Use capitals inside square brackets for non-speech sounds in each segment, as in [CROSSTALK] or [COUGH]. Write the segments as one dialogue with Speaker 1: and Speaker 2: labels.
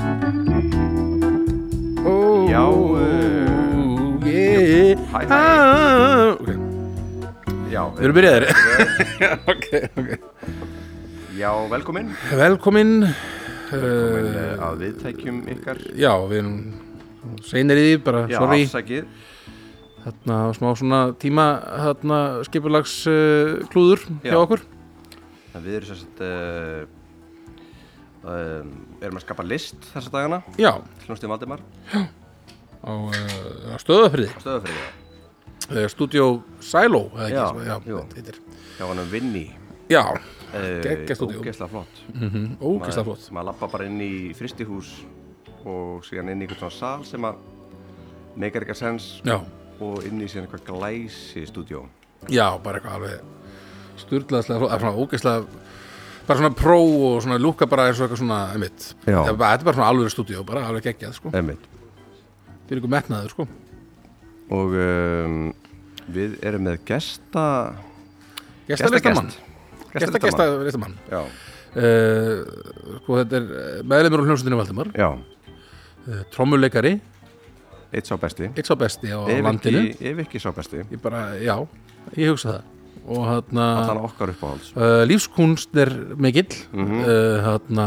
Speaker 1: hæ
Speaker 2: eh, Hæ, hæ.
Speaker 1: hæ Ok,
Speaker 2: Já,
Speaker 1: við erum byrjaðir Ok, ok
Speaker 2: já velkomin
Speaker 1: Velkomin
Speaker 2: Velkomin
Speaker 1: uh,
Speaker 2: eh, að viðtækjum ykkar
Speaker 1: Já, við erum seinir í því, bara
Speaker 2: Já,
Speaker 1: sorry
Speaker 2: afsakið
Speaker 1: Þarna smá svona tíma Þarna skipulags uh, klúður
Speaker 2: Já.
Speaker 1: hjá okkur
Speaker 2: En Við erum sérst uh, um, erum að skapa list þessa dagana
Speaker 1: Já,
Speaker 2: Hljómsdýn Valdimar
Speaker 1: á uh, stöðafriði
Speaker 2: Stöðafriði
Speaker 1: uh, Studio Silo eða ekki,
Speaker 2: Já,
Speaker 1: sem- já,
Speaker 2: jú.
Speaker 1: þetta heitir.
Speaker 2: Hjá hann um Vinni
Speaker 1: já
Speaker 2: uh,
Speaker 1: Ah, Geggjað stúdíó.
Speaker 2: Ógeðslega flott
Speaker 1: ógæsta flott
Speaker 2: Maður lappa bara inn í fristihús og síðan inn í einhvern svona sal sem að megar eitthvað sens
Speaker 1: Já,
Speaker 2: og inn í síðan eitthvað glæsi stúdíó
Speaker 1: já, bara eitthvað alveg Sturlaðslega flott, eða svona ógæsta Bara svona pró og svona lúka bara eins og eitthvað svona, einmitt
Speaker 2: Já.
Speaker 1: Það- Þetta er bara svona alveg stúdíó, bara alveg geggjað, sko
Speaker 2: Einmitt.
Speaker 1: Fyrir ykkur metnaður, sko
Speaker 2: og um, við erum með gesta
Speaker 1: Gestalistamann
Speaker 2: gesta,
Speaker 1: Gesta, gesta, listamann
Speaker 2: Já,
Speaker 1: uh, Sko, þetta er meðlemur á hljómsveitinu Valdimar
Speaker 2: já,
Speaker 1: uh, Trommuleikari,
Speaker 2: eitt sá besti
Speaker 1: eitt sá besti á, á
Speaker 2: ef
Speaker 1: landinu
Speaker 2: ekki, ef ekki sá besti
Speaker 1: Ég bara, já, ég hugsa það Og hann
Speaker 2: allan okkar uppáhalds
Speaker 1: uh, lífskunst er mikill mm uh, hérna,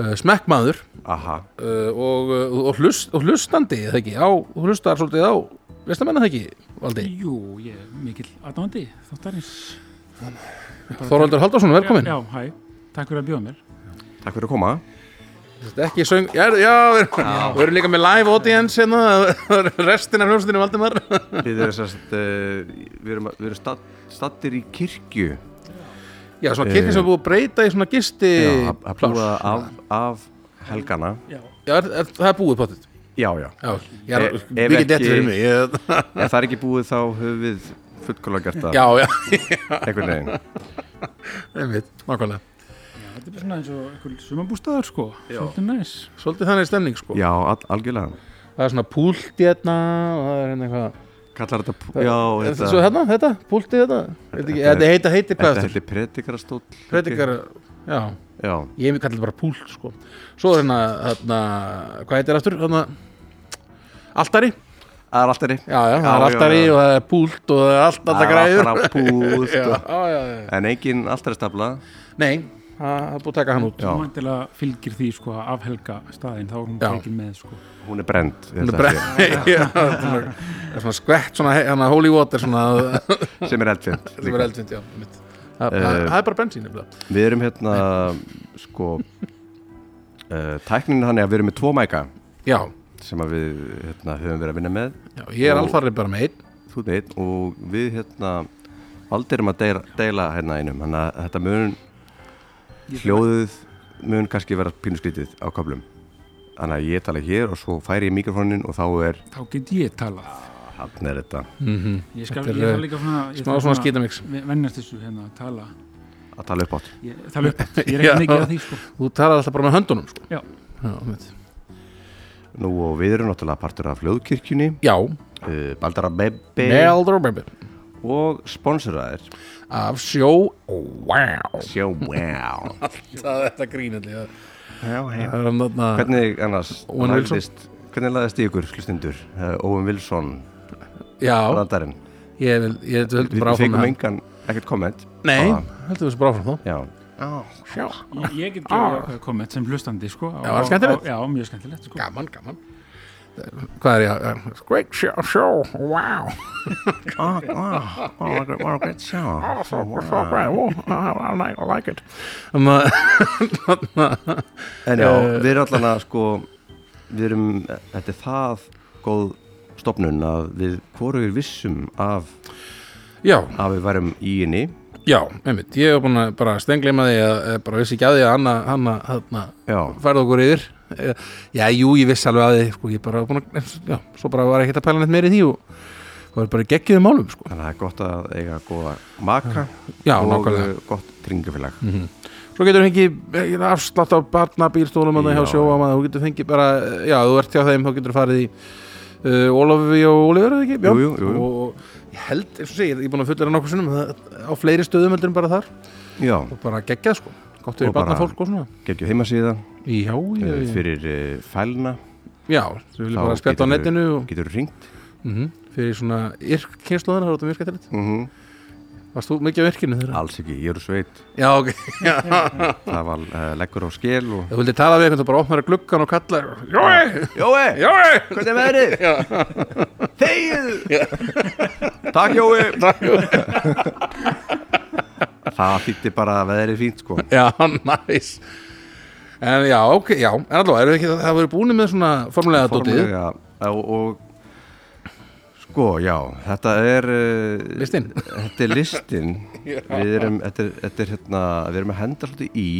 Speaker 1: uh, smekkmaður
Speaker 2: aha,
Speaker 1: uh, og, uh, og, hlust, og hlustandi eða ekki, á, þú hlustar svolítið á listamenn eða ekki, Valdi
Speaker 3: Jú, ég er mikill aðdándi þáttarins.
Speaker 1: Þorvaldur Haldarsson, velkomin
Speaker 3: Já, já, hæ. Takk fyrir að bjóða mér.
Speaker 2: takk fyrir að koma
Speaker 1: [LAUGHS] Þetta er ekki söng, já, já, við, já. við erum líka með live audience hérna, [LAUGHS] restin af hljómsveitinu Valdimar
Speaker 2: við erum, sest, uh, við erum, við erum stad, stadir í kirkju
Speaker 1: já, svona kirkja sem er búið að breyta í svona gisti
Speaker 2: Já, að- að
Speaker 1: pláss.
Speaker 2: búa af, af helgana
Speaker 3: Já.
Speaker 1: já, er, er, það er búið potið
Speaker 2: já, já,
Speaker 1: já, já,
Speaker 2: E- ef
Speaker 1: mikið
Speaker 2: ekki-
Speaker 1: dettur fyrir mig ég,
Speaker 2: [LAUGHS] ef það er ekki búið þá höfum við fullkóla gert það
Speaker 1: já, já,
Speaker 2: einhvern
Speaker 1: [LAUGHS]
Speaker 2: veginn
Speaker 1: einmitt, nákvæmlega
Speaker 3: Þetta er bara svona eins og einhver sumabústaður, sko.
Speaker 2: Já.
Speaker 3: Svolítið næs.
Speaker 1: svolítið þannig stemning sko
Speaker 2: já, al, algjörlega
Speaker 1: það er svona púlt í hérna og það er hérna eitthvað
Speaker 2: kallar þetta, pú- já,
Speaker 1: Er
Speaker 2: þetta
Speaker 1: þetta svo hérna, þetta, púltið þetta Er þetta ekki-
Speaker 2: Þetta er-
Speaker 1: Þetta heita, heitir hvað
Speaker 2: þetta
Speaker 1: þetta
Speaker 2: heitir predikarastóll
Speaker 1: Predikar, já,
Speaker 2: já,
Speaker 1: ég kallar þetta bara púlt sko Svo er hérna, hérna, hvað heitir aftur, hérna Altari,
Speaker 2: það er alltaf
Speaker 1: já, já, það
Speaker 2: Já,
Speaker 1: er
Speaker 2: já,
Speaker 1: altari
Speaker 2: já.
Speaker 1: og það er púlt og það er allt, alltaf græður
Speaker 2: alltaf púð
Speaker 1: [LAUGHS] Já,
Speaker 2: sko.
Speaker 1: já, já, já.
Speaker 2: en engin alltaf stafla
Speaker 1: Nei, það það er búið að taka hann út
Speaker 2: Já.
Speaker 3: Já. Mæntilega fylgir því, sko, að afhelga staðinn. Þá er hún
Speaker 1: Já.
Speaker 3: tekin með, sko.
Speaker 2: hún er brend
Speaker 1: Hún er bre- [LAUGHS] Já, svona- það er svona skvett, svona he- hérna holy water svona,
Speaker 2: sem er eldfjönd
Speaker 1: [LAUGHS] sem er eldfind, já mitt. Það það-
Speaker 2: Eh.
Speaker 1: það er bara bensín nefnilega
Speaker 2: við erum hérna sko uh, tækninu hann er að við erum með tvo mæka
Speaker 1: Já,
Speaker 2: sem að við hérna, höfum verið að vinna með
Speaker 1: já, ég er
Speaker 2: Og-
Speaker 1: alfarið bara með einn
Speaker 2: þú veit og við hérna aldrei erum að deila, deila hérna einum þannig að þetta mun hljóðið mun kannski vera pínuskrítið á köflum þannig að ég tala hér og svo færi ég mikrofónin og þá er
Speaker 3: Þá get ég talað.
Speaker 2: hann er þetta
Speaker 3: Ég skal,
Speaker 1: Þetta er, eh,
Speaker 3: ég þarf líka svona... ég
Speaker 1: Smá
Speaker 3: þarf
Speaker 1: svona skítamix
Speaker 3: Vennast þessu hérna að tala.
Speaker 2: að tala upp átt
Speaker 3: Ég, tala upp. Ég er ekki
Speaker 1: Já.
Speaker 3: mikið að því, sko.
Speaker 1: Þú talar alltaf bara með höndunum sko.
Speaker 3: [LAUGHS] Já.
Speaker 1: Já, mitt.
Speaker 2: Nú og við erum náttúrulega partur af Fljóðkirkjunni,
Speaker 1: Já,
Speaker 2: uh, Baldara Bebbi
Speaker 1: Meldur og Baby
Speaker 2: og sponsoraðir
Speaker 1: Af sjó Wow
Speaker 2: Sjó,
Speaker 1: [LAUGHS]
Speaker 2: wow
Speaker 1: Það er þetta grínandi Það
Speaker 2: Hvernig
Speaker 1: er hann þarna
Speaker 2: annars
Speaker 1: Owen Wilson.
Speaker 2: lagðist- hvernig laðist í ykkur hlustundur uh, Owen Wilson,
Speaker 1: Já,
Speaker 2: brandarinn
Speaker 1: ég vil, ég vil heldur
Speaker 2: Við
Speaker 1: bara áfram
Speaker 2: fengum
Speaker 1: með hann.
Speaker 2: engan, ekkert komment
Speaker 1: Nei,
Speaker 2: á það.
Speaker 1: heldur þessu bara áfram þá
Speaker 2: Já,
Speaker 1: Ah. Sjá
Speaker 3: Ég, ég get gefið ákveð komment sem hlustandi, sko.
Speaker 1: Ah.
Speaker 3: á-
Speaker 1: Já, var það
Speaker 3: á-
Speaker 1: skemmtilegt?
Speaker 3: á- Já, mjög skemmtilegt, sko.
Speaker 1: Gaman, gaman Hvað er ég að eh, Great show, show, wow
Speaker 2: oh, oh, oh, oh, great show
Speaker 1: So, so great, oh, I like, I like it um, uh,
Speaker 2: En já,
Speaker 1: Eh.
Speaker 2: við erum allan að sko við erum, þetta er það góð stopnun að við hvorugur vissum af
Speaker 1: Já,
Speaker 2: að við værum í henni
Speaker 1: já, einmitt Ég hef búin að bara stengleima því að eh, bara vissi ekki að því að Anna, Anna, þarna
Speaker 2: Já,
Speaker 1: færðu okkur yfir Eh, já, jú, ég vissi alveg að þið sko, ég bara, var búinn að, já, svo bara var ekkert að pæla neitt meira í því og það var bara geggjuðu málum sko.
Speaker 2: Þannig að það er gott að eiga góða maka
Speaker 1: já,
Speaker 2: og
Speaker 1: nákvæmlega,
Speaker 2: uh, gott tringafélag.
Speaker 1: svo getur fengið eh, afslátt á barnabílstólum að það hjá
Speaker 2: Já.
Speaker 1: sjóa maður, þú getur fengið bara, eh, já, þú ert hjá þeim, þá getur farið í uh, Ólafi og Ólífur, eða ekki? Já.
Speaker 2: Jú, jú, jú, jú.
Speaker 1: Og, og ég held, eins og segir, ég er búin að fullera nokkuð sinnum það- á fleiri stöðum heldur en bara þar
Speaker 2: Já,
Speaker 1: og bara geggjað, sko, gott
Speaker 2: Og
Speaker 1: yfir
Speaker 2: bara-
Speaker 1: barnafólk og svona
Speaker 2: geggjum heimasíða
Speaker 1: já, já,
Speaker 2: uh,
Speaker 1: já,
Speaker 2: fyrir uh, fælna,
Speaker 1: já, þú viljum
Speaker 2: Þá
Speaker 1: bara spjata á
Speaker 2: getur-
Speaker 1: netinu og,
Speaker 2: getur ringt
Speaker 1: mm fyrir svona yrk kynnslóðina, það er þetta mjög skemmtilegt
Speaker 2: Mhm.
Speaker 1: Varst þú mikið á yrkinu þeirra?
Speaker 2: Alls ekki, ég eru sveit
Speaker 1: Já, ok [LAUGHS]
Speaker 2: Það var uh, leggur á skel og
Speaker 1: Þú vildi tala við einhvern, þá bara opnar að gluggan og kalla Jói,
Speaker 2: Jói,
Speaker 1: Jói
Speaker 2: hvernig er veðrið? Þegið Takk Jói Það þýtti bara að veðrið er fínt sko
Speaker 1: Já, [LAUGHS] næs En já, ok, já, en allavega, eruð þið ekki, það verið búinir með svona formulega dótið
Speaker 2: Formlega, og, og sko, já, þetta er uh,
Speaker 1: Listinn.
Speaker 2: Þetta er listin Við erum, þetta er, þetta er hérna Við erum að henda svolítið í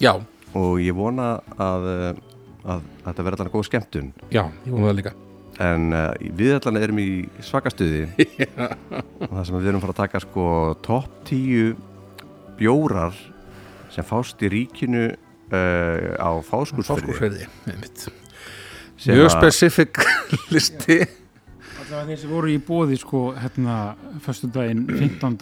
Speaker 1: Já,
Speaker 2: og ég vona að, uh, að, að þetta verði allan góð skemmtun
Speaker 1: já, ég vona það líka
Speaker 2: en uh, við allan erum í svakastuði
Speaker 1: [LAUGHS]
Speaker 2: og það sem við erum fara að taka sko topp 10 bjórar sem fást í ríkinu uh, á fáskursferði
Speaker 1: Fáskursferði, einmitt Mjög specifík [LAUGHS] listi
Speaker 3: Allavega þeir sem voru í bóði sko hérna förstu daginn 15.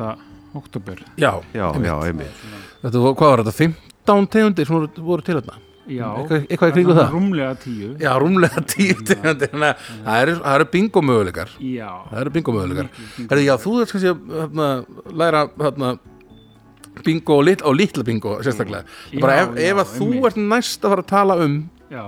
Speaker 3: oktober
Speaker 1: Já,
Speaker 2: Já, já, einmitt
Speaker 1: þetta var, hvað var þetta, 15 tegundir sem voru, voru til þarna
Speaker 3: Já,
Speaker 1: Eitthvað- eitthvað í kringum það?
Speaker 3: Rúmlega tíu
Speaker 1: Já, rúmlega [LAUGHS] 10 tegundir, þannig að það eru- það eru bingo möguleikar
Speaker 3: Já.
Speaker 1: Það eru bingo möguleikar Herði, já, þú þarf kannski að hérna, læra hérna, bingo og, lit, og litla bingo sérstaklega
Speaker 3: Já,
Speaker 1: já, bara ef,
Speaker 3: Mm. já,
Speaker 1: ef að þú
Speaker 3: einmitt.
Speaker 1: ert næst að fara að tala um
Speaker 3: Já,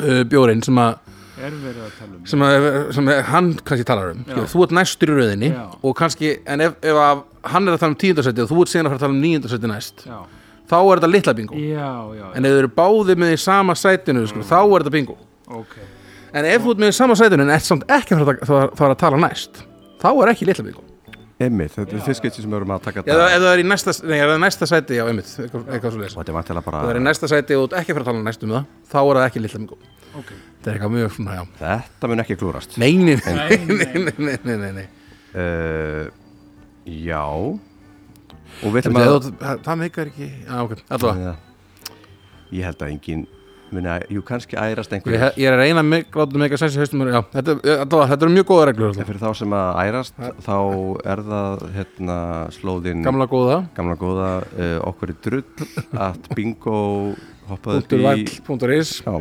Speaker 1: uh, bjórin sem að,
Speaker 3: er verið að tala um
Speaker 1: sem að, sem að hann kannski talar um já.
Speaker 3: Já.
Speaker 1: þú ert næstur í rauðinni
Speaker 3: Já.
Speaker 1: og kannski, en ef, ef að hann er að tala um tíundarsæti og þú ert síðan að fara að tala um níundarsæti næst
Speaker 3: Já,
Speaker 1: þá er þetta litla bingo
Speaker 3: já, já,
Speaker 1: en ef þau eru báði með í sama sætinu sko, þá er þetta bingo
Speaker 3: ok
Speaker 1: en ef þú ert með í sama sætinu en ert samt ekki að fara að- fara fara að tala næst þá er ekki litla bingo
Speaker 2: einmitt, þetta er fyrst skipti sem við erum að taka
Speaker 1: Já, ef það er í næsta, nei, ef það er næsta sæti, já, einmitt, eitthvað, eitthvað svo leiðis.
Speaker 2: og þetta er vantilega
Speaker 1: Ef það er í
Speaker 2: bara
Speaker 1: næsta sæti og þú ert ekki að fara að tala um næstum það, þá er það ekki lilla mingu.
Speaker 3: Ok,
Speaker 1: Það er eitthvað mjög svona, já.
Speaker 2: þetta mun ekki klúrast
Speaker 1: Nei, nei, nei, nei, nei, nei, nei, nei, nei.
Speaker 2: Uh, já og við ætlum
Speaker 1: Það,
Speaker 2: að
Speaker 1: það, það meikar ekki, já, ok, allavega.
Speaker 2: Já. ég held að engin muni að, jú kannski ærast einhver
Speaker 1: Ég, ég er að reyna mig, látum meika sens í haustum, já, þetta, allavega, þetta eru mjög góða reglur,
Speaker 2: en
Speaker 1: allavega.
Speaker 2: fyrir þá sem að ærast þá er það hérna slóðin
Speaker 1: Gamla góða,
Speaker 2: gamla góða uh, okkur í drull at bingo hoppaðu upp
Speaker 1: punktur
Speaker 2: í
Speaker 1: vall, punktur is.
Speaker 2: já [CLEARS THROAT]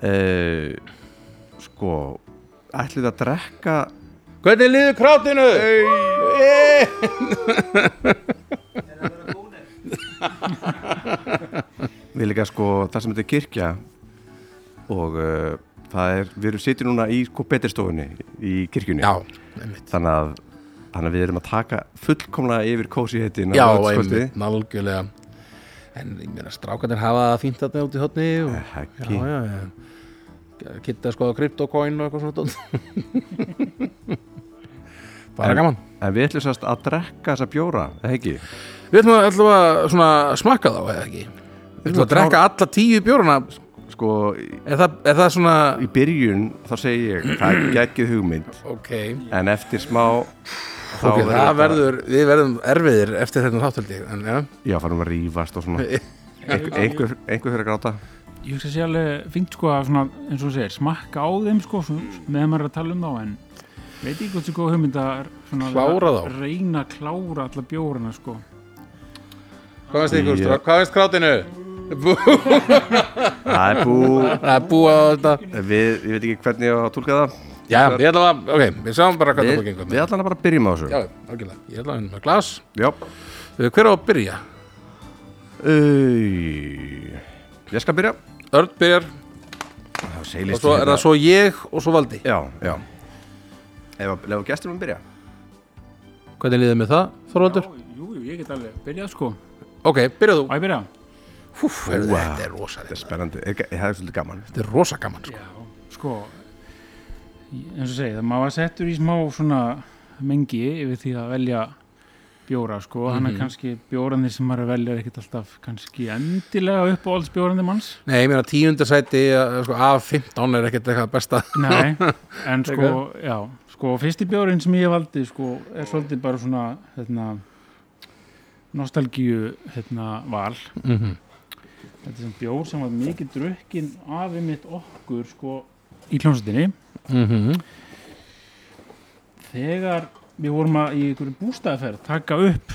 Speaker 2: uh, sko ætlið að drekka
Speaker 1: Hvernig liður krátinu? Hey.
Speaker 2: við líka sko það sem þetta er kirkja og uh, það er, við erum sittir núna í sko betristofunni í kirkjunni
Speaker 1: Já, einmitt.
Speaker 2: þannig að, þannig að við erum að taka fullkomlega yfir kósi heitin
Speaker 1: Já, einmitt, nálgulega. En ég meina, strákarnir hafa það fínt þarna út í hotni og...
Speaker 2: ekki,
Speaker 1: já, já, já. Kitta að skoða kryptokoin og eitthvað svona dót. [LAUGHS] Bara
Speaker 2: En-
Speaker 1: gaman
Speaker 2: en við ætlum sérst að drekka þessa bjóra eða ekki,
Speaker 1: Við ætlum að allavega svona smakka þá eða ekki Við ætlum að drekka alla tíu bjóruna
Speaker 2: sko í-
Speaker 1: Er það, er það svona
Speaker 2: í byrjun þá segi ég, það er geggið hugmynd
Speaker 1: Ok,
Speaker 2: en eftir smá þá
Speaker 1: ok, það
Speaker 2: þetta-
Speaker 1: verður Við verðum erfiðir eftir þetta þáttaldi En já,
Speaker 2: já, farum að rífast og
Speaker 1: [LAUGHS]
Speaker 2: svona einhver, einhver, einhver fyrir að gráta
Speaker 3: Ég hugsa sér alveg fínt sko að svona, eins og þú segir, smakka á þeim sko svo- meðan maður er að tala um þá en veit ekki hvort sér góð hugmynd að svona,
Speaker 1: Klára þá.
Speaker 3: reyna að klára alla bjórana sko
Speaker 1: hvað veist ykkur
Speaker 2: Ég-
Speaker 1: strák, hvað veist krátinu? Bú,
Speaker 2: það er bú,
Speaker 1: [LAUGHS] það er búið á þetta
Speaker 2: við, ég veit ekki hvernig ég á að tólka það
Speaker 1: Já, ég ætla að, ok, við sjáum bara hvað
Speaker 2: við,
Speaker 1: það gengum
Speaker 2: við
Speaker 1: Já,
Speaker 2: allan að bara byrjum á þessu
Speaker 1: algjörlega, ég ætla að henni með glas
Speaker 2: já,
Speaker 1: Hver á að byrja?
Speaker 2: Æ, ég skal byrja
Speaker 1: Örn byrjar
Speaker 2: og
Speaker 1: og svo
Speaker 2: hérna.
Speaker 1: er það svo ég og svo Valdi
Speaker 2: Já, já Ef að lefa gestur um að byrja
Speaker 1: hvernig liðið með það, Þorvaldur?
Speaker 3: Jú, jú, ég get alveg byrjað sko Á
Speaker 1: ok, byrjaðu þú
Speaker 3: ég byrja?
Speaker 1: Úf, heyrðu, þetta er rosa
Speaker 2: Þetta er spennandi, Er- það er svolítið gaman
Speaker 1: þetta er rosa gaman sko.
Speaker 3: Já, sko eins og segið, maður var settur í smá svona mengi yfir því að velja bjóra sko, mm hann er kannski bjórandi sem maður velja er ekkert alltaf kannski endilega upp á alls bjórandi manns
Speaker 1: nei, ég meina tíundarsæti eh, sko, af 15 er ekkert eitthvað besta
Speaker 3: Nei, en sko, já, sko, fyrsti bjórinn sem ég valdi, sko, er svolítið bara svona, hérna, nostalgíu, hérna, val. Þetta er sem bjór sem var mikið drukkin afi mitt okkur, sko, í kljónsutinni. Þegar við vorum að í einhverju bústæðaferð taka upp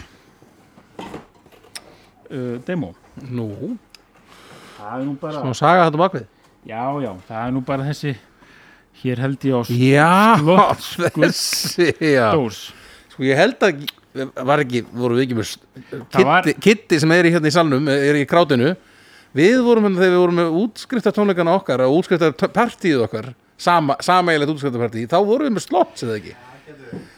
Speaker 3: uh, demo.
Speaker 1: nú,
Speaker 3: Það er nú bara...
Speaker 1: svona saga þetta bakvið
Speaker 3: Já, já, það er nú bara þessi Hér held ég á
Speaker 1: Já,
Speaker 3: Slott,
Speaker 1: [LAUGHS] þessi já.
Speaker 3: stós
Speaker 1: Sko ég held að var ekki, vorum við ekki með
Speaker 3: Það var-
Speaker 1: Kitti, Kitti sem er í hérna í salnum er í krátinu Við vorum hérna þegar við vorum með útskrifta tónleikana okkar og útskrifta partíð okkar sama, sameiglegt útskrifta partíð þá vorum við með slott, segðu ekki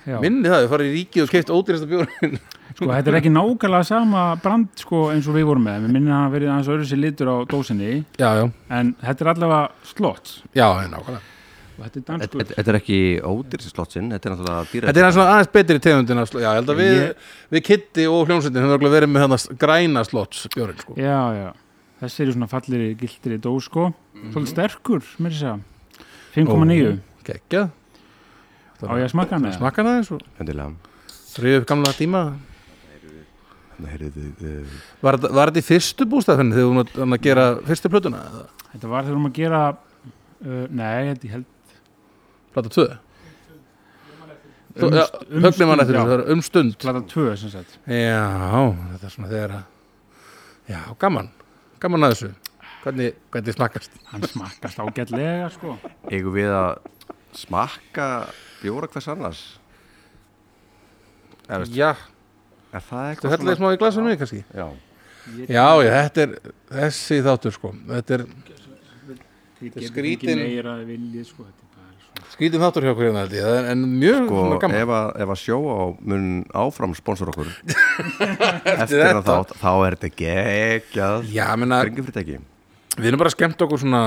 Speaker 3: Já.
Speaker 1: Minni það, við farið í ríkið og keift ódýrasta bjórin
Speaker 3: Sko, þetta er ekki nákvæmlega sama brand sko, eins og við vorum með. Við minnum að hann verið aðeins öðru sér litur á dósinni
Speaker 1: Já, já,
Speaker 3: en þetta er allavega slott
Speaker 1: já, já, nákvæmlega
Speaker 3: og þetta er
Speaker 2: Þetta
Speaker 3: danskur.
Speaker 2: þetta- þetta er ekki ódýrsi slottsinn, þetta er náttúrulega dýra
Speaker 1: Þetta er aðeins, aðeins betri tegundin af slott Já, ég held að við,
Speaker 3: Ég-
Speaker 1: við Kitti og hljónsveitin höfum örugglega verið með hann græna slott bjórin sko.
Speaker 3: Já, já. Þessi eru svona fallir í gildir í dós sko. Svolítið sterkur, mér sé að. 5,9.
Speaker 1: Kekja
Speaker 3: Á ég að smakka hann eða?
Speaker 1: Smakka það eins og
Speaker 2: Endilega,
Speaker 1: Ríðu upp gamla tíma
Speaker 2: þannig heyrðu þið
Speaker 1: Var, þetta- var þetta í fyrstu bústafinu þegar hún var hann að gera fyrstu plötuna? eða?
Speaker 3: Þetta var þegar við erum að gera uh, nei, þetta ég held
Speaker 1: Plata 2?
Speaker 3: Um
Speaker 1: Um,
Speaker 3: st- um
Speaker 1: Högnum hann
Speaker 3: stund,
Speaker 1: eftir
Speaker 3: já.
Speaker 1: þessu, það er um stund
Speaker 3: plata 2 sem sagt.
Speaker 1: Já, þetta er svona þegar að Já, gaman, gaman að þessu Hvernig, hvernig smakkast?
Speaker 3: Hann smakkast ágætlega sko.
Speaker 2: Eigum við að smakka bjóra hvers annars? Er,
Speaker 1: Já,
Speaker 2: er það
Speaker 1: þú
Speaker 2: eitthvað
Speaker 1: hellir smá í glasum mig kannski
Speaker 2: Já,
Speaker 1: Já, já, þetta er þessi þáttur sko Þetta er
Speaker 3: Þetta
Speaker 1: skrítin-
Speaker 3: meira að vilja sko. Þetta er bara svona.
Speaker 1: skrítin þáttur hjá hverjum þetta Það er en mjög
Speaker 2: sko,
Speaker 1: svona gaman
Speaker 2: ef að, ef að sjóa á mun áfram sponsor
Speaker 1: [LAUGHS]
Speaker 2: okkur Eftir að
Speaker 1: þetta.
Speaker 2: þátt, þá er þetta geggjað
Speaker 1: Já, menna,
Speaker 2: Kringifritæki,
Speaker 1: við erum bara skemmt okkur svona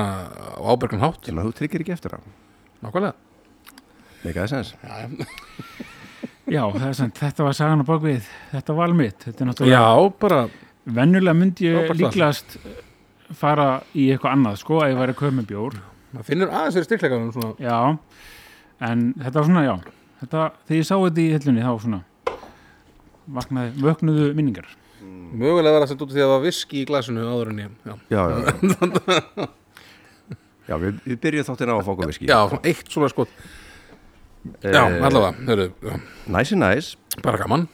Speaker 1: á ábyrgum hátt
Speaker 2: sem að þú tryggir ekki eftir á
Speaker 1: Nákvæmlega
Speaker 2: Mikaði sens
Speaker 3: Já, það er sant, þetta var sagan á bakvið Þetta var alveg mitt Þetta er náttúrulega
Speaker 1: Já, bara
Speaker 3: Venjulega myndi ég
Speaker 1: Frábært lag.
Speaker 3: líklast eh, fara í eitthvað annað sko, að ég væri að köpa með bjór
Speaker 1: maður finnur aðeins fyrir styrkleikanum svona
Speaker 3: já, en þetta var svona já, þetta, þegar ég sá þetta í hillunni þá svona vaknaði, vöknuðu minningar
Speaker 1: mögulega var það sem út af því að það var viski í glasinu áður en ég já,
Speaker 2: Já, já, já
Speaker 1: [LAUGHS]
Speaker 2: Já, við, við byrjum þáttina á að fá okkur viski
Speaker 1: já svona eitt svona skot já,
Speaker 2: Eh.
Speaker 1: allavega, hörru, já,
Speaker 2: Næsi næs,
Speaker 1: bara gaman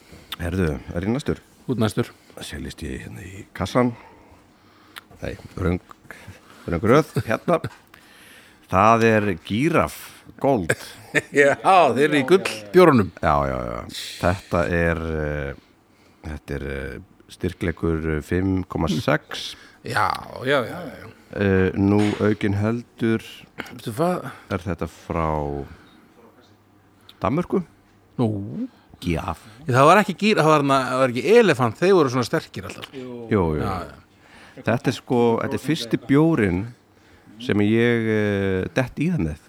Speaker 2: herðu, er ég næstur
Speaker 1: út næstur
Speaker 2: Selist ég hérna í kassan Nei, röng Röng röð, hérna Það er gíraf Gold
Speaker 1: [LAUGHS] já, þeir eru í gull bjórunum
Speaker 2: Já, já, já Þetta er eh, Þetta er eh, styrkleikur eh, 5,6
Speaker 1: já, já, já, já
Speaker 2: Eh, Nú aukin heldur
Speaker 1: veitu hvað,
Speaker 2: Er þetta frá Danmörku?
Speaker 1: nú
Speaker 2: Gíraf
Speaker 1: það var ekki gýr, það var, na, það var ekki elefant þeir voru svona sterkir alltaf já,
Speaker 2: Jú, jú
Speaker 1: já,
Speaker 2: Þetta er sko, þetta er fyrsti bjórin sem ég uh, dett í það með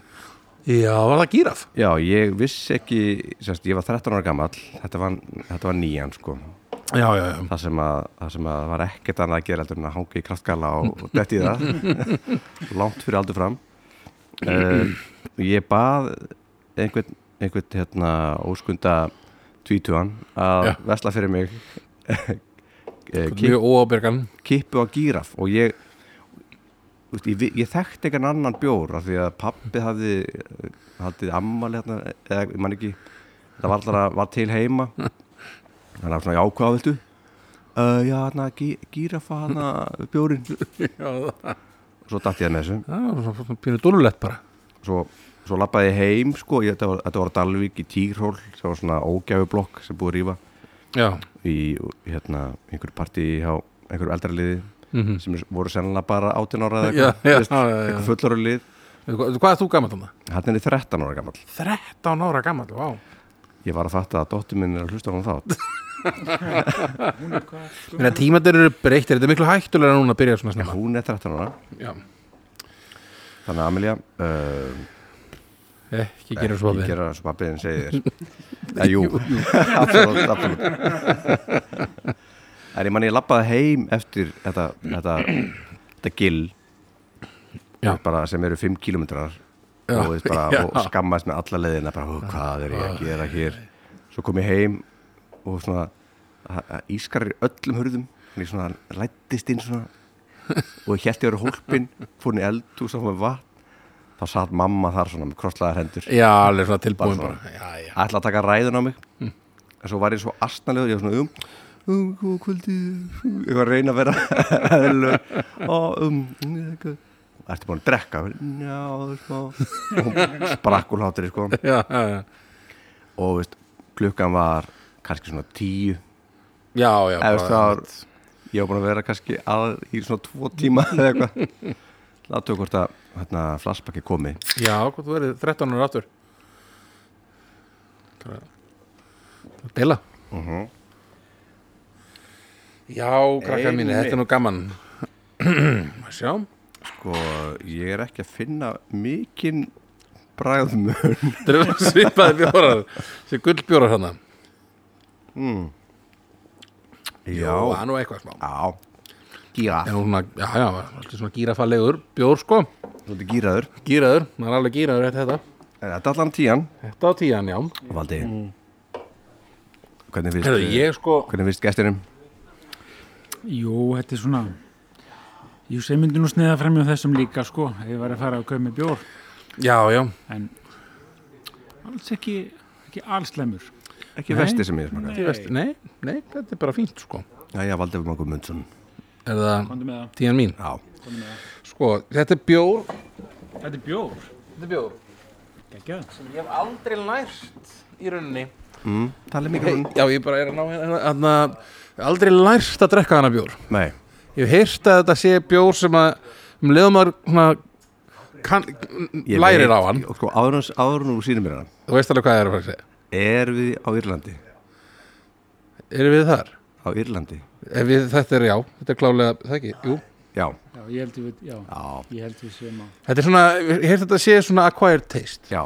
Speaker 1: já var það gíraf
Speaker 2: Já, ég vissi ekki, sérst, ég var 13 ára gammal, þetta var, þetta var nýjan sko,
Speaker 1: já, já, já,
Speaker 2: það sem að, það sem að var ekkert annað að gera heldur en að hanga í kraftgala og, og detti í það,
Speaker 1: [LAUGHS]
Speaker 2: langt fyrir aldur fram. Uh, ég bað einhvern, einhvern hérna óskunda tvítuan að
Speaker 1: Já.
Speaker 2: vesla fyrir mig eh, ki-
Speaker 1: mjög óábyrgan
Speaker 2: kippu á gíraf og ég Úst, ég, vi- ég þekkti einhvern annan bjór af því að pappi hafði eh, haldið ammali hérna, eða ég man ekki það var alltaf var til heima hann var svona, já, hvað viltu? Uh, já, hann að gírafa hann að bjórin
Speaker 1: já, það
Speaker 2: svo datt ég að með þessu
Speaker 1: það var svona- svona pínu dúlulegt bara
Speaker 2: svo, svo lappaði ég heim, sko, ég, þetta, var, þetta var á Dalvík í Týrhól, það var svona ógæfublokk sem búið að rífa
Speaker 1: já,
Speaker 2: í hérna, einhverju partí hjá einhverju eldraliði
Speaker 1: mhm
Speaker 2: Mm. sem voru sennilega bara 18 ára eða
Speaker 1: Já,
Speaker 2: eitthvað,
Speaker 1: já,
Speaker 2: þú veist,
Speaker 1: já, já.
Speaker 2: eitthvað fullur lið
Speaker 1: Veitu Sko, hvað, hvað er þú gammal þannig?
Speaker 2: hann er 13 ára gammal
Speaker 1: 13 ára gammal, vá
Speaker 2: ég var að fatta að dóttur minn er að hlusta á hann þátt
Speaker 1: Meina, tímatir eru breyttir, þetta er miklu hættulega núna að byrja svona
Speaker 2: Já,
Speaker 1: snemma.
Speaker 2: hún er 13 ára
Speaker 1: Já.
Speaker 2: þannig að Amelia uh,
Speaker 1: Ekki gera svo við.
Speaker 2: gera svo pappiðin
Speaker 1: [LAUGHS]
Speaker 2: segir þér jú, jú. [LAUGHS] absolutt, absolutt en ég man ég lappaði heim eftir þetta, þetta, þetta gil
Speaker 1: Já.
Speaker 2: bara sem eru 5 kilometrar
Speaker 1: Já,
Speaker 2: og, þú veist bara,
Speaker 1: já.
Speaker 2: og skammaðist með alla leiðina bara, "Ó, hvað er ég að gera hér svo kom ég heim og svona að- að ískar í öllum hurðum en ég svona lættist inn svona og ég held ég að vera hólpin fór hún í eldhús og með vatn þá satt mamma þar svona með krosslaðar hendur
Speaker 1: Já, alveg svona tilbúin
Speaker 2: Bara
Speaker 1: bara. Já, já.
Speaker 2: ætla að taka ræðun á mig
Speaker 1: Mm.
Speaker 2: en svo var ég svo astnalegur ég var svona um um, [LAUGHS] um kvöldi ég var að reyna að vera eðlilegur. Ó, um, um, ertu búin að drekka? Já, það er smá og hún sprakk úr hlátur sko.
Speaker 1: já, já, já.
Speaker 2: og veist, klukkan var kannski svona tíu
Speaker 1: já, já
Speaker 2: eða
Speaker 1: bara-
Speaker 2: veist, það var ég var búin að vera kannski að, í svona tvo tíma eða eitthvað látum hvort að hérna, flashbacki komi
Speaker 1: Já, hvað þú verið 13 ára aftur Það er að Deila Mhm. Já, krakkar mínu, þetta er nú gaman [CLEARS THROAT] Má Sjá
Speaker 2: sko, ég er ekki að finna mikinn bræðmör
Speaker 1: Þetta eru svipaði bjórar Þessi gullbjórar hana Jú, það er nú eitthvað smá
Speaker 2: já, gíra
Speaker 1: En hún svona, já, já, alltaf svona gírafalegur Bjór sko,
Speaker 2: þú ert gíraður
Speaker 1: gíraður Það er alveg gíraður eftir þetta
Speaker 2: en þetta er allan tían
Speaker 1: Þetta á tían, já
Speaker 2: Valdi hvernig finnst, eh,
Speaker 1: Herðu, ég sko
Speaker 2: hvernig finnst gestinum
Speaker 3: Jú, þetta er svona Jú, sem myndi nú sniða fram hjá þessum líka sko, ef ég var að fara að kaupa með bjór
Speaker 1: Já, já,
Speaker 3: en alls ekki ekki allslemur
Speaker 2: ekki
Speaker 3: Nei.
Speaker 2: vesti sem ég smaka
Speaker 1: Vest- nei, nei, þetta er bara fínt sko
Speaker 2: já, já, Valdi var mangur mundsson
Speaker 1: Er það
Speaker 3: Komdu með það.
Speaker 1: tían mín?
Speaker 2: já,
Speaker 1: Sko, þetta er bjór
Speaker 3: Þetta er bjór
Speaker 1: Þetta er bjór
Speaker 3: Gekkjað.
Speaker 1: sem ég hef aldrei lært í rauninni
Speaker 2: mm, talið mikið
Speaker 1: hey, Já, ég bara er að ná hérna hérna, aldrei lært að drekka hana bjór
Speaker 2: nei,
Speaker 1: Ég hef heyrt að þetta sé bjór sem að um leiðum maður svona, kann,
Speaker 2: ég
Speaker 1: lærir
Speaker 2: veit-
Speaker 1: á hann
Speaker 2: og sko, árun, árun og sínum mér hann
Speaker 1: Þú veist alveg hvað það er að fara að segja
Speaker 2: er við á Írlandi
Speaker 1: Erum við þar?
Speaker 2: á Írlandi,
Speaker 1: Ef við, þetta er já, þetta er klálega, það ekki, jú
Speaker 2: já,
Speaker 3: Já, ég held við, já,
Speaker 2: já,
Speaker 3: ég held við sem að
Speaker 1: Þetta er svona, ég hef þetta sé svona acquired taste
Speaker 2: já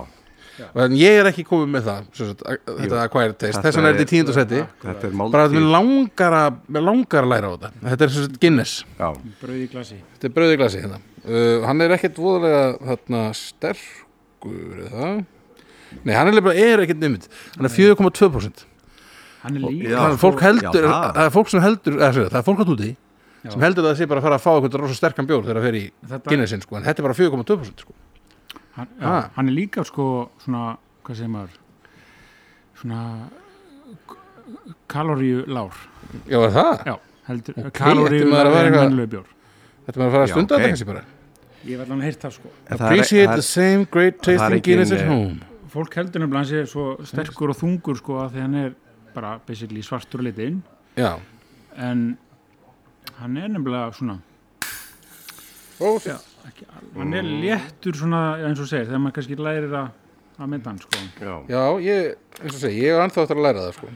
Speaker 1: En ég er ekki komið með það, sem sagt, a-
Speaker 2: Jú.
Speaker 1: þetta acquired taste
Speaker 2: Þetta
Speaker 1: Þess vegna er
Speaker 2: er-
Speaker 1: þetta í tíundu seti
Speaker 2: þetta er
Speaker 1: Bara að
Speaker 2: máltíð
Speaker 1: við langar að, mig langar að læra á þetta Þetta er sem sagt Guinness
Speaker 2: já,
Speaker 3: brauð í glasi
Speaker 1: Þetta er brauð í glasi hérna. Uh, hann er ekkert voðalega þarna, sterkur eða Nei, hann er bara er ekkert nefnd Hann er 4,2%
Speaker 3: Hann er líka sko,
Speaker 2: Já,
Speaker 1: Það er fólk
Speaker 2: fólk-
Speaker 1: heldur,
Speaker 2: já, það.
Speaker 1: það er fólk sem heldur eða, sem sagt, það er fólk átt úti
Speaker 3: Já.
Speaker 1: sem heldur að það sé bara að fara að fá eitthvað rosa sterkan bjór þegar það fer í
Speaker 3: Þetta-
Speaker 1: Guinnessin sko, en þetta er bara 4,2% sko.
Speaker 3: hann,
Speaker 1: Ah.
Speaker 3: já, hann er líka sko svona, hvað segir maður svona k- kaloríulár
Speaker 1: Já, er það?
Speaker 3: já,
Speaker 1: Ok,
Speaker 3: heldur,
Speaker 1: þetta maður að
Speaker 3: kaloríulár
Speaker 1: vera
Speaker 3: er
Speaker 1: eitthvað-
Speaker 3: mennlega bjór
Speaker 1: Þetta er bara að fara að
Speaker 2: Já,
Speaker 1: stunda
Speaker 2: ok.
Speaker 1: þetta kannski bara
Speaker 3: ég var allan að heyrta sko
Speaker 2: En það er-
Speaker 1: Appreciate
Speaker 2: það er-
Speaker 1: the same great
Speaker 2: það er
Speaker 1: taste in
Speaker 2: engin,
Speaker 1: Guinness at
Speaker 2: eh,
Speaker 1: home
Speaker 3: fólk heldur nefnilega hann sé svo sterkur og þungur sko að því hann er bara basically svartur og litinn
Speaker 1: Já,
Speaker 3: en hann er nefnilega svona
Speaker 1: Ó,
Speaker 3: ekki, al- hann er léttur svona já, eins og segir þegar maður kannski lærir að að mynda hann sko
Speaker 2: já,
Speaker 1: já ég, eins og segi, ég er anþá eftir að læra það sko.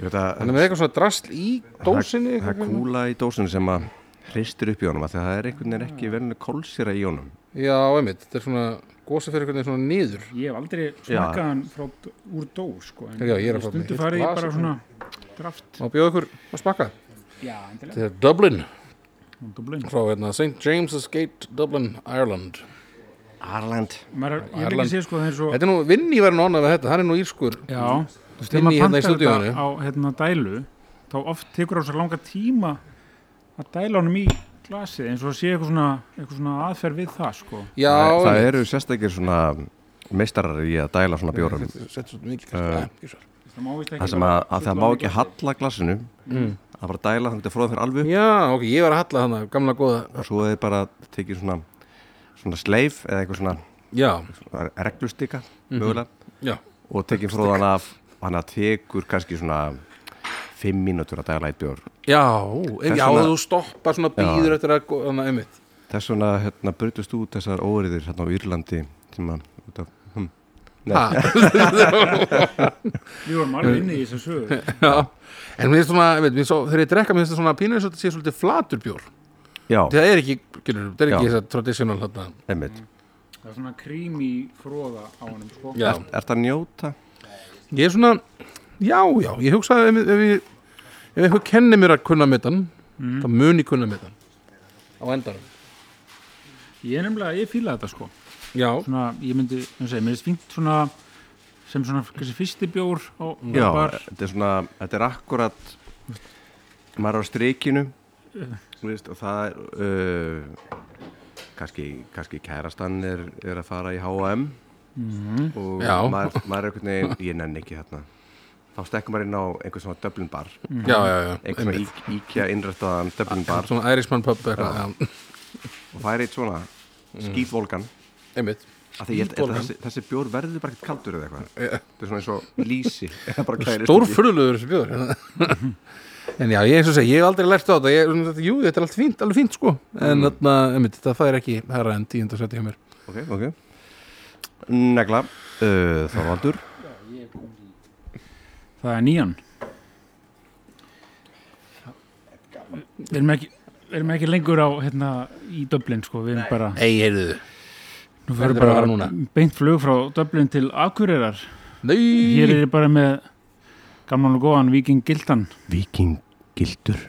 Speaker 2: ég veit að
Speaker 1: Þannig með eitthvað svona drasl í dósinni
Speaker 2: það er
Speaker 1: eitthvað-
Speaker 2: kúla í dósinu sem að hristir upp í honum af því að það er einhvern veginn ekki verðinu kólsýra í honum
Speaker 1: Já, einmitt, þetta er svona gósa fyrir einhvern veginn svona niður
Speaker 3: ég hef aldrei smakað hann frá, úr dó sko en
Speaker 1: Já, ég er að fá
Speaker 3: stundu
Speaker 1: mér
Speaker 3: farið
Speaker 1: heilt
Speaker 3: í bara
Speaker 1: glas sko.
Speaker 3: svona draft
Speaker 1: Má bjóða ykkur að smakka
Speaker 3: já, endilega
Speaker 1: Þetta er Dublin
Speaker 3: Dublin.
Speaker 1: frá hérna, St. James's Gate, Dublin, Ireland
Speaker 2: Arland
Speaker 3: Maður, er- ég vil
Speaker 1: Ireland.
Speaker 3: ekki sé sko það er svo
Speaker 1: Þetta er nú, Vinni var nú annað með þetta, hann er nú írskur
Speaker 3: já, þú veist,
Speaker 1: Inni
Speaker 3: þegar maður
Speaker 1: hérna í
Speaker 3: pantar
Speaker 1: stúdíóinu.
Speaker 3: þetta á hérna dælu þá oft tekur á svo langa tíma að dæla honum í glasið eins og sé eitthvað svona, eitthvað svona aðferð við það sko
Speaker 1: Já,
Speaker 2: það, það
Speaker 1: einmitt.
Speaker 2: eru sérstakir svona meistarar í að dæla svona bjórum
Speaker 1: Sett svo mikið uh,
Speaker 3: það má vist ekki
Speaker 2: það sem að, að það má ekki halla glasinu að bara dæla þannig að fróða fyrir alveg
Speaker 1: Mm. Já, ok, ég var að halla þannig, gamla góða
Speaker 2: og svo er bara tekið svona svona sleif eða eitthvað svona
Speaker 1: Já,
Speaker 2: reglustika
Speaker 1: Mhm.
Speaker 2: mögulega
Speaker 1: já,
Speaker 2: og tekið fróðan af hann að tekur kannski svona fimm mínútur að dæla eitt bjór
Speaker 1: já,
Speaker 2: er
Speaker 1: ef já,
Speaker 2: svona-
Speaker 1: þú stoppar svona býður eftir að, go- þannig, einmitt
Speaker 2: Þess vegna hérna, brutust út þessar óriðir hérna á Írlandi sem að, út af, hm,
Speaker 1: Ha. [LAUGHS]
Speaker 3: við vorum alveg inni í þessu sögu
Speaker 1: Já, en mér finnst svona, einmitt, mér finnst svo, þegar ég drekka, mér finnst það svona pínur eins og þetta sé svolítið flatur bjór
Speaker 2: Já,
Speaker 1: Það er ekki, gilur, það er
Speaker 2: Já.
Speaker 1: ekki þess að traditional hérna.
Speaker 2: einmitt
Speaker 3: það er svona krími fróða á honum sko
Speaker 1: Já.
Speaker 2: Er þetta að njóta?
Speaker 1: Ég er svona, já, já, ég hugsa ef, ef, ég- ef einhver kenni mér að kunna með þann,
Speaker 3: Mm.
Speaker 1: þá mun ég kunna með þann. Á endanum.
Speaker 3: ég er nefnilega, ég fíla þetta sko
Speaker 1: Já,
Speaker 3: svona, ég myndi, ég segi, mér er fínt svona sem svona kannski fyrsti bjór á,
Speaker 2: Já,
Speaker 3: á bar,
Speaker 2: þetta er svona, þetta er akkurat maður er á streikinu þú veist, og það er uh, kannski, kannski kærastan er, er að fara í H&M og
Speaker 1: Mhm. Já.
Speaker 2: maður, maður er einhvern veginn ég nenni ekki þarna þá stekkum maður inn á einhvern svona Dublin bar
Speaker 3: Mm.
Speaker 1: já, já, já.
Speaker 2: einhvern svona ík, íkja innrættaðan Dublin bar
Speaker 1: Svona Irishman pub eitthvað. Já.
Speaker 2: og fær eitt svona skítvolgan
Speaker 1: einmitt
Speaker 2: Af því ég held- held
Speaker 1: Mm. Skítvolgan.
Speaker 2: að þessi, þessi bjór verður bara ekkert kaldur eða eitthvað þetta er svona eins og lísi eða [LAUGHS] bara kælist ekki.
Speaker 1: Stórfurðulegur þessi bjóður [LAUGHS] En já, ég eins og segi, ég hef aldrei lært á þetta ég, svona, þetta- Jú, þetta er allt fínt, alveg fínt sko
Speaker 3: Mm.
Speaker 1: En þarna, einmitt, þetta fær ekki herra en tíundarsætti hjá mér
Speaker 2: ok, ok negla, uh, Þorvaldur
Speaker 3: Það er nýjan Við erum ekki Við erum ekki lengur á hérna í Dublin sko, við erum bara,
Speaker 1: Ei, heyrðu
Speaker 3: nú fyrir
Speaker 1: verður að
Speaker 3: bara
Speaker 1: fara núna.
Speaker 3: beint flug frá Dublin til Akureyrar Hér
Speaker 1: Nei,
Speaker 3: er ég bara með gamlan og góðan Viking Gildan
Speaker 2: vikingildur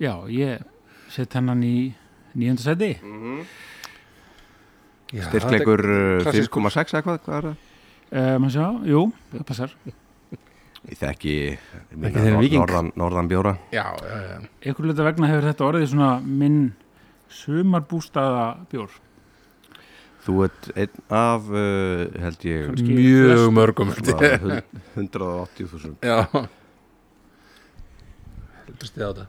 Speaker 3: Já, ég set hennan í nýjönda seti
Speaker 1: Já,
Speaker 2: styrklegur uh,
Speaker 1: klassískur.
Speaker 2: 5,6 eða hvað, hvað er það?
Speaker 3: um, sjá, Jú, það passar
Speaker 2: ég þekki
Speaker 1: Þekki þinn víking.
Speaker 2: norðan, norðan bjóra
Speaker 1: þetta- Já, já, já
Speaker 3: Ekkur hluta vegna hefur þetta orðið svona minn sumarbústaða bjór
Speaker 2: þú ert einn af uh, held ég
Speaker 3: Kannski
Speaker 1: Mjög
Speaker 3: flest-
Speaker 1: mörgum held ég.
Speaker 2: svona hun- 180.000
Speaker 1: Já Heldur stið á þetta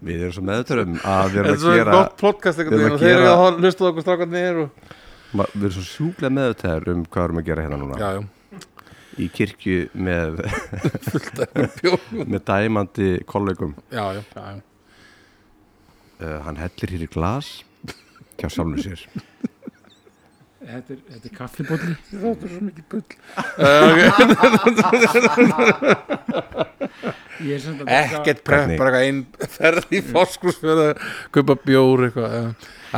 Speaker 2: við erum svo meðutörum að við
Speaker 1: Þetta er
Speaker 2: erum að
Speaker 1: svo
Speaker 2: gera
Speaker 1: gott podcast
Speaker 2: við
Speaker 1: einhvern veginn og
Speaker 2: erum að
Speaker 1: þeir eru
Speaker 2: gera-
Speaker 1: að hlusta á okkur strákarnir og...
Speaker 2: ma- við erum svo sjúklega meðutöður um hvað við erum að gera hérna núna
Speaker 1: Já, já,
Speaker 2: í kirkju með, [LAUGHS]
Speaker 1: bjóð
Speaker 2: með dæmandi kollegum
Speaker 1: Já, já, já, já
Speaker 2: uh, hann hellir hér í glas hjá sjálfum sér
Speaker 3: Þetta er, þetta er kaffibólli
Speaker 1: Þetta er svo mikið bull
Speaker 3: Ég er samt að-
Speaker 1: [LAUGHS] Ekkert prep,
Speaker 2: Hvernig?
Speaker 1: bara eitthvað einn ferð í fórskus fyrir að kaupa bjór eitthvað eh.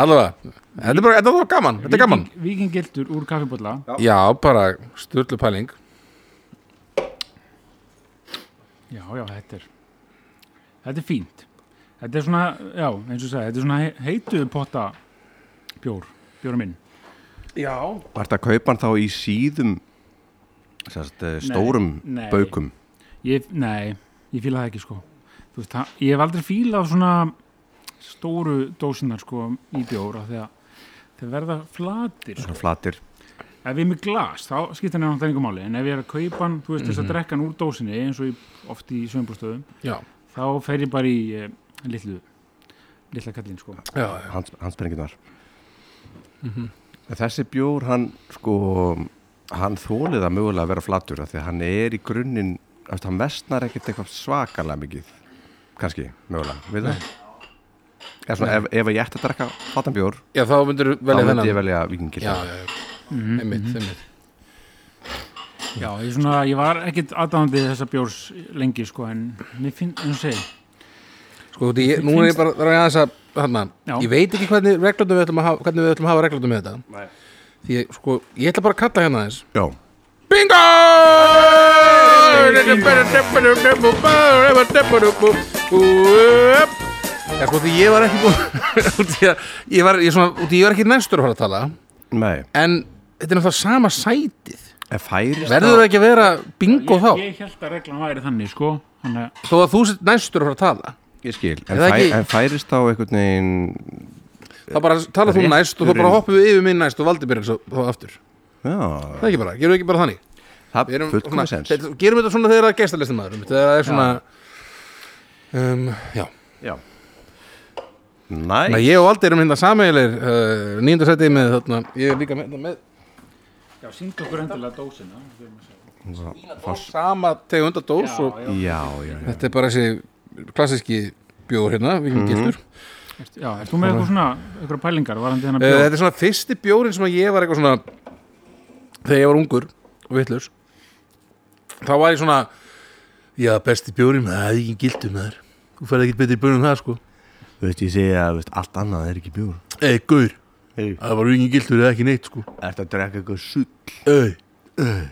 Speaker 1: Allavega, þetta er bara, þetta er bara gaman Þetta er gaman,
Speaker 3: Víking- Víkingildur úr kaffibólla
Speaker 1: já, bara styrlu pæling
Speaker 3: Já, já, þetta er Þetta er fínt Þetta er svona, já, eins og ég sagði Þetta er svona he- heitu potta bjór Bjóra minn
Speaker 1: Já
Speaker 2: Var þetta að kaupa hann þá í síðum sérst, eh, stórum
Speaker 3: nei.
Speaker 2: baukum?
Speaker 3: ég, Nei, ég fíla það ekki sko Þú veist, það, Ég hef aldrei fílað svona stóru dósinar sko í bjóra þegar þeir verða flatir sko.
Speaker 2: Svona flatir
Speaker 3: Ef ég er með glas, þá skiptir hann náttúrulega engum máli en ef ég er að kaupa hann, þú veist, þess
Speaker 1: Mhm.
Speaker 3: að drekka hann úr dósinni eins og ég oft í sömbúrstöðum
Speaker 1: Já,
Speaker 3: þá fer ég bara í eh, litlu litla kallinn sko
Speaker 1: já, já,
Speaker 2: hans, hanspenninginnar
Speaker 1: Mhm.
Speaker 2: En þessi bjór hann sko hann þólið að mögulega vera flatur af því að hann er í grunninn eftir, hann vestnar ekkert eitthvað svakalega mikið kannski, mögulega, við það Eða svona, ef, ef ég ætti að drekka flatan bjór,
Speaker 1: já þá myndir
Speaker 2: þá
Speaker 1: velja
Speaker 2: myndi ég
Speaker 1: þennan
Speaker 2: velja Mhm, vikingil
Speaker 1: Já, já, já, einmitt, einmitt
Speaker 3: Já, ég, svona, ég var ekkit aðdáðandi þessa bjórs lengi sko en mér finn, en þú segir
Speaker 1: Sko, því ég, nú er ég bara, það er aðeins að, hérna
Speaker 3: Já.
Speaker 1: Ég veit ekki hvernig reglundum við ætlum að hafa, hvernig við ætlum að hafa reglundum með þetta
Speaker 2: Nei.
Speaker 1: Því, ég, sko, ég ætla bara að kalla hérna aðeins
Speaker 2: Já,
Speaker 1: Bingo! Já, sko, því ég var ekki búin [LAUGHS] út í að, ég var, ég svona, út í ég var ekki næstur að fara að tala,
Speaker 2: nei
Speaker 1: en þetta er náttúrulega sama sætið.
Speaker 2: En færist
Speaker 1: Verður það ekki að vera bingo þá?
Speaker 3: Ég, ég held að reglan væri þannig sko þannig að
Speaker 1: Þó að þú sitt næstur að fara að tala.
Speaker 2: Ég skil, en,
Speaker 1: Er það
Speaker 2: fæ,
Speaker 1: ekki-
Speaker 2: en færist þá einhvern veginn
Speaker 1: Þá bara tala þú næst og þá bara hoppum við yfir minn næst og valdi byrjar svo þá aftur.
Speaker 2: Já,
Speaker 1: Það er ekki bara, gerum við ekki bara þannig.
Speaker 2: það
Speaker 1: Við erum,
Speaker 2: fullkomið
Speaker 1: svona,
Speaker 2: sens
Speaker 1: þetta, gerum þetta svona þegar það er gestalistamæður, þegar það er svona, um, já.
Speaker 2: Já Næ,
Speaker 1: Þannig að ég og Valdi erum hérna sameigilegir uh, nýjönda sæti með þarna, ég er líka með, með
Speaker 3: Já, syngdu okkur endilega dósina
Speaker 1: sama tegunda dós og
Speaker 3: já,
Speaker 2: já, já, já
Speaker 1: þetta er bara þessi klassíski bjór hérna, vikingildur.
Speaker 3: Ert- já Ert þú með eitthvað svona, eitthvað pælingar varandi þennan
Speaker 1: uh,
Speaker 3: bjór?
Speaker 1: þetta er svona fyrsti bjórin sem að ég var eitthvað svona, þegar ég var ungur og vitlaus, þá var ég svona, já, besti bjórin, það er vikingildur með þær, þú færði ekkert betri bjórin en það, sko.
Speaker 2: Þú veist, ég segja að veist, allt annað er ekki bjór
Speaker 1: Ei, gaur,
Speaker 2: Hey.
Speaker 1: það var vikingildur eða ekki neitt, sko.
Speaker 2: Ertu að drekka eitthvað sull
Speaker 1: Ei, ei,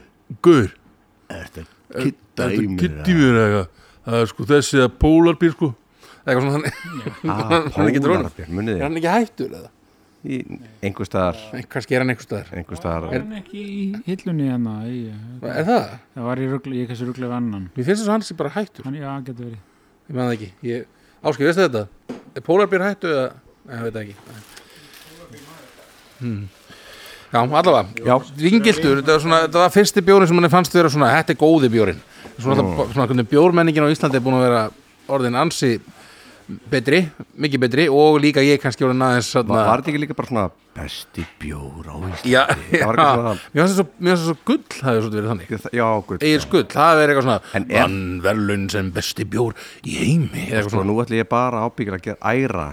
Speaker 1: gaur.
Speaker 2: Ertu að kitta í
Speaker 1: Þetta
Speaker 2: mér
Speaker 1: kitti mér eitthvað Það er sko þessi að pólarbíl sko Eitthvað svona þannig
Speaker 2: Ah,
Speaker 1: Hann er ekki drónið.
Speaker 2: pólarbjörn,
Speaker 1: [LAUGHS]
Speaker 2: munið
Speaker 1: Er
Speaker 2: þið
Speaker 1: hann ekki hættur eða?
Speaker 2: Í Einhver staðar,
Speaker 1: Kannski er hann einhver staðar
Speaker 2: einhver staðar
Speaker 3: Er hann ekki í hillunni hérna? Í,
Speaker 1: Er það?
Speaker 3: það var í rugli, ég kannski ruglið við annan
Speaker 1: Mér finnst þess að hann sé bara hættur
Speaker 3: Hann, já, getur verið
Speaker 1: Ég man það ekki ég... Áskil, veistu þetta? Er pólarbíl hættu eða? Nei, ég veit það ekki hmm. Já, allavega Já, vingiltur, þetta var, svona, þetta var fyrsti bjórin sem hann fannst vera svona Þetta er góði bjórin svona, alltaf, svona hvernig bjórmenningin á Íslandi er búin að vera orðin ansi betri, mikið betri og líka ég kannski orðin aðeins
Speaker 2: Var
Speaker 1: svona,
Speaker 2: var þetta ekki líka bara svona besti bjór á Íslandi?
Speaker 1: já, já,
Speaker 2: Það var ekki svona-
Speaker 1: mér fannst það svo, mér fannst það svo gull það hefur svolítið verið þannig
Speaker 2: Ég- það- Já, gutt.
Speaker 1: Egil Skull, það er eitthvað svona
Speaker 2: En er-
Speaker 1: mann verðlun sem besti bjór í heimi eða eitthvað
Speaker 2: Svo
Speaker 1: svona
Speaker 2: Sko, nú ætlum ég bara ábyggur að gera æra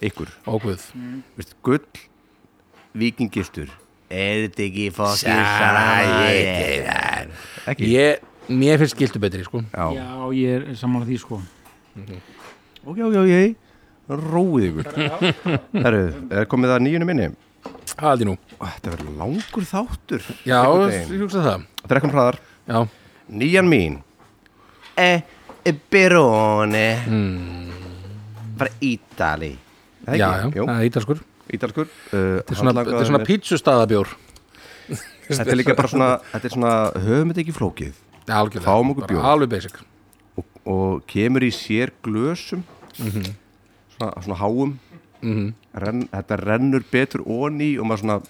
Speaker 2: ykkur.
Speaker 1: ákveð
Speaker 2: Vist, gull, vikingiltur. Er þetta ekki fokkið sæðið? Ekki?
Speaker 1: ég, mér finnst gildu betri sko
Speaker 2: Já.
Speaker 3: Já, ég er sammála því sko
Speaker 2: Ok, ok, ok. Róið ykkur. Herru, er komið að nýjunum minni?
Speaker 1: haldið nú,
Speaker 2: Ó, Þetta verður langur þáttur.
Speaker 1: já,
Speaker 2: Einhvern
Speaker 1: ég
Speaker 2: veginn.
Speaker 1: hugsa það
Speaker 2: Drekkum hraðar.
Speaker 1: já,
Speaker 2: Nýjan mín. E, e, Berone. Mm. Frá Ítali. Er
Speaker 1: já,
Speaker 2: það
Speaker 1: já,
Speaker 2: ekki? Jú.
Speaker 1: það er ítalskur
Speaker 2: Ítalskur uh,
Speaker 1: þetta er svona, þetta er svona pítsustadabjór
Speaker 2: Þetta er líka bara svona, þetta er svona höfum þetta ekki flókið
Speaker 1: algjörlega,
Speaker 2: Fáum okkur
Speaker 1: bara
Speaker 2: bjór.
Speaker 1: alveg basic
Speaker 2: og, og kemur í sér glösum
Speaker 1: Mhm.
Speaker 2: svona, svona háum Renn, þetta rennur betur onni og maður svona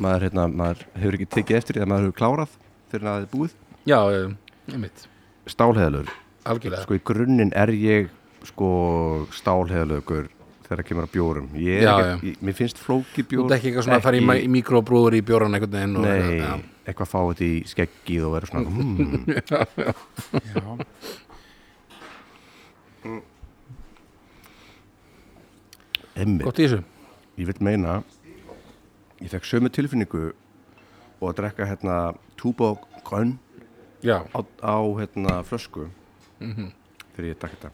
Speaker 2: maður, hérna, maður hefur ekki tekið eftir því að maður hefur klárað fyrir að það er búið
Speaker 1: já, einmitt,
Speaker 2: Stálheðalur,
Speaker 1: algjörlega
Speaker 2: sko í grunninn er ég sko stálheðalögur þegar kemur að bjórum ég er
Speaker 1: Já,
Speaker 2: ekki, Ég, mér finnst flóki
Speaker 1: þú
Speaker 2: bjór
Speaker 1: ert ekki eitthvað svona að fara í ma- í mikrobrúður í bjóran einhvern veginn og
Speaker 2: Nei,
Speaker 1: já.
Speaker 2: eitthvað fá þetta í skeggið og vera svona hmm,
Speaker 3: [LAUGHS] Já,
Speaker 2: Mm. emmi
Speaker 1: gott í þessu
Speaker 2: ég vil meina ég fekk sömu tilfinningu og að drekka hérna túbó grönn
Speaker 1: já,
Speaker 2: á, á hérna flösku
Speaker 3: Mhm.
Speaker 2: þegar ég drakk þetta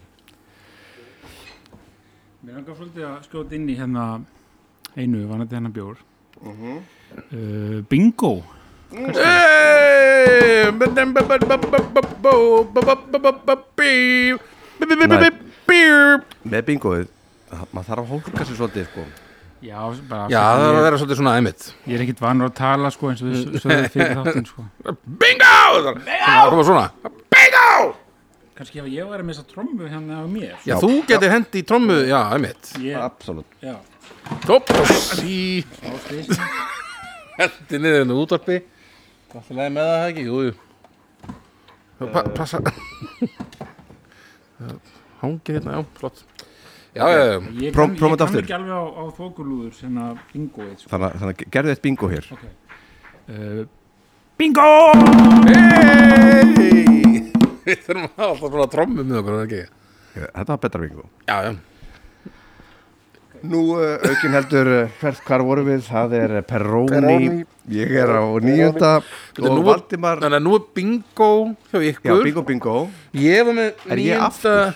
Speaker 3: mér langar svolítið að skjóta inn í hérna einu, vanandi hérna bjór uh, Bingo
Speaker 1: já,
Speaker 2: með bingoið, það- maður þarf að hólka sér svolítið sko.
Speaker 3: Já, bara
Speaker 1: það
Speaker 3: ég,
Speaker 1: var að vera svolítið svona einmitt
Speaker 3: ég er ekkit vanur að tala sko eins og við sögum fyrir þáttinn sko
Speaker 1: bingo það koma svona bingo
Speaker 3: Kanski ef ég var að missa trommu hérna á mér
Speaker 1: já, þú getur hendi í trommu, já, einmitt
Speaker 3: Ég,
Speaker 2: absolutt
Speaker 3: já,
Speaker 1: topp og sí
Speaker 3: ástæðis
Speaker 1: hendi niður hennu útvarpi það er leið með það það ekki, jú, jú Pa- [LAUGHS] passa hangi hérna, já, flott já, já, já,
Speaker 3: Ég
Speaker 2: Próm-
Speaker 3: kann,
Speaker 2: prófa þetta
Speaker 3: ég kann
Speaker 2: aftur.
Speaker 3: ekki alveg á, á þokulúður sem að bingo eitt sko.
Speaker 2: þannig, að- þannig að gerðu eitt bingo hér
Speaker 3: uh, Bingo!
Speaker 1: Hey! Við þurfum að hafa alltaf svona trommu með okkur, er það ekki?
Speaker 2: þetta var betra bingo
Speaker 1: Já, já.
Speaker 2: nú uh, aukin heldur uh, hvert hvar vorum við, það er eh, Peroni,
Speaker 1: Peroni.
Speaker 2: ég er á nýjönda
Speaker 1: Þetta er
Speaker 2: og
Speaker 1: nú-
Speaker 2: Valdimar
Speaker 1: Þannig að nú er bingo hjá
Speaker 2: já,
Speaker 1: ykkur.
Speaker 2: bingo bingo
Speaker 1: Ég var með
Speaker 2: Er ég aftur?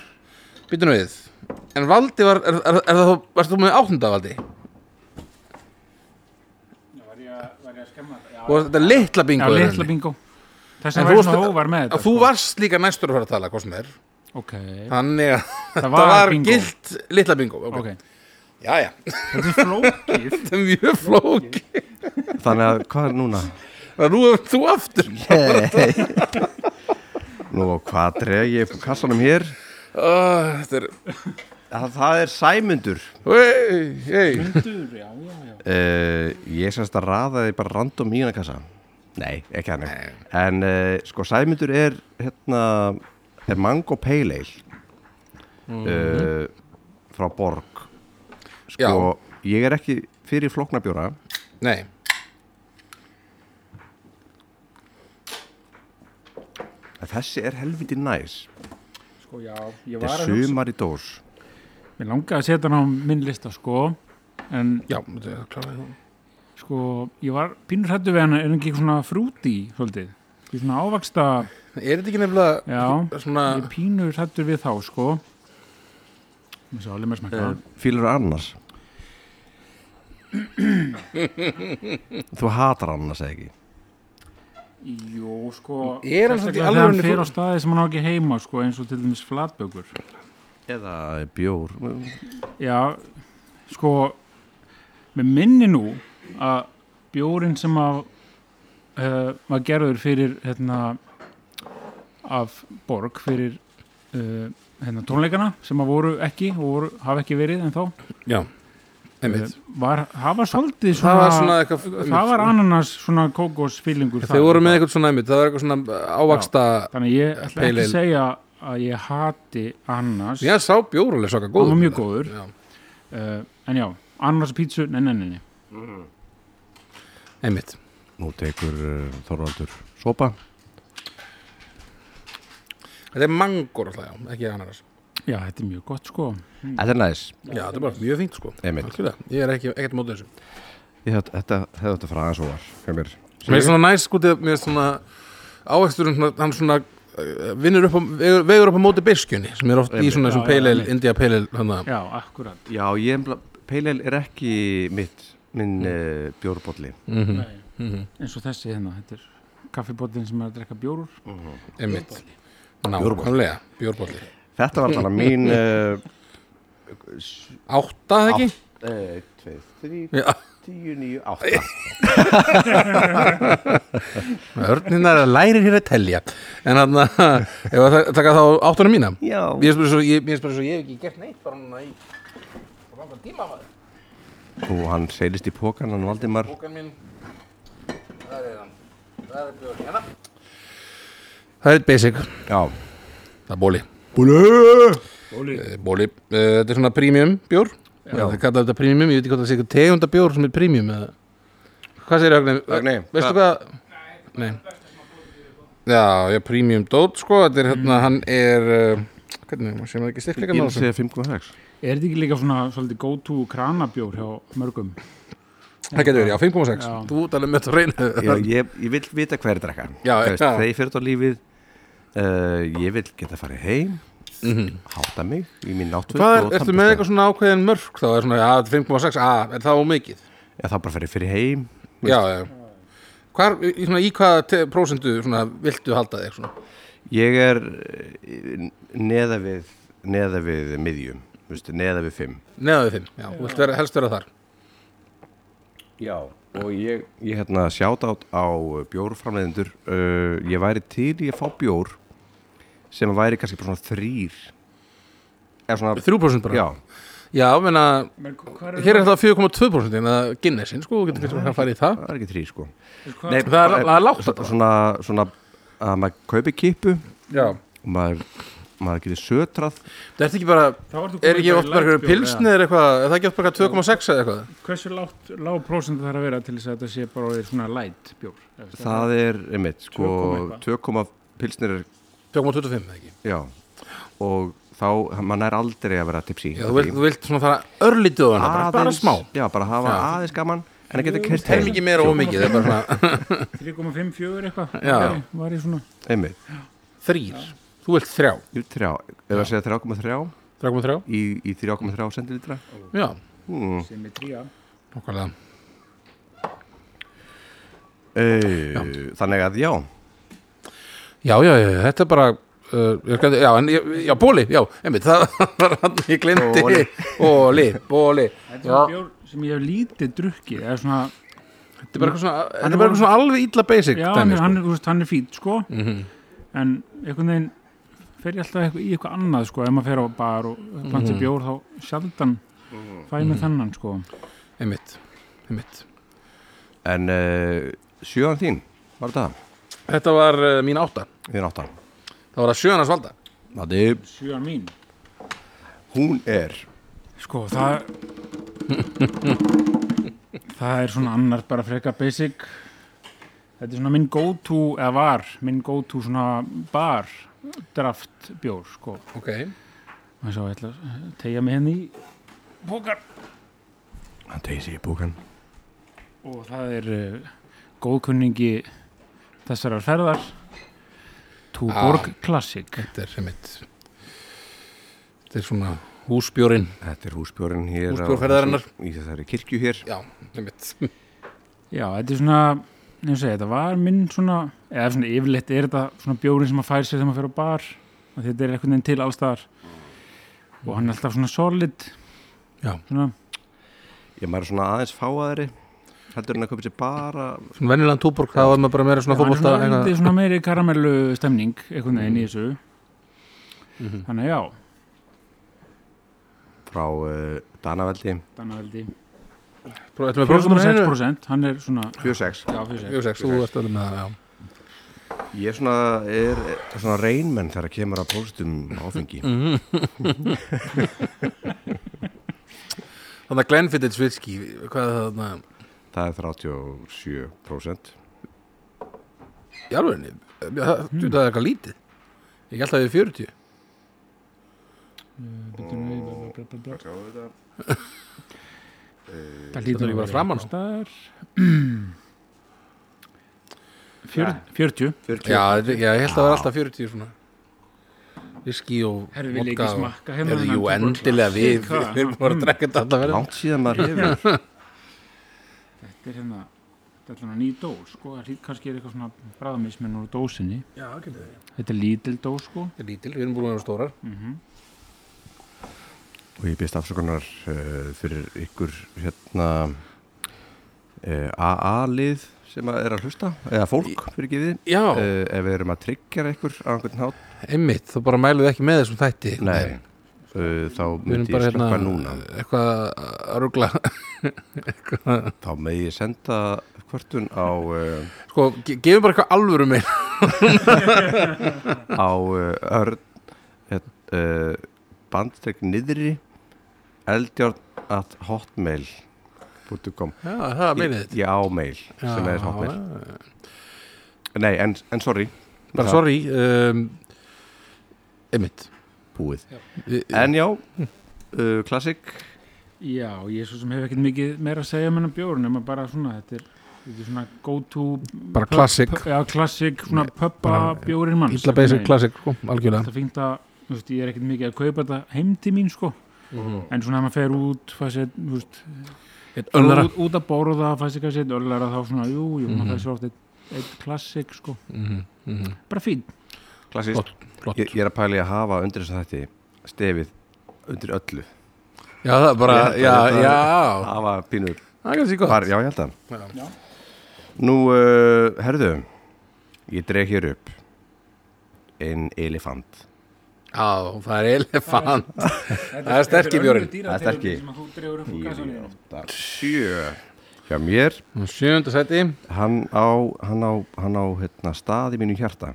Speaker 1: Býtu nú við. En Valdi var, er, er, er það, varst þú með áttunda Valdi?
Speaker 3: Var ég, að- var ég að skemma þetta?
Speaker 1: Og þetta er litla
Speaker 3: Já,
Speaker 1: bingo. í
Speaker 3: litla
Speaker 1: rauninni.
Speaker 3: bingo
Speaker 1: En þú
Speaker 3: Þess að verður
Speaker 1: varst-
Speaker 3: svona óvar með þetta sko.
Speaker 1: Þú varst líka næstur að fara að tala, hvað sem er.
Speaker 3: Ok,
Speaker 1: Þannig að þetta
Speaker 3: var
Speaker 1: var,
Speaker 3: bingo.
Speaker 1: gilt litla bingo.
Speaker 3: ok
Speaker 1: Okay. Já, já. [LAUGHS]
Speaker 3: Þetta er flókið [LAUGHS]
Speaker 1: Þetta er mjög flóki.
Speaker 2: þannig að hvað er núna?
Speaker 1: Nú er þú aftur.
Speaker 2: [LAUGHS] nú hvað dreg ég upp úr kassanum hér
Speaker 1: Ah, Þetta er...
Speaker 2: Það, það er Sæmundur
Speaker 1: Hey, hey.
Speaker 3: Hundur, já, já, já
Speaker 2: uh, Ég semst að raða því bara random í hana kassa Nei, ekki hann En uh, sko Sæmundur er hérna, er mango pale ale uh, frá Borg
Speaker 1: Mhm.
Speaker 2: Sko,
Speaker 1: Já.
Speaker 2: ég er ekki fyrir floknabjóra
Speaker 1: Nei.
Speaker 2: en þessi er helviti næs
Speaker 3: Sko, já, ég
Speaker 2: Þetta
Speaker 3: var
Speaker 2: er
Speaker 3: að hugsa
Speaker 2: sumar í dós
Speaker 3: Mér langaði að setja hann á minn lista, sko En,
Speaker 1: Já, þetta er kláðið þú.
Speaker 3: sko, ég var pínur hættu við hann Er hann ekki svona frúti, svolítið Ekki Svona ávaksta,
Speaker 1: Er þetta ekki nefnilega
Speaker 3: já
Speaker 1: svona
Speaker 3: Ég er pínur hættu við þá, sko Mér sá alveg mér smakka
Speaker 1: Eh.
Speaker 2: Fýlur annars Þú hatar annars eða ekki
Speaker 3: Jó, sko
Speaker 1: Er hann samt í
Speaker 3: sérstaklega þegar
Speaker 1: alvörunni
Speaker 3: hann fer
Speaker 1: frú-
Speaker 3: á staði sem hann á ekki heima, sko Eins og til dæmis flatbökur
Speaker 2: Eða bjór
Speaker 3: Já, sko með minni nú að bjórin sem að uh, var gerður fyrir hérna af Borg fyrir eh, uh, hérna tónleikana sem að voru ekki og voru, hafa ekki verið en þá
Speaker 1: Já, einmitt
Speaker 3: var, það var svolítið svona,
Speaker 1: Það var svona eitthvað-
Speaker 3: það var ananas svona kókosfýlingur
Speaker 1: Þeir voru með eitthvað svona einmitt, það var eitthvað svona ávaksta
Speaker 3: þannig að ég ætla
Speaker 1: Pale
Speaker 3: ekki
Speaker 1: ale.
Speaker 3: að segja að ég hati ananas
Speaker 1: Já, sá bjórulega svaka góður
Speaker 3: það var mjög góður
Speaker 1: Já.
Speaker 3: uh, en já, ananas og pítsu, nei, nei, nei, nei.
Speaker 1: Einmitt
Speaker 2: Nú tekur uh, Þorvaldur sopa
Speaker 1: Þetta er mangor alltaf, já, ekki ananas
Speaker 3: já, þetta er mjög gott sko
Speaker 2: Þetta er næs
Speaker 1: Já, þetta er bara mjög fínt sko
Speaker 2: Einmitt.
Speaker 1: Algjörlega. Ég er ekki, ekkert mótið þessu
Speaker 2: Ég hef- Þetta hefði þetta frá aðeins og var hjá mér.
Speaker 1: Mér er svona næs sko, þegar mér er svona ávegsturinn, svona- hann svona eh, vinnur upp á, vegur, vegur upp á móti byrskjunni sem er oft í
Speaker 2: Einmitt.
Speaker 1: svona þessum
Speaker 3: Já, já,
Speaker 1: pale ale,
Speaker 3: einmitt.
Speaker 1: India pale ale hana.
Speaker 3: já, akkurat
Speaker 2: Já, ég emla, Peilel er ekki mitt
Speaker 1: Hmm.
Speaker 2: minn mm. uh, bjórbolli
Speaker 3: Mm.
Speaker 1: Mhm,
Speaker 3: eins og þessi hérna, þetta er kaffibótin sem er að drekka bjórur
Speaker 1: Einmitt Nákvæmlega, bjórbolli
Speaker 2: Þetta var alveg mín uh,
Speaker 1: Átta [LAUGHS] það ekki?
Speaker 2: 1, 2, 3,
Speaker 1: Já
Speaker 2: 10, 9,
Speaker 1: [LAUGHS]
Speaker 2: 8
Speaker 1: Örninar lærir hér að telja En hann [LAUGHS] að, ef að ta- taka þá áttunum mína
Speaker 2: Já,
Speaker 1: Mér spyrir svo, ég, mér spyrir svo, ég hef ekki gert neitt bara núna í Bara langan tíma maður
Speaker 2: og hann seilist í pókan, hann Valdimar
Speaker 1: Bókan mín, það er hann Það er bjóður hérna Það er basic,
Speaker 2: Já,
Speaker 1: það er bóli Bóli Eh, Bóli, Eh, þetta er svona premium bjór Það er kallað þetta premium, ég veit ekki hvað það sé eitthvað tegunda bjór sem er premium eða Hvað segir Ögni?
Speaker 2: Högni,
Speaker 1: Veistu hvað? Nei Já, já, premium dót sko, þetta er hérna, hann er uh, hvernig, sé maður ekki styrkleika
Speaker 2: ég
Speaker 1: með þessu?
Speaker 2: vil segja 5,6
Speaker 3: er þetta ekki líka svona svolítið go-to kranabjór hjá mörgum
Speaker 1: Það getur verið, já, 5,6
Speaker 3: Já.
Speaker 1: Þú út alveg með þetta reyna
Speaker 2: Já, ég, ég vil vita hver er drekka
Speaker 1: Já,
Speaker 2: Þú veist,
Speaker 1: já.
Speaker 2: Þegar ég fyrir þetta á lífið uh, Ég vil geta farið heim Háta mig í mín
Speaker 1: [LAUGHS] Mhm.
Speaker 2: náttúr
Speaker 1: Hvað er, ertu með eitthvað svona ákveðin mörg þá er svona, já, þetta er 5,6, að, ah, er það ómikið?
Speaker 2: Já, þá bara farið fyrir heim
Speaker 1: Já, já Hvar, í, svona, í hvaða te- prósentu svona, viltu halda þig svona?
Speaker 2: Ég er eh, neða við neða við miðjum veistu, neða við 5
Speaker 1: Neðaðu þinn, já, þú vilt vera, helst vera þar
Speaker 2: Já Og ég, ég hérna sjátt átt á bjórframleðendur uh, Ég væri til í að fá bjór sem væri kannski bara svona þrýr eða svona
Speaker 1: 3% bara?
Speaker 2: Já,
Speaker 1: Já, menna,
Speaker 3: hver
Speaker 1: hér er þetta 4,2% en það Guinnessin, sko, þú getur kannski að fara í það
Speaker 2: það er ekki þrýr sko
Speaker 3: hvað-
Speaker 2: Nei,
Speaker 1: Það er- það er lágt
Speaker 2: svona, svona, svona að maður kaupi kipu
Speaker 1: Já
Speaker 2: og maður, maður getur sötrað
Speaker 1: Það ert ekki bara,
Speaker 3: Þá ertu komin
Speaker 1: er ekki
Speaker 3: bara í
Speaker 1: oft bara
Speaker 3: lightbjór,
Speaker 1: eitthvað pilsni eða eitthvað, er það ekki oft bara eitthvað 2,6 eða eitthvað?
Speaker 3: hversu lágt, lág prósent þarf að vera til þess að þetta sé bara orðið svona light bjór Ef þetta-
Speaker 2: það er, einmitt, sko
Speaker 3: 2,1.
Speaker 2: 2, pilsnir er,
Speaker 1: 2,25 eða ekki?
Speaker 2: já og þá, maður nær aldrei að vera tipsi
Speaker 1: Já, þú vilt, þú vilt svona fara örlítið á hana, bara, bara smá.
Speaker 2: já, bara hafa
Speaker 1: Já.
Speaker 2: aðeins gaman en að geta kert
Speaker 1: Hef ekki meira og mikið, það er bara svona
Speaker 3: 3,5 fjögur eitthvað
Speaker 1: Já.
Speaker 3: væri- væri svona
Speaker 2: einmitt,
Speaker 1: þrýr. Þú vilt þrjá.
Speaker 2: í þrjá ef að segja 3,3
Speaker 1: 3,3?
Speaker 2: í, í 3,3 centilitra
Speaker 1: Já,
Speaker 2: hmm.
Speaker 3: sem er tría
Speaker 1: okkarlega.
Speaker 2: uh, þannig að já
Speaker 1: Já, já, já, þetta er bara, uh, ég gæti, já, en, ég- já, bóli, já, einmitt, það var hann, ég glemdi,
Speaker 2: Bóli.
Speaker 1: bóli, bóli.
Speaker 3: þetta er
Speaker 1: Já,
Speaker 3: svona bjór sem ég hef lítið drukkið eða svona,
Speaker 1: þetta er bara eitthvað svona, þetta er bara eitthvað svona alveg illa basic
Speaker 3: já,
Speaker 1: dæmi,
Speaker 3: hann, er-
Speaker 1: sko. Mhm.
Speaker 3: hann, er, þú veist, hann er fít sko en einhvern veginn fer ég alltaf eitthvað, í eitthvað annað sko ef maður fer á bar og
Speaker 1: Mhm.
Speaker 3: planti bjór þá sjaldan fæ ég með þennan sko
Speaker 1: Einmitt, einmitt.
Speaker 2: en uh, sjöðan þín, var það
Speaker 1: Þetta var uh, mín átta.
Speaker 2: við náttan
Speaker 1: Það var að sjöðan að svalda.
Speaker 3: sjöan mín
Speaker 2: hún er
Speaker 1: [LAUGHS]
Speaker 3: sko það það er svona annar bara frekar basic þetta er svona minn go to eða var minn go to svona bar draft bjór sko
Speaker 1: Ok.
Speaker 3: og svo ég ætla að tegja mig henni í bókar
Speaker 2: Hann tegir sig í búkan.
Speaker 3: og það er uh, góðkunningi þessarar ferðar Túborg Classic
Speaker 1: Þetta er einmitt Þetta er svona húsbjórin
Speaker 2: Þetta er húsbjórinn hér. á-
Speaker 1: Húsbjórferðarinnar.
Speaker 2: Í þessari kirkju hér.
Speaker 1: Já, einmitt
Speaker 3: já, þetta er svona ég segi, þetta var minn svona eða svona yfirleitt er þetta svona bjórin sem maður fær sér þegar maður fer á bar og þetta er einhvern veginn til allstaðar og hann er alltaf svona solid
Speaker 1: Já.
Speaker 3: svona,
Speaker 2: Ég maður er svona aðeins fáaðari. Heldur hann að köpa sér bara.
Speaker 1: Svona venjulegan túborg, það var maður bara meira svona
Speaker 3: hann er
Speaker 1: fótbolta
Speaker 3: svona,
Speaker 1: eitthvað.
Speaker 3: lítið svona meiri karamellu stemning einhvern veginn í þessu þannig að já,
Speaker 2: Frá uh, Danaveldi.
Speaker 3: Danaveldi
Speaker 1: Pró- Ertu með prósentum að hennu?
Speaker 3: 4,6% hann er svona
Speaker 2: 46
Speaker 3: já, 46.
Speaker 1: Jú, sex, þú ert alveg með það, já
Speaker 2: Ég svona er eh, svona reynmenn þegar kemur að póstum áfengi
Speaker 1: Þannig að Glenfiddich Svitski, hvað er það þarna?
Speaker 2: Það er 37%
Speaker 1: Í alvegni, það þú, það er eitthvað lítið Ég held að það er 40
Speaker 3: það
Speaker 2: Sjáðu þetta
Speaker 1: Þetta er líka bara framan á.
Speaker 3: staðar [CLEARS THROAT] 40
Speaker 1: Já, þetta- já, ég held að það er alltaf 40 svona Viski og
Speaker 3: Herðu, vil ég
Speaker 1: vodka
Speaker 3: ekki
Speaker 1: og-
Speaker 3: smakka hérna
Speaker 1: Herðu,
Speaker 3: þennan
Speaker 1: jú,
Speaker 3: tóbak?
Speaker 1: endilega við
Speaker 3: Hvað?
Speaker 1: Við erum bara að drekka þetta alltaf verið
Speaker 2: Langt síðan maður hefur
Speaker 3: þetta er hérna þetta er hérna ný dós sko það hlýt- kannski er eitthvað svona bræðmismin úr dósinni
Speaker 1: Já, getur það
Speaker 3: þetta er lítil dós sko
Speaker 1: Þetta er lítil, við erum búin að vera stórar
Speaker 2: Og ég býst afsökunar uh, fyrir ykkur hérna uh, AA-lið sem að er að hlusta eða fólk fyrir ekki við
Speaker 1: Já,
Speaker 2: ef við erum að tryggja ykkur á einhvern hát
Speaker 1: Eh, einmitt, þú bara mælum við ekki með þessum þætti
Speaker 2: Nei, uh, þá
Speaker 1: Við erum
Speaker 2: myndi ég
Speaker 1: bara
Speaker 2: slökka
Speaker 1: hérna
Speaker 2: núna
Speaker 1: eitthvað að rugla [LAUGHS]
Speaker 2: Þá með ég senda hvertun á, uh,
Speaker 1: Sko, ge- gefum bara eitthvað alvöru minn
Speaker 2: á uh, örn uh, bandstrykk niðri eldjórn at hotmail.com
Speaker 1: [LAUGHS] Já, það meinið
Speaker 2: Ég,
Speaker 1: þetta
Speaker 2: ég á mail sem
Speaker 1: Já,
Speaker 2: er hotmail Nei, en, en sorry
Speaker 1: Bara
Speaker 2: Það-
Speaker 1: sorry um, Einmitt
Speaker 2: Búið
Speaker 1: Við-
Speaker 2: En já, uh, klassik
Speaker 3: já ég svo sem hef ekkert mikið meira að segja um með hennar bjór nema bara svona þetta er, þetta er svona go to
Speaker 1: Bara classic.
Speaker 3: já klassik svona pöppa
Speaker 1: bara
Speaker 3: bjórin manns
Speaker 1: Ítla basic
Speaker 3: einhvern veginn.
Speaker 1: classic, sko, algjörlega
Speaker 3: þetta fínt að þú veist ég er ekkert mikið að kaupa þetta heim til mín sko
Speaker 2: Mhm.
Speaker 3: en svona að maður fer út fæ sér þú veist
Speaker 1: Öllara
Speaker 3: út, út að borða fæ sér kannski eitt öllara þá svona jú jú
Speaker 2: Mhm.
Speaker 3: maður fæ sér oft eitt, eitt klassik sko bara fín
Speaker 2: Klassist
Speaker 1: Flott, Mhm, flott
Speaker 2: ég, ég er að pæla í að hafa undir þess að þetta stefið undir öllu
Speaker 1: Já, það er bara,
Speaker 2: Ég held
Speaker 1: já,
Speaker 2: að þetta-
Speaker 1: já
Speaker 2: Hafa pínur
Speaker 1: Það er kannski
Speaker 2: Var,
Speaker 1: gott
Speaker 2: já, ég held að
Speaker 1: Já.
Speaker 2: Nú, uh, herðu Ég dreg hér upp Einn elefant
Speaker 1: Já, það er elefant Það er sterki bjórinn.
Speaker 2: Það er sterki.
Speaker 3: sterki
Speaker 2: Sjö Hjá mér,
Speaker 1: Sjönda seti
Speaker 2: hann á, hann á, hann á hérna, stað í mínu hjarta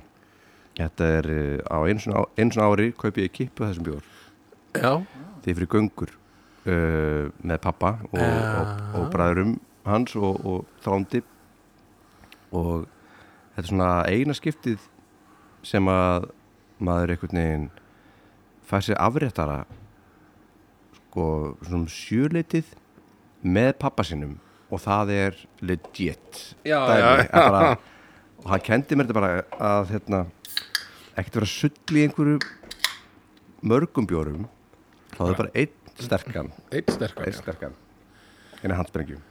Speaker 2: Þetta er uh, á eins og eins og ári kaupi ég kippu af þessum bjór
Speaker 1: Já,
Speaker 2: Þið fyrir göngur uh, með pappa og, og, og bræðurum hans og, og þrándi og þetta er svona eina skiptið sem að maður einhvern veginn fær sér afréttara sko svona um sjöleitið með pappa sinum og það er legit
Speaker 1: Já,
Speaker 2: dæmi,
Speaker 1: já, já.
Speaker 2: að bara, og hann kendi mér þetta bara að hérna, ekkert vera sull í einhverju mörgum bjórum þá er bara einn sterkan
Speaker 1: eitt sterkar
Speaker 2: einn
Speaker 1: já.
Speaker 2: sterkan eina handsprengju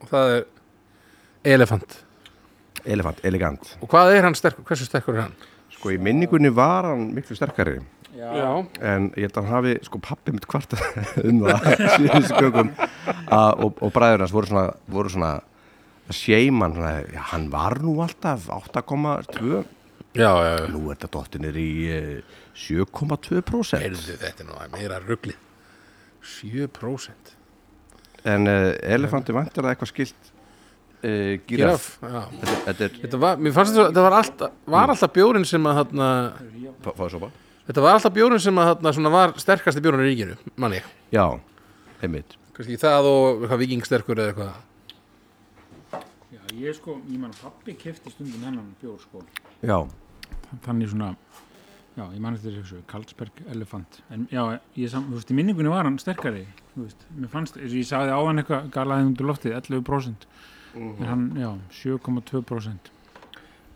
Speaker 1: Og Það er elefant
Speaker 2: elefant, elegant
Speaker 1: Og hvað er hann sterkur, hversu sterkur er hann?
Speaker 2: sko í minningunni var hann miklu sterkari
Speaker 1: Já,
Speaker 2: en ég held að hann hafi sko pappi mitt kvart [LAUGHS] um það síðustu göngum að, og, og bræður hans voru svona, voru svona að séma hann svona, já, hann var nú alltaf
Speaker 1: já,
Speaker 2: 8,2
Speaker 1: já, já.
Speaker 2: nú er þetta dottinir í eh, 7,2%
Speaker 1: Heyrðu, þetta er nú að meira ruggli 7%
Speaker 2: en uh, elefanti vantar að eitthvað skilt uh, gíraf
Speaker 1: Giraff, já
Speaker 2: þetta, þetta er
Speaker 1: Þetta var, mér fannst þetta, þetta var alltaf, var alltaf bjórin sem að þarna,
Speaker 2: fá- fáðu sopa?
Speaker 1: þetta var alltaf bjórin sem að þarna svona var sterkasti bjórin í ríkinu, mann ég.
Speaker 2: já, einmitt
Speaker 1: Kannski það og eitthvað vikingsterkur eða eitthvað.
Speaker 3: Já, ég sko, ég man að pappi kefti stundum hennan bjór sko
Speaker 2: já,
Speaker 3: Þannig svona, já, ég man eftir þessu, Karlsberg Elephant En já, ég sam, þú veist, í minningunni var hann sterkari, þú veist Mér fannst, eins og ég sagði á hann eitthvað, galaði undir loftið, 11%
Speaker 1: Mhm.
Speaker 3: En hann, já, 7,2%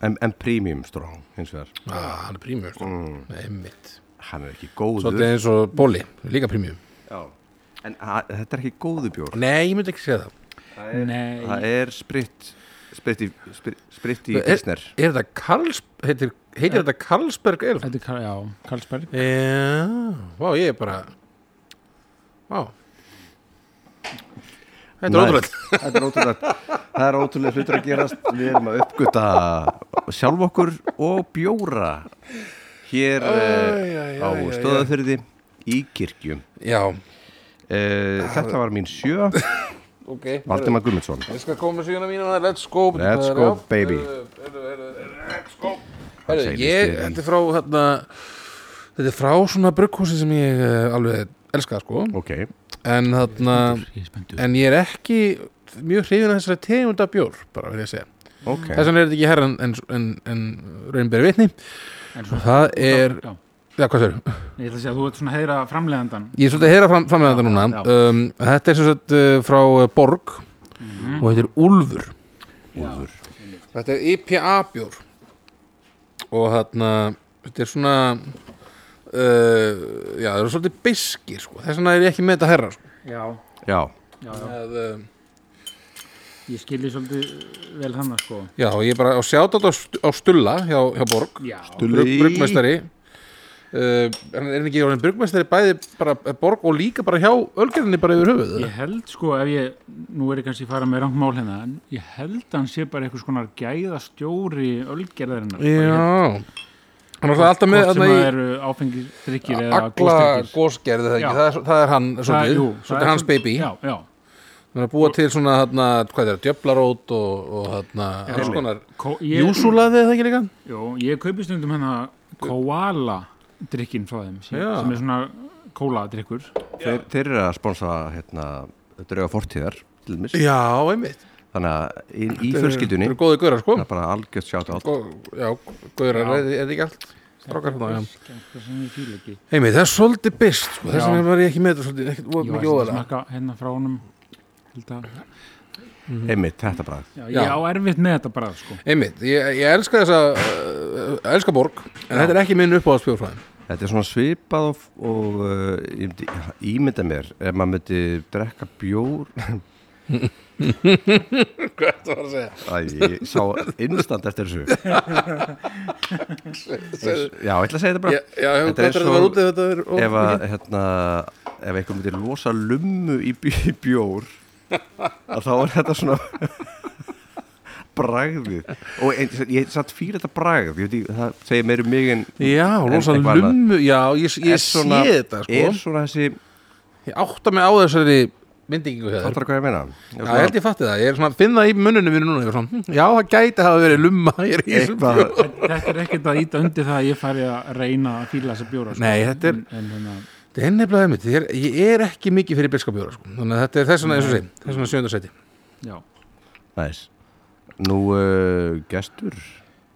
Speaker 2: en, en premium strong hins vegar, Mm,
Speaker 1: Ah, hann er prímjör, sko. Nei, einmitt.
Speaker 2: hann er ekki góður
Speaker 1: Svolítið eins og bóli, líka prímjör.
Speaker 2: já, en að, þetta er ekki góðu bjór
Speaker 1: Nei, ég myndi ekki segja það.
Speaker 3: Nei,
Speaker 2: það er spritt spritt í, spritt, spritt í
Speaker 1: Það er-
Speaker 2: Disner
Speaker 1: Er þetta Karls, heitir, heitir þetta Karlsberg Elf?
Speaker 3: þetta er, Karl- já, Karlsberg
Speaker 1: Já, vá, ég er bara, vá. Þetta er
Speaker 2: Nice.
Speaker 1: ótrúlega.
Speaker 2: [LAUGHS] Þetta er ótrúlega Það er ótrúlega hlutur að gerast Við erum að uppgöta sjálf okkur og bjóra Hér
Speaker 1: Eh, Æ, æ, æ,
Speaker 2: uh, á
Speaker 1: æ, æ.
Speaker 2: stöðafyrði í kirkju Eh,
Speaker 1: Já, Ah, [LAUGHS]
Speaker 2: uh, Þetta var mín sjö
Speaker 1: ok
Speaker 2: Valdimar Gumminsson
Speaker 1: Ég skal koma með síðan að mínu Let's go
Speaker 2: Let's go, baby.
Speaker 1: Heyrðu, heyrðu, heyrðu, Let's go Heyrðu,
Speaker 2: segir
Speaker 1: ég,
Speaker 2: listi, en-
Speaker 1: þetta er frá hérna, Þetta er frá svona brugghúsi sem ég eh, alveg elska sko
Speaker 2: Ok,
Speaker 1: En þarna
Speaker 3: Ég er spenntur.
Speaker 1: En ég er ekki mjög hrifin að þessari tegund af bjór bara vil ég segja
Speaker 2: ok
Speaker 1: Þess vegna er þetta ekki herra en, en, en, en raunberi vitni
Speaker 3: En
Speaker 1: Og
Speaker 3: svona-
Speaker 1: það er,
Speaker 3: Já,
Speaker 1: já hvað sér
Speaker 3: Ég ætla að segja að þú ert svona að heyra framleiðandan
Speaker 1: Ég er svolítið að heyra fram, fram með þetta
Speaker 3: Já.
Speaker 1: núna um, Þetta er sem sagt uh, frá uh, Borg og þetta er Úlfur
Speaker 2: Úlfur
Speaker 1: Þetta er IPA bjór og þarna þetta er svona uh, já, það eru svolítið beskir sko. þess vegna er ég ekki með þetta herra sko.
Speaker 3: Já,
Speaker 2: Já,
Speaker 3: já, já
Speaker 1: að, uh,
Speaker 3: Ég skilji svolítið vel hann sko
Speaker 1: já, og ég bara á sjátt á, st- á stulla hjá, hjá Borg
Speaker 3: Já,
Speaker 2: Dulli.
Speaker 1: brugmestari Uh, en er hann ekki orðin brugmestari bæði bara eh, borg og líka bara hjá ölgerðinni bara yfir höfuð
Speaker 3: ég held sko ef ég Nú er ég kannski að fara með rangt mál hérna En ég held að hann sé bara eitthvað svona gæðastjóri ölgerðarinnar
Speaker 1: já hérna? hann er alltaf með
Speaker 3: Hvort sem
Speaker 1: þarna
Speaker 3: það
Speaker 1: í-
Speaker 3: eru áfengisdrykkir eða
Speaker 1: Agla
Speaker 3: góðstrykkir
Speaker 1: gósgerði það ekki,
Speaker 3: Já.
Speaker 1: það er, það er hann svolítið,
Speaker 3: það
Speaker 1: svolítið hans
Speaker 3: svona-
Speaker 1: baby
Speaker 3: Já, já,
Speaker 1: Hann er að búa til svona, hérna, hvað er það, djöflarót og, og hérna, alls konar
Speaker 3: Ko- ég-
Speaker 1: Júsulaði eða ekki líka?
Speaker 3: Jó, ég kaupi stundum hérna koala drikkin frá þeim sem,
Speaker 1: Já.
Speaker 3: sem er svona kóladrykkur
Speaker 2: þeir, þeir eru að sponsa hérna, drauga fortíðar til dæmis.
Speaker 1: Já, einmitt
Speaker 2: Þannig að í, í fjölskyldunni
Speaker 1: Það eru góði gaurar, sko
Speaker 2: það er bara algjört sjátt á allt
Speaker 1: Gó- Já, gaurar,
Speaker 3: Já.
Speaker 1: er er þetta ekki allt? Strákar hérna, já
Speaker 3: Eitthvað sem ég fíla ekki
Speaker 1: Einmitt, það er svolítið byrst, sko, þess
Speaker 3: Já.
Speaker 1: vegna var ég ekki með þetta svolítið, ekkert voða
Speaker 3: Ég var
Speaker 1: mikið
Speaker 3: að
Speaker 1: óðalega
Speaker 3: smaka hérna frá honum held að,
Speaker 1: Mhm.
Speaker 2: einmitt þetta bara
Speaker 3: já, ég
Speaker 1: Já.
Speaker 3: á erfitt með þetta bara sko.
Speaker 1: Einmitt, ég, ég elska þessa, uh, elska borg, en þetta er ekki minn sko.
Speaker 3: [LAUGHS]
Speaker 1: uppáðspjórfræðin
Speaker 2: þetta er svona svipað og, og uh, ég myndi, ímynda mér ef maður myndi drekka bjór [LAUGHS]
Speaker 1: Hvað er það að segja?
Speaker 2: Æ, ég sá innstand
Speaker 1: [LAUGHS]
Speaker 2: eftir þessu já, ég ætla að segja þetta bara
Speaker 1: Já, já,
Speaker 2: Þetta
Speaker 1: hvað
Speaker 2: er
Speaker 1: er það
Speaker 2: svo-
Speaker 1: að vera úti þetta er
Speaker 2: ef að hérna, ef einhver myndir losa lummu í, bí- í bjór að þá er þetta svona [LAUGHS] bragðið og ein, ég satt fyrir þetta bragð ég veit ekki, það segir meiri mig en
Speaker 1: Já, rosa
Speaker 2: eitthvað annað.
Speaker 1: lummu, já, ég,
Speaker 2: Er
Speaker 1: ég sé þetta, sko
Speaker 2: er svona þessi,
Speaker 1: Ég átta mig á þessari myndingu hér
Speaker 2: fattar hvað ég meina
Speaker 1: Já, ég held ég fatti það, ég er svona að finna í munnunum mér núna, ég er svona, hm, já, það gæti hafa verið lumma
Speaker 2: Eh.
Speaker 1: hér í þessum
Speaker 2: eitthvað
Speaker 1: bjór.
Speaker 3: Þetta er ekkert að íta undir það að ég fari að reyna að fíla þessa bjóra sko.
Speaker 1: Nei, þetta er,
Speaker 3: en, en, hérna,
Speaker 1: þetta er nefnilega einmitt, ég er, ég er ekki mikið fyrir byrskapjóra, sko, þannig að þetta er þess vegna, eins og segja, þess vegna sjöndarsæti.
Speaker 3: já.
Speaker 2: Næs. nú uh, gestur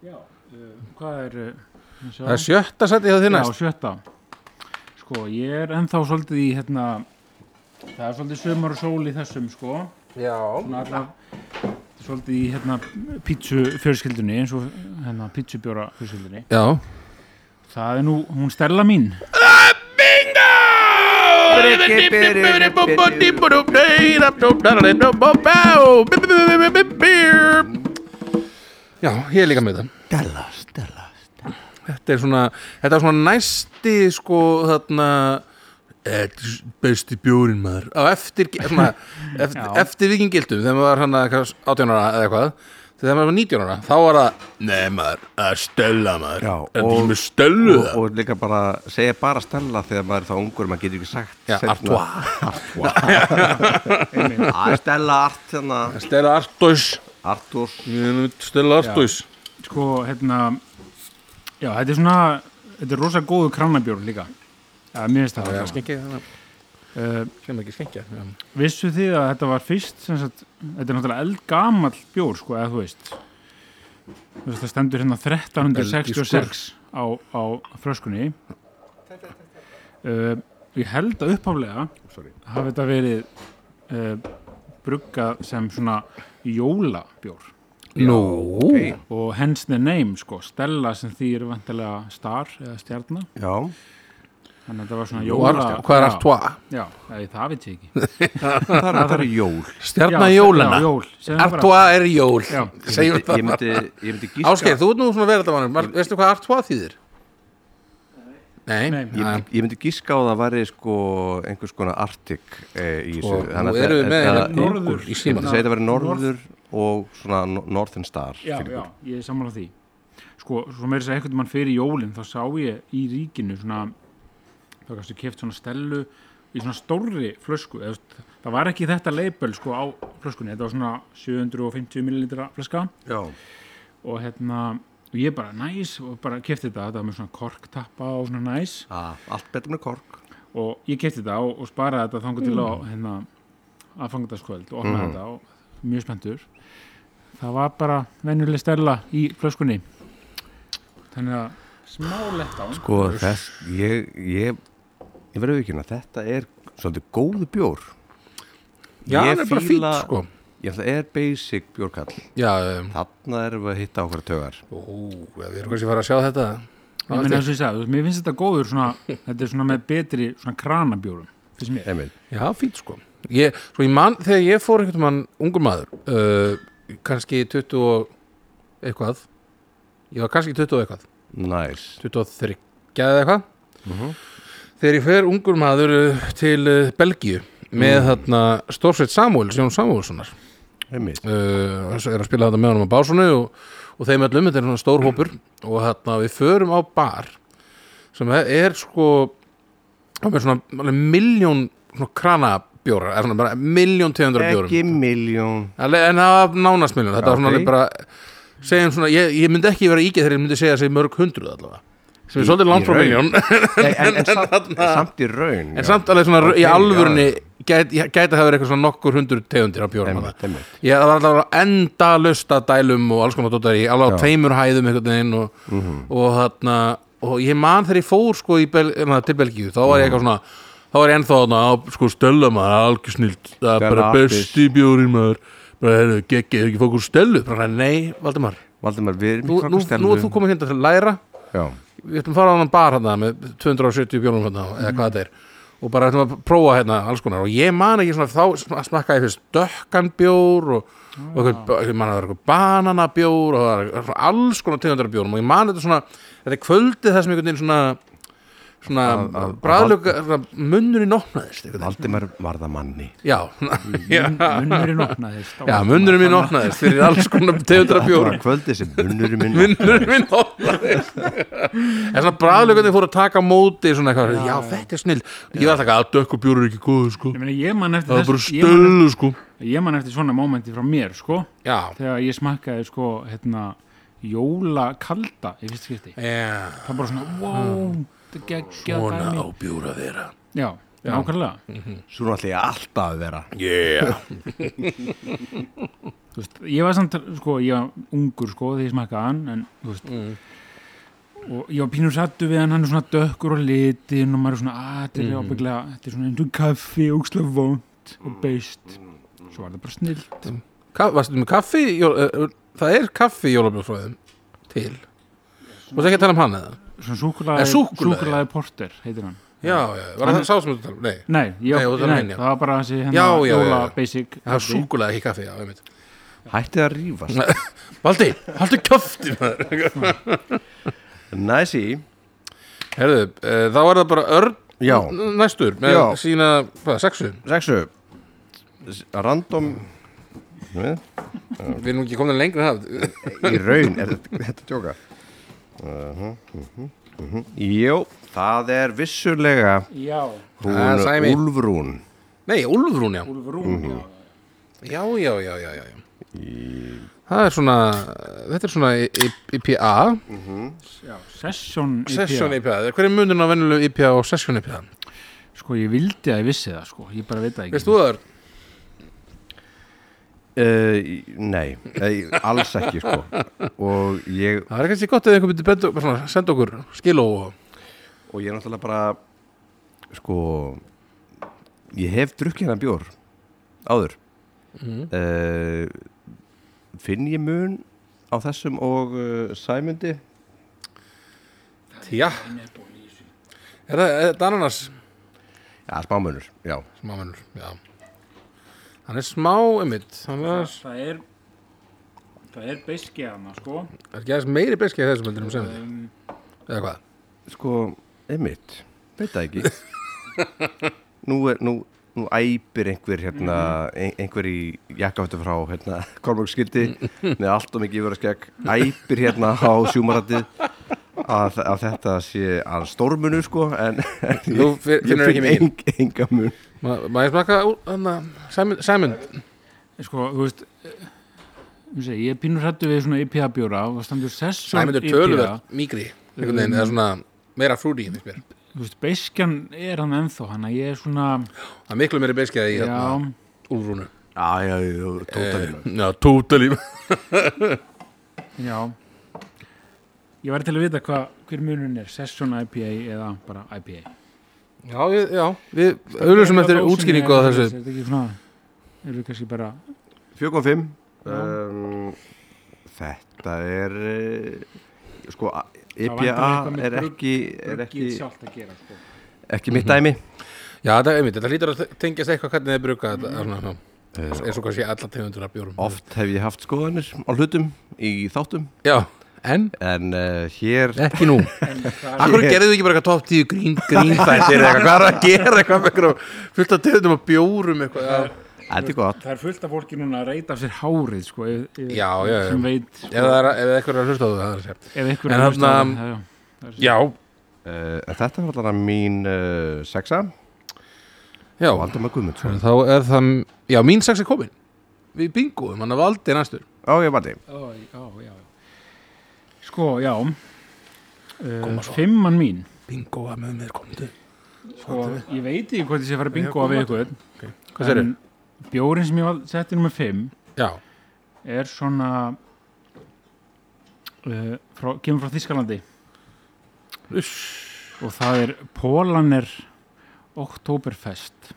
Speaker 3: Já, uh, hvað er uh, sjá-
Speaker 1: Það er sjötta sæti hjá þér
Speaker 3: Já,
Speaker 1: næst.
Speaker 3: sjötta Sko, ég er ennþá svolítið í hérna Það er svolítið sömur og sól í þessum sko
Speaker 1: Já.
Speaker 3: Svona allaf Svolítið í hérna pítsu fjörskildunni eins og hérna pítsubjóra fjörskildunni
Speaker 1: Já.
Speaker 3: Það er nú, hún Stella mín
Speaker 1: Já, ég er líka með það.
Speaker 2: Stella, Stella
Speaker 1: Þetta er svona, þetta er svona næsti, sko, þarna, Þetta er besti bjórin maður á eftir, svona, eftir,
Speaker 3: Já.
Speaker 1: eftir vikingildum þegar maður var hann að 18 ára eða eitthvað þegar maður var 19 ára, þá var það nei maður, að stella maður er
Speaker 2: Já, og-
Speaker 1: þetta sem er stöllu
Speaker 2: og,
Speaker 1: það
Speaker 2: og líka bara segja bara Stella þegar maður er þá ungur maður getur ekki sagt
Speaker 1: Já,
Speaker 2: seinna.
Speaker 1: Artois.
Speaker 2: Artois Æ, Stella Art hérna
Speaker 1: Stella Artois
Speaker 2: Arturs
Speaker 1: Stella Artois
Speaker 3: Sko, hérna Já, þetta er svona Þetta er rosa góðu krannabjór líka Já, mér finnst það allavega.
Speaker 1: skengja þannig,
Speaker 3: Eh,
Speaker 1: sem ekki skengja já.
Speaker 3: Vissu þið að þetta var fyrst sem sagt, þetta er náttúrulega eldgamall bjór sko, eða þú veist þú veist það stendur hérna 1366 á, á fröskunni uh, ég held að uppháflega
Speaker 2: Sorry.
Speaker 3: hafi þetta verið uh, bruggað sem svona jólabjór
Speaker 1: Nú,
Speaker 3: og hence the name sko, Stella sem því er vantilega star eða stjarnar
Speaker 2: Já,
Speaker 3: þannig að þetta var
Speaker 1: og
Speaker 3: svona jóla
Speaker 1: Ar- hvað er Artois?
Speaker 3: Já, já, það veit ég ekki
Speaker 2: það er, það er jól
Speaker 1: Stjarnar
Speaker 3: Já,
Speaker 1: jólana
Speaker 3: já, jól, segðu bara.
Speaker 1: Artois er jól
Speaker 3: Já.
Speaker 1: segjum
Speaker 2: Ég
Speaker 1: það
Speaker 2: myndi, ég myndi gíska
Speaker 1: Ásgeir, þú ert nú svona verðardamann veistu hvað Artois þýðir? Nei,
Speaker 3: Nei.
Speaker 2: Ég, myndi- ég myndi gíska á að það væri sko einhvers konar artik eh, í þessu
Speaker 1: Og nú erum við með
Speaker 2: þetta-
Speaker 1: hérna
Speaker 3: norður
Speaker 1: í
Speaker 2: Ég
Speaker 1: símanum.
Speaker 2: myndi segja þetta væri norður og svona no- northern star
Speaker 3: já,
Speaker 2: fílingur.
Speaker 3: já, ég er sammála því sko, svo meira þess að einhvern mann fyrir jólin þá sá ég í ríkinu svona þá kannski keft svona stelu í svona stórri flösku eða, þú veist, það var ekki þetta leipöl sko á flöskunni, þetta var svona 750 millilitra flaska
Speaker 1: Já,
Speaker 3: og hérna, og ég bara næs og bara kefti þetta, þetta var með svona korktappa og svona næs
Speaker 2: Ah, allt betur með kork
Speaker 3: og ég kefti þetta og, og sparaði þetta þangu til á
Speaker 1: Mm.
Speaker 3: hérna, að fangadagskvöld og opnaði þetta og mjög spenntur það var bara venjuleg stella í flöskunni þannig að smá lett á
Speaker 2: Sko þess, ég ég, ég verður ekki hérna, þetta er svolítið góðu bjór
Speaker 1: já
Speaker 2: Ég
Speaker 1: hann er bara fýtt
Speaker 2: fíla-
Speaker 1: sko
Speaker 2: Ég ætla er basic bjórkall
Speaker 1: Já, um,
Speaker 2: Þarna erum við að hitta okkur tögar
Speaker 1: ó, ja, við erum kannski að fara að sjá þetta
Speaker 3: Ég meina eins og ég sagði, þú veist, mér finnst þetta góður svona, þetta er svona með betri svona kranabjórum finnst mér.
Speaker 2: Emil,
Speaker 1: Já, fýtt sko ég, Svo ég man, þegar ég fór einhvern mann ungur maður uh, kannski 20 og eitthvað ég var kannski 20 og eitthvað
Speaker 2: næs
Speaker 1: 23 eða eitthvað
Speaker 2: Mhm.
Speaker 1: þegar ég fer ungur maður uh, til uh, Belgíu
Speaker 2: Mm.
Speaker 1: með þarna Stórsveit Samuels, Jón Samuelssonar
Speaker 2: Emil,
Speaker 1: uh, hann er að spila þetta með honum á básunu og, og þeim öllum, þetta er svona stór hópur og þarna við förum á bar sem er- er sko hann er svona miljón svona kranabjóra, er svona bara miljón tegundur af bjórum
Speaker 2: ekki miljón
Speaker 1: Alveg, En það var nánast miljón, þetta var
Speaker 2: Já,
Speaker 1: svona
Speaker 2: ok.
Speaker 1: alveg bara segjum svona, ég, ég myndi ekki vera ígið þegar ég myndi segja sig mörg hundruð allavega sem
Speaker 2: Í-
Speaker 1: er svolítið langt
Speaker 2: í
Speaker 1: frá
Speaker 2: raun.
Speaker 1: miljón
Speaker 2: en, en, en, samt, en samt í raun
Speaker 1: en samt alveg svona
Speaker 2: Ok,
Speaker 1: í
Speaker 2: já.
Speaker 1: alvörunni gæti gæt að það verið eitthvað svona nokkur hundur tegundir af bjórum
Speaker 2: Emil,
Speaker 1: þarna.
Speaker 2: Emil.
Speaker 1: Ég það var alveg enda lusta dælum og alls konar dóttar í alveg á
Speaker 2: Já. Mhm.
Speaker 1: tveimur hæðum einhvern veginn og, og þarna og ég man þegar ég fór sko í Bel, na, til Belgíu þá var ég
Speaker 2: Mhm.
Speaker 1: eitthvað svona þá var ég ennþá þarna á sko stölla maður algjörsnilt það er bara
Speaker 2: Stellartis.
Speaker 1: besti bjórin maður bara hefðu geggið, hefur ekki fókur stölu bara nei, Valdimar,
Speaker 2: Valdimar, við erum
Speaker 1: nú, nú, nú er þú komið hérna til að læra
Speaker 2: Já,
Speaker 1: við ætlum að fara á hann bar hérna með 270 bjórnum hérna eða hvað þetta er og bara ætlum að prófa hérna alls konar og ég man ekki svona þá sm- smakkaði fyrst dökkan bjór og, og eitthvað, ég man að það var eitthvað bananabjór og það var svona alls konar tegundar af bjórum og ég man þetta svona, þetta er kvöldið það sem einhvern veginn svona svona bræðlöka, munnurinn opnaðist einhvern veginn.
Speaker 2: Valdimar varða manni
Speaker 1: já, já,
Speaker 3: Munnurinn opnaðist.
Speaker 1: já munnurinn minn opnaðist fyrir alls konar tegundar af bjórum
Speaker 2: Bara kvöldið sem munnurinn minn
Speaker 1: vinnurinn minn opnaðist en svona bræðlökunni fór að taka á móti svona eitthvað, já, þetta er snill ég var alltaf eitthvað að dökku bjóru er ekki góðu sko
Speaker 3: Ég meina, ég man
Speaker 1: það
Speaker 3: eftir
Speaker 1: er bara
Speaker 3: þess, ég man,
Speaker 1: stölu sko
Speaker 3: eftir, ég man eftir svona mómenti frá mér, sko,
Speaker 1: já,
Speaker 3: þegar ég smakkaði, sko, hérna, jólakalda í fyrst skipti.
Speaker 1: já
Speaker 3: Það var bara svona, wow, þetta geggjað
Speaker 1: svona á Mm.
Speaker 3: dæmi.
Speaker 1: bjóra þeirra
Speaker 3: Já, nákvæmlega.
Speaker 2: Svo ætla ég alltaf að vera
Speaker 1: yeah,
Speaker 3: Þú veist, ég var samt, sko, ég var ungur, sko, þegar ég smakkaði hann, en, þú veist,
Speaker 1: Mm.
Speaker 3: og ég var pínur sattu við hann, hann er svona dökkur og litin og maður er svona, að, þetta er
Speaker 1: Mm.
Speaker 3: ábygglega, þetta er svona eins og kaffi, ógslega vond og beist. Svo var það bara snill.
Speaker 1: Ka varstu með kaffi jó, uh, það er kaffi jólabjórfræðum til og það ekki að tala um hann eða
Speaker 3: svona
Speaker 1: Eh,
Speaker 3: súkulaði,
Speaker 1: súkkulaði.
Speaker 3: porter heitir hann
Speaker 1: já, já, var það sá sem þú tala um, nei
Speaker 3: nei,
Speaker 1: Nei,
Speaker 3: já, nei,
Speaker 1: og það er hann, já.
Speaker 3: það var bara þessi
Speaker 1: Já,
Speaker 3: hérna
Speaker 1: já, já,
Speaker 3: jóla
Speaker 1: já.
Speaker 3: basic
Speaker 1: það er súkulega ekki kaffi, já, ég veit
Speaker 2: Hættið að rífast
Speaker 1: [LAUGHS] Valdi, haldur kafti maður
Speaker 2: Næsi
Speaker 1: Herðu, uh, þá er það bara örn
Speaker 2: Já.
Speaker 1: næstur með
Speaker 2: Já.
Speaker 1: sína, hvað, sexu
Speaker 2: Sexu S- Random Nú,
Speaker 1: Við erum ekki komin lengra en það
Speaker 2: Í raun er þetta, þetta tjóka uh -huh, uh
Speaker 1: mhm,
Speaker 2: Jó, það er vissulega
Speaker 3: já,
Speaker 1: Ah,
Speaker 2: hún
Speaker 1: Sæmi.
Speaker 2: Úlfrún
Speaker 1: Nei, Úlfrún, já
Speaker 3: Úlfrún mm -hmm.
Speaker 1: Já, já, já, já, já, já. Það er svona, þetta er svona I- I- IPA
Speaker 3: já, session E IPA.
Speaker 1: Session E IPA, hver er munurinn á venjulegu IPA og Session IPA?
Speaker 3: sko, ég vildi að ég vissi það, sko, ég bara veit það ekki
Speaker 1: Veist þú það er?
Speaker 2: uh, Nei, nei, alls ekki
Speaker 1: [LAUGHS]
Speaker 2: sko Og ég
Speaker 1: Það er kannski gott eða einhver byrja betur, bara svona, senda okkur skiló og
Speaker 2: og ég er náttúrulega bara sko ég hef drukkið hennar bjór áður mm. finn ég mun á þessum og uh, sæmundi
Speaker 1: Já Er það, er þetta ananas?
Speaker 2: já, spámunur, já
Speaker 1: Smá munur, já Hann er smá einmitt Hann er,
Speaker 3: það er það er beiskjaðna, sko
Speaker 1: er ekki aðeins meiri beski að þessum heldur um sem
Speaker 3: um,
Speaker 1: Eða hvað?
Speaker 2: sko, einmitt, veit það ekki [LAUGHS] nú er, nú nú æpir einhver hérna ein, einhver í jakkafættu frá hérna Kormákskildi með allt og mikið yfir að skegg æpir hérna á sjúmaratið að, að þetta sé að stórmunu sko en
Speaker 4: Þú fi- finnur ekki mikið.
Speaker 2: eng, enga mun
Speaker 1: Ma- maður smaka úr, hana, sæmund, sæmund
Speaker 3: Sko, þú veist eh, um segi, Ég er pínur hrættu við svona IPA bjóra og það standur session E
Speaker 1: sæmundur
Speaker 3: IPA.
Speaker 1: töluvert mýgri einhvern veginn,
Speaker 3: Mm.
Speaker 1: eða svona meira frúdi finnst mér,
Speaker 3: Þú veist, beiskjan er hann ennþó hann að ég er svona
Speaker 1: það er miklu meiri beiskjaði í
Speaker 3: Já,
Speaker 1: hérna úlfrúnu Eh,
Speaker 2: Já, já, já, tótalíma
Speaker 1: já, tótali
Speaker 3: já Ég væri til að vita hvað, hver munurinn er session IPA eða bara E IPA
Speaker 1: já, við, já, við auðlösum eftir
Speaker 3: Rósin
Speaker 1: útskýringu á
Speaker 3: er-
Speaker 1: þessu
Speaker 3: Er þetta ekki svona Eru við kannski bara
Speaker 2: Eh, 4.5 um, Þetta er eh, sko a-
Speaker 3: Það vantar
Speaker 2: IPA
Speaker 3: eitthvað með
Speaker 2: er
Speaker 3: brugg-
Speaker 2: ekki er ekki,
Speaker 3: bruggið sjálft að gera sko.
Speaker 2: ekki mitt dæmi
Speaker 1: já, þetta, einmitt, þetta lítur að tengjast eitthvað hvernig þið bruka þetta, svona, svona, eins og kannski alla tegundur af bjórum
Speaker 2: Oft hef ég haft skoðanir á hlutum í þáttum
Speaker 1: já, en
Speaker 2: en uh, hér
Speaker 1: ekki [LAUGHS] nú Akkur gerðu þið ekki bara eitthvað top 10 grín, grínfættir eða eitthvað, hvað er að gera eitthvað með eitthvað fullt af tegundum og bjórum eitthvað já,
Speaker 2: Þetta er gott
Speaker 3: Það er fullt af fólki núna að reyta af sér hárið sko, ef, ef,
Speaker 1: Já, já, já.
Speaker 3: sem veit sko,
Speaker 1: ef það er ef eitthvað er að hlusta á það, það er að segja
Speaker 3: ef
Speaker 1: En
Speaker 3: einhver er að hlusta á
Speaker 1: þarna-
Speaker 3: það, já, það er svo.
Speaker 1: Já,
Speaker 2: uh, Þetta er allavega mín uh, sexa
Speaker 1: já,
Speaker 2: og Valdemar Guðmund
Speaker 1: En þá er það, já, mín sex er komin Við bingoum, hann hafa aldrei næstur
Speaker 2: Á, ég valdi
Speaker 3: Ó, já, já. Sko, já uh, Fimman mín
Speaker 1: Bingoa með mér komdu
Speaker 3: sko, Ég veit ekki hvort ég sé að fara bingo
Speaker 1: Ég
Speaker 3: af
Speaker 1: kom
Speaker 3: ykkur
Speaker 1: Hvað sér
Speaker 3: en Bjórin sem ég var setti nummer 5
Speaker 1: Já,
Speaker 3: er svona uh, frá, kemur frá Þískalandi og það er Pólaner Oktoberfest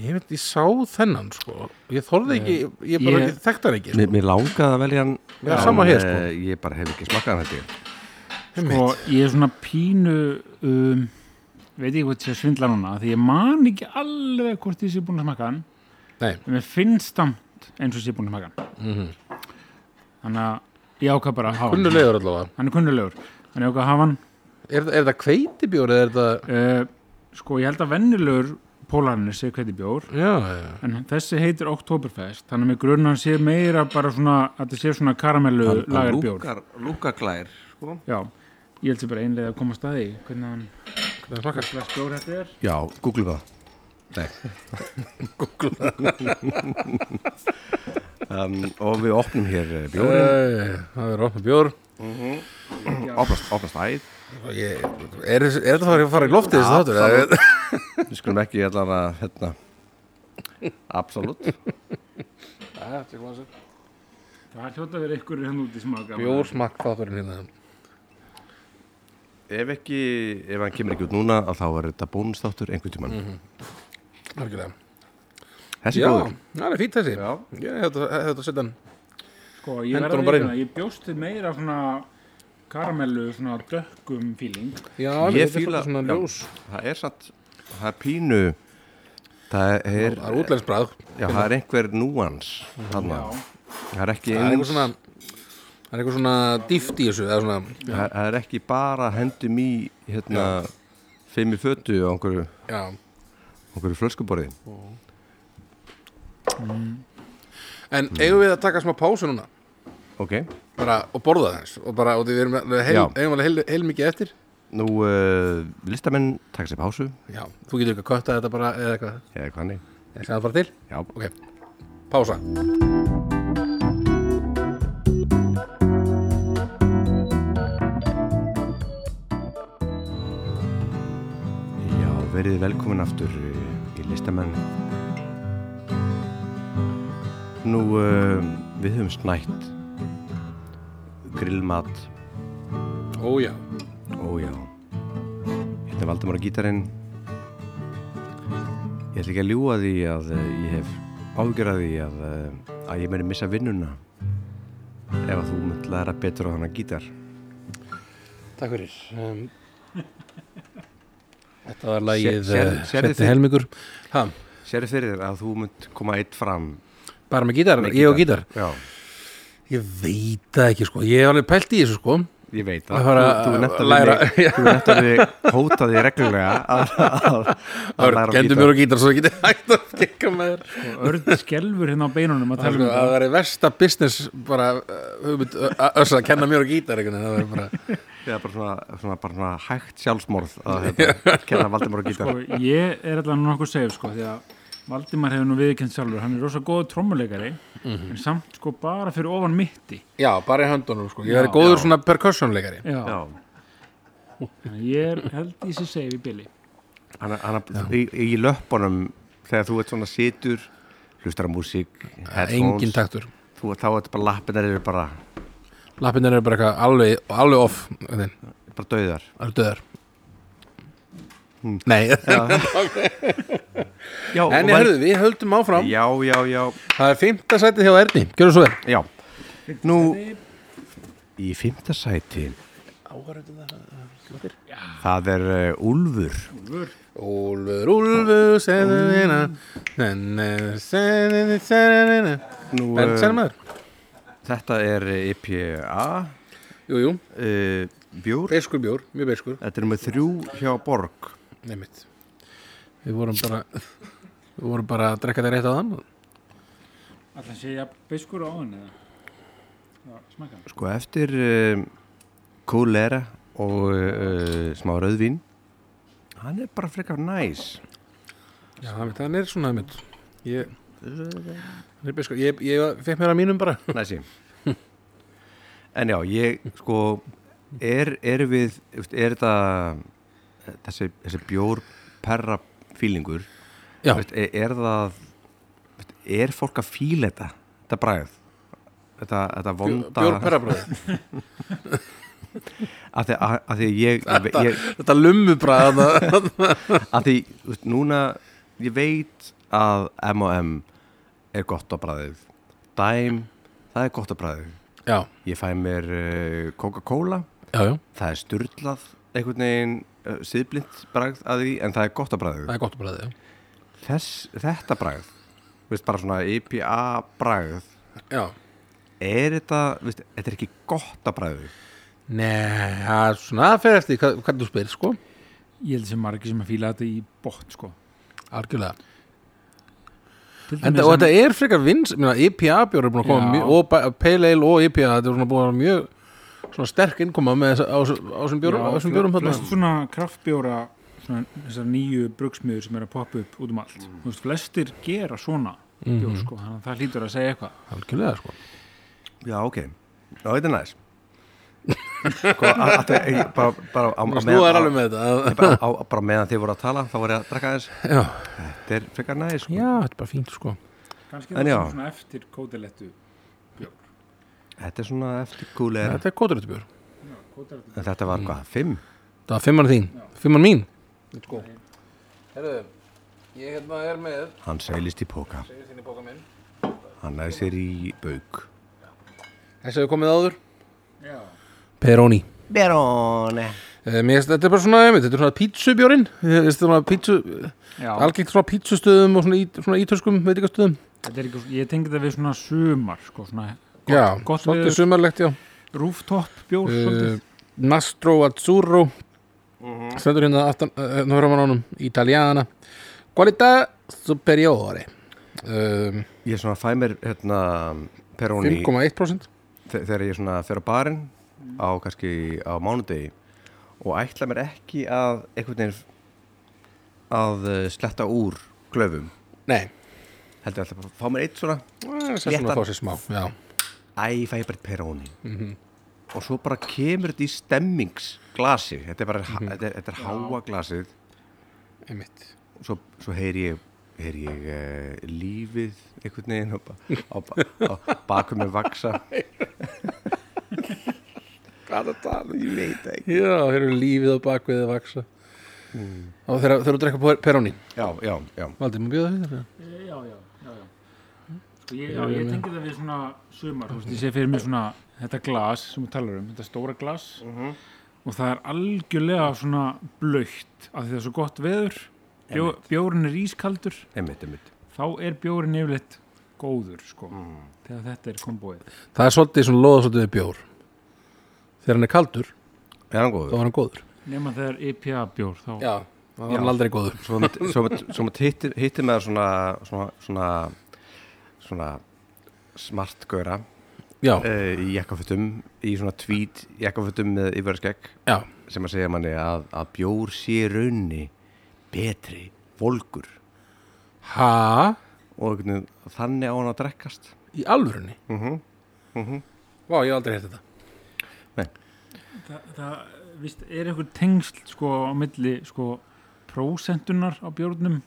Speaker 1: ég veit, ég sá þennan, sko Ég þorði ekki, ég bara
Speaker 3: Ég-
Speaker 1: ekki þekkt hann ekki
Speaker 2: Mér,
Speaker 1: sko.
Speaker 2: mér langaði að velja hann
Speaker 1: Já, sama hér, sko.
Speaker 2: eh, Ég bara hef ekki smakkað hann þetta
Speaker 3: sko, ég er svona pínu um, veit ekki hvort ég sé að svindla núna því ég man ekki alveg hvort ég sé búin að smaka hann
Speaker 1: Nei. mhm.
Speaker 3: en mér finnst samt eins og ég sé búin að smaka hann þannig að ég ákvað bara að hafa hann
Speaker 1: Kunnulegur allavega
Speaker 3: hann er kunnulegur, þannig ég ákvað að hafa hann
Speaker 1: Er, er það kveitibjór eða er það
Speaker 3: uh, sko, ég held að vennilegur pólarnir sé hvernig bjór
Speaker 1: Já, já,
Speaker 3: en þessi heitir Oktoberfest þannig að mér grunna hann sé meira bara svona að þetta sé svona karamellu lagar bjór
Speaker 2: Lúkaglær sko.
Speaker 3: já, ég held sér bara einlega að komast að því hvernig hann,
Speaker 1: það smakar
Speaker 3: hvers bjór þetta er
Speaker 2: Já, googlum það [LAUGHS] um, Og við opnum hér eh, bjórinn
Speaker 1: Æ, Það er opna bjór
Speaker 2: Opnast, opnast æð
Speaker 1: ég, Er, er þetta farið að fara í loftið þessi þáttur? eða-
Speaker 2: Við skulum ekki allan að hérna Absolutt
Speaker 3: Það hljóta verið ykkur hann hérna úti sem að gaman
Speaker 1: Bjórsmakk þátturinn hérna
Speaker 2: Ef ekki, ef hann kemur ekki út núna að þá er þetta bónustáttur einhvern tímann
Speaker 1: Algjörlega.
Speaker 2: Þessi
Speaker 1: Mhm. Já,
Speaker 2: góður
Speaker 1: það er fínt þessi
Speaker 2: Já.
Speaker 1: Ég hefði þetta að setja hann
Speaker 3: Sko, ég
Speaker 1: Hendur
Speaker 3: verði
Speaker 1: hún
Speaker 3: að
Speaker 1: bara
Speaker 3: veikuna, ég bjóst til meira svona karamellu, svona dökkum feeling
Speaker 1: Já,
Speaker 2: Ég
Speaker 1: þetta er
Speaker 2: fíla-
Speaker 1: svolítið svona
Speaker 2: já.
Speaker 1: ljós
Speaker 2: Það er satt, það er pínu Það er,
Speaker 1: Það er útlensbrað
Speaker 2: já, það er einhver núans þarna. Það er
Speaker 1: Það
Speaker 2: ekki
Speaker 1: er
Speaker 2: eins
Speaker 1: eitthvað svona Það er eitthvað svona dýft í þessu Það er svona
Speaker 2: það það er ekki bara hendum í hérna fimm í fötu á einhverju,
Speaker 1: Já
Speaker 2: einhverju flöskuborði
Speaker 1: En
Speaker 2: Hmm.
Speaker 1: eigum við að taka smá pásu núna
Speaker 2: ok,
Speaker 1: bara, og borða þess og bara, og því við erum með- heil,
Speaker 2: Já.
Speaker 1: eigum alveg heil, heil mikið eftir
Speaker 2: nú uh, listamenn taka sér pásu
Speaker 1: Já, þú getur ekki að kötta þetta bara eða eitthvað
Speaker 2: eða hvað hannig,
Speaker 1: Ég segði það bara til
Speaker 2: já,
Speaker 1: Ok, pása
Speaker 2: já verið velkomin aftur eh, í listamenn nú uh, við höfum snætt grillmat
Speaker 1: Ó já
Speaker 2: Ó já Hérna er Valdemar á gítarinn Ég ætla ekki að ljúga því að eh, ég hef ágjörði því að, eh, að ég meni missa vinnuna ef að þú munt læra betur á hana gítar
Speaker 1: Takk fyrir um, Þetta var
Speaker 2: lagið,
Speaker 1: lagið
Speaker 2: eh, Sjötti
Speaker 1: Setti helmingur ha,
Speaker 2: Sérðu fyrir þér að þú munt koma eitt fram
Speaker 1: Bara með gítar,
Speaker 2: með
Speaker 1: ég og gítar
Speaker 2: Já,
Speaker 1: Ég veit það ekki sko Ég hef alveg pælt í þessu sko
Speaker 2: ég veit
Speaker 1: Að
Speaker 2: það
Speaker 1: fara
Speaker 2: Þú- Þú er
Speaker 1: að
Speaker 2: netta
Speaker 1: læra.
Speaker 2: við mig Þú er netta við hótaði reglulega að, að, að læra á
Speaker 1: Gendu
Speaker 2: gítar
Speaker 1: mér á gítar svo ég geti [LAUGHS] hægt að gekka með þér [LAUGHS]
Speaker 3: og örð skelfur hérna á beinunum að
Speaker 1: Það
Speaker 3: tala um
Speaker 1: sko, það
Speaker 3: þetta
Speaker 1: uh, [LAUGHS] væri versta business bara uh, hugmynd, uh, öss að kenna mér og gítar einhvern veginn, það væri bara
Speaker 2: eða bara svona, svona, bara svona hægt sjálfsmorð að hérna, kenna Valdimar og gítar
Speaker 3: sko, ég er allavega nokkuð segið sko, því að Valdimar hefur nú viðkjönd sjálfur hann er rosa góð trommuleikari
Speaker 1: Mhm.
Speaker 3: en samt sko bara fyrir ofan mitti
Speaker 4: já, bara í höndunum sko.
Speaker 1: Ég
Speaker 4: ég
Speaker 1: er
Speaker 4: verið góð
Speaker 1: góður svona percussionleikari
Speaker 2: Já,
Speaker 3: já, þannig að ég er held í sér segið í billi
Speaker 2: hann, hann, í, í löppunum þegar þú ert svona situr hlustar á músík, headphones
Speaker 1: Engin taktur
Speaker 2: þú, þá ert bara lappinar eru bara,
Speaker 1: Lappinir eru bara eitthvað alveg, alveg off Það
Speaker 2: bara dauðar
Speaker 1: eru döðar
Speaker 2: Hmm.
Speaker 1: Nei [LAUGHS]
Speaker 2: já,
Speaker 1: En ég hörðu, við höldum áfram
Speaker 2: já, já, já,
Speaker 1: Það er fymta sætið hjá Erni, gjörðu svo vel
Speaker 2: já nú í fymta sæti það er uh, Úlfur
Speaker 1: Úlfur, Úlfur, segðu þína Nenni, segðu þína Segðu þína
Speaker 2: nú, eh,
Speaker 1: En segðu maður
Speaker 2: þetta er uh, IPA
Speaker 1: Jú, jú,
Speaker 2: uh, bjór
Speaker 1: beiskur bjór, mjög beiskur
Speaker 2: þetta er með þrjú hjá Borg
Speaker 1: Nei mitt Við vorum bara Við vorum bara að drekka þetta rétt á þann
Speaker 3: Alltaf sé ég að beiskur á hann eða Já, smakka hann.
Speaker 2: Sko eftir um, kólera og uh, smá rauðvín hann er bara frekar næs
Speaker 1: Já, það mitt, hann er svona það mitt Ég hann er beiskur, ég, ég fekk mér að mínum bara
Speaker 2: eh, næsi en já, ég sko er, er við þú veist, er þetta þessi, þessi bjór perra fílingur
Speaker 1: Já,
Speaker 2: veist, er, er það þú veist, er fólk að fíla þetta þetta bræð þetta, þetta vonda
Speaker 1: bjór perrabræði
Speaker 2: að því að, að því að ég, ég, ég
Speaker 1: Þetta lummubræði [LAUGHS]
Speaker 2: að því, þú veist, núna ég veit að M&M er gott á bræðið Dime, það er gott á bræðið
Speaker 1: Já,
Speaker 2: ég fæ mér uh, Coca-Cola
Speaker 1: já, já,
Speaker 2: það er styrlað einhvern veginn uh, síðblind bræð að því en það er gott á bræðið
Speaker 1: það er gott bræði
Speaker 2: Þess, þetta bræð þú veist, bara svona IPA bræð
Speaker 1: Já,
Speaker 2: er þetta, þú veist, þetta er ekki gott á bræðið
Speaker 1: nei, það er svona það fer eftir hvað, hvað þú spyrir, sko
Speaker 3: Ég held sem margir sem að fíla þetta í bótt sko
Speaker 1: Algjörlega
Speaker 3: Til
Speaker 1: en,
Speaker 3: dæmis
Speaker 1: Og
Speaker 3: að-
Speaker 1: þetta er frekar vins, minna, IPA bjór er búin að koma
Speaker 3: Já.
Speaker 1: mjög, og ba- Pale Ale og IPA þetta er svona búin að vera mjög svona sterk innkoma með þess, á, þessu- á þessum bjórum, á þessum bjórum þarna.
Speaker 3: flest svona kraftbjóra svona, þessar nýju brugsmiður sem er að poppa upp út um allt þú veist, flestir gera svona bjór sko, þannig að það hlýtur að segja eitthvað
Speaker 1: Algjörlega, sko
Speaker 2: já, ok, já, þetta er næs sko, að, að því, ég, bara, bara á, á,
Speaker 1: Nú er alveg með þetta
Speaker 2: bara, á, bara meðan þið voru að tala þá voru ég að drakka aðeins
Speaker 1: Já,
Speaker 2: þetta er frekar næs sko.
Speaker 1: já þetta er bara fínt, sko
Speaker 3: kannski
Speaker 2: En
Speaker 3: það
Speaker 2: já.
Speaker 3: er svona eftir kótelettu
Speaker 2: þetta er svona eftir kúleira
Speaker 1: Þetta er kóturutubjór
Speaker 3: kótelettu
Speaker 2: en þetta var hvað, fimm?
Speaker 1: Það var fimmann þín, fimmann mín Let's go Herðu, Sko. ég hérna er með
Speaker 2: hann seilist í póka,
Speaker 1: þínu bóka minn
Speaker 2: hann næði sér í bauk
Speaker 1: Þessi hefur komið áður
Speaker 3: já,
Speaker 1: Peroni
Speaker 2: Berone
Speaker 1: Eh, Mér finnst þetta er bara svona, einmitt, þetta er svona pítsubjórin Þetta er svona pítsu,
Speaker 3: já
Speaker 1: algengt svona pítsustöðum og svona, ít, svona ítöskum veitingastöðum
Speaker 3: þetta er ekki, ég tengi þetta við svona sumar sko, svona
Speaker 1: Já,
Speaker 3: gott
Speaker 1: svolítið
Speaker 3: veður.
Speaker 1: sumarlegt, já
Speaker 3: rooftop bjór
Speaker 1: uh,
Speaker 3: svolítið
Speaker 1: Nastro Azzurro Stendur hérna aftan, uh, nú höfum við ánum Italiana Qualità superiore um,
Speaker 2: ég svona fæ mér hérna peroni
Speaker 1: 5,1%
Speaker 2: þe- þegar ég svona fer á barinn á kannski á mánudegi og ætla mér ekki að einhvern veginn að eh, sletta úr glöfum
Speaker 1: Nei,
Speaker 2: heldur ég ætla bara að fá mér eitt svona
Speaker 1: það er svona
Speaker 2: Léttan.
Speaker 1: Ah, að fá sér smá Já,
Speaker 2: æ, fæ ég bara eitt peróni og svo bara kemur þetta í stemmingsglasi þetta er bara, þetta er, þetta er háa glasið
Speaker 1: einmitt
Speaker 2: og svo, svo heyri ég heyri ég uh, lífið einhvern veginn á, ba- á, á bakum með vaksa
Speaker 1: Hvað er það?
Speaker 2: ég veit ekki
Speaker 1: Já, þeir eru lífið á bakvið að vaksa Og þeir eru að drekka peroni
Speaker 2: já, já, já,
Speaker 1: Valdi, maður bjóða því þér?
Speaker 3: Eh, já, já, já, já. Sko, ég, já, ég tengi þetta við svona sumar þú veist, ég sé fyrir mér svona þetta glas sem við talar um, þetta stóra glas og það er algjörlega svona blöytt af því það er svo gott veður Bjó, bjórin er ískaldur
Speaker 2: einmitt, einmitt
Speaker 3: þá er bjórin yfirleitt góður sko, þegar þetta er komboið
Speaker 1: Það er svolítið svona loða svolítið við bjór Þegar hann er kaldur,
Speaker 2: er hann
Speaker 1: þá
Speaker 2: góður?
Speaker 1: var hann góður
Speaker 3: nema þegar IPA bjór þá
Speaker 1: Já, þá var hann aldrei góður
Speaker 2: svo, maður- svo, maður- svo maður hittir, hittir maður svona svona svona, svona smart gauðra
Speaker 1: já,
Speaker 2: uh, í jakkafötum í svona tvít jakkafötum með yfirskegg
Speaker 1: já,
Speaker 2: sem að segja manni að, að bjór sé í raunni betri, volgur
Speaker 1: ha
Speaker 2: og einhvern veginn þannig á hann að drekkast Mhm.
Speaker 1: í alvörunni mm -hmm. vá, ég hef aldrei hægt þetta
Speaker 3: það, það víst, er einhver tengsl sko á milli sko prósentunar á bjórnum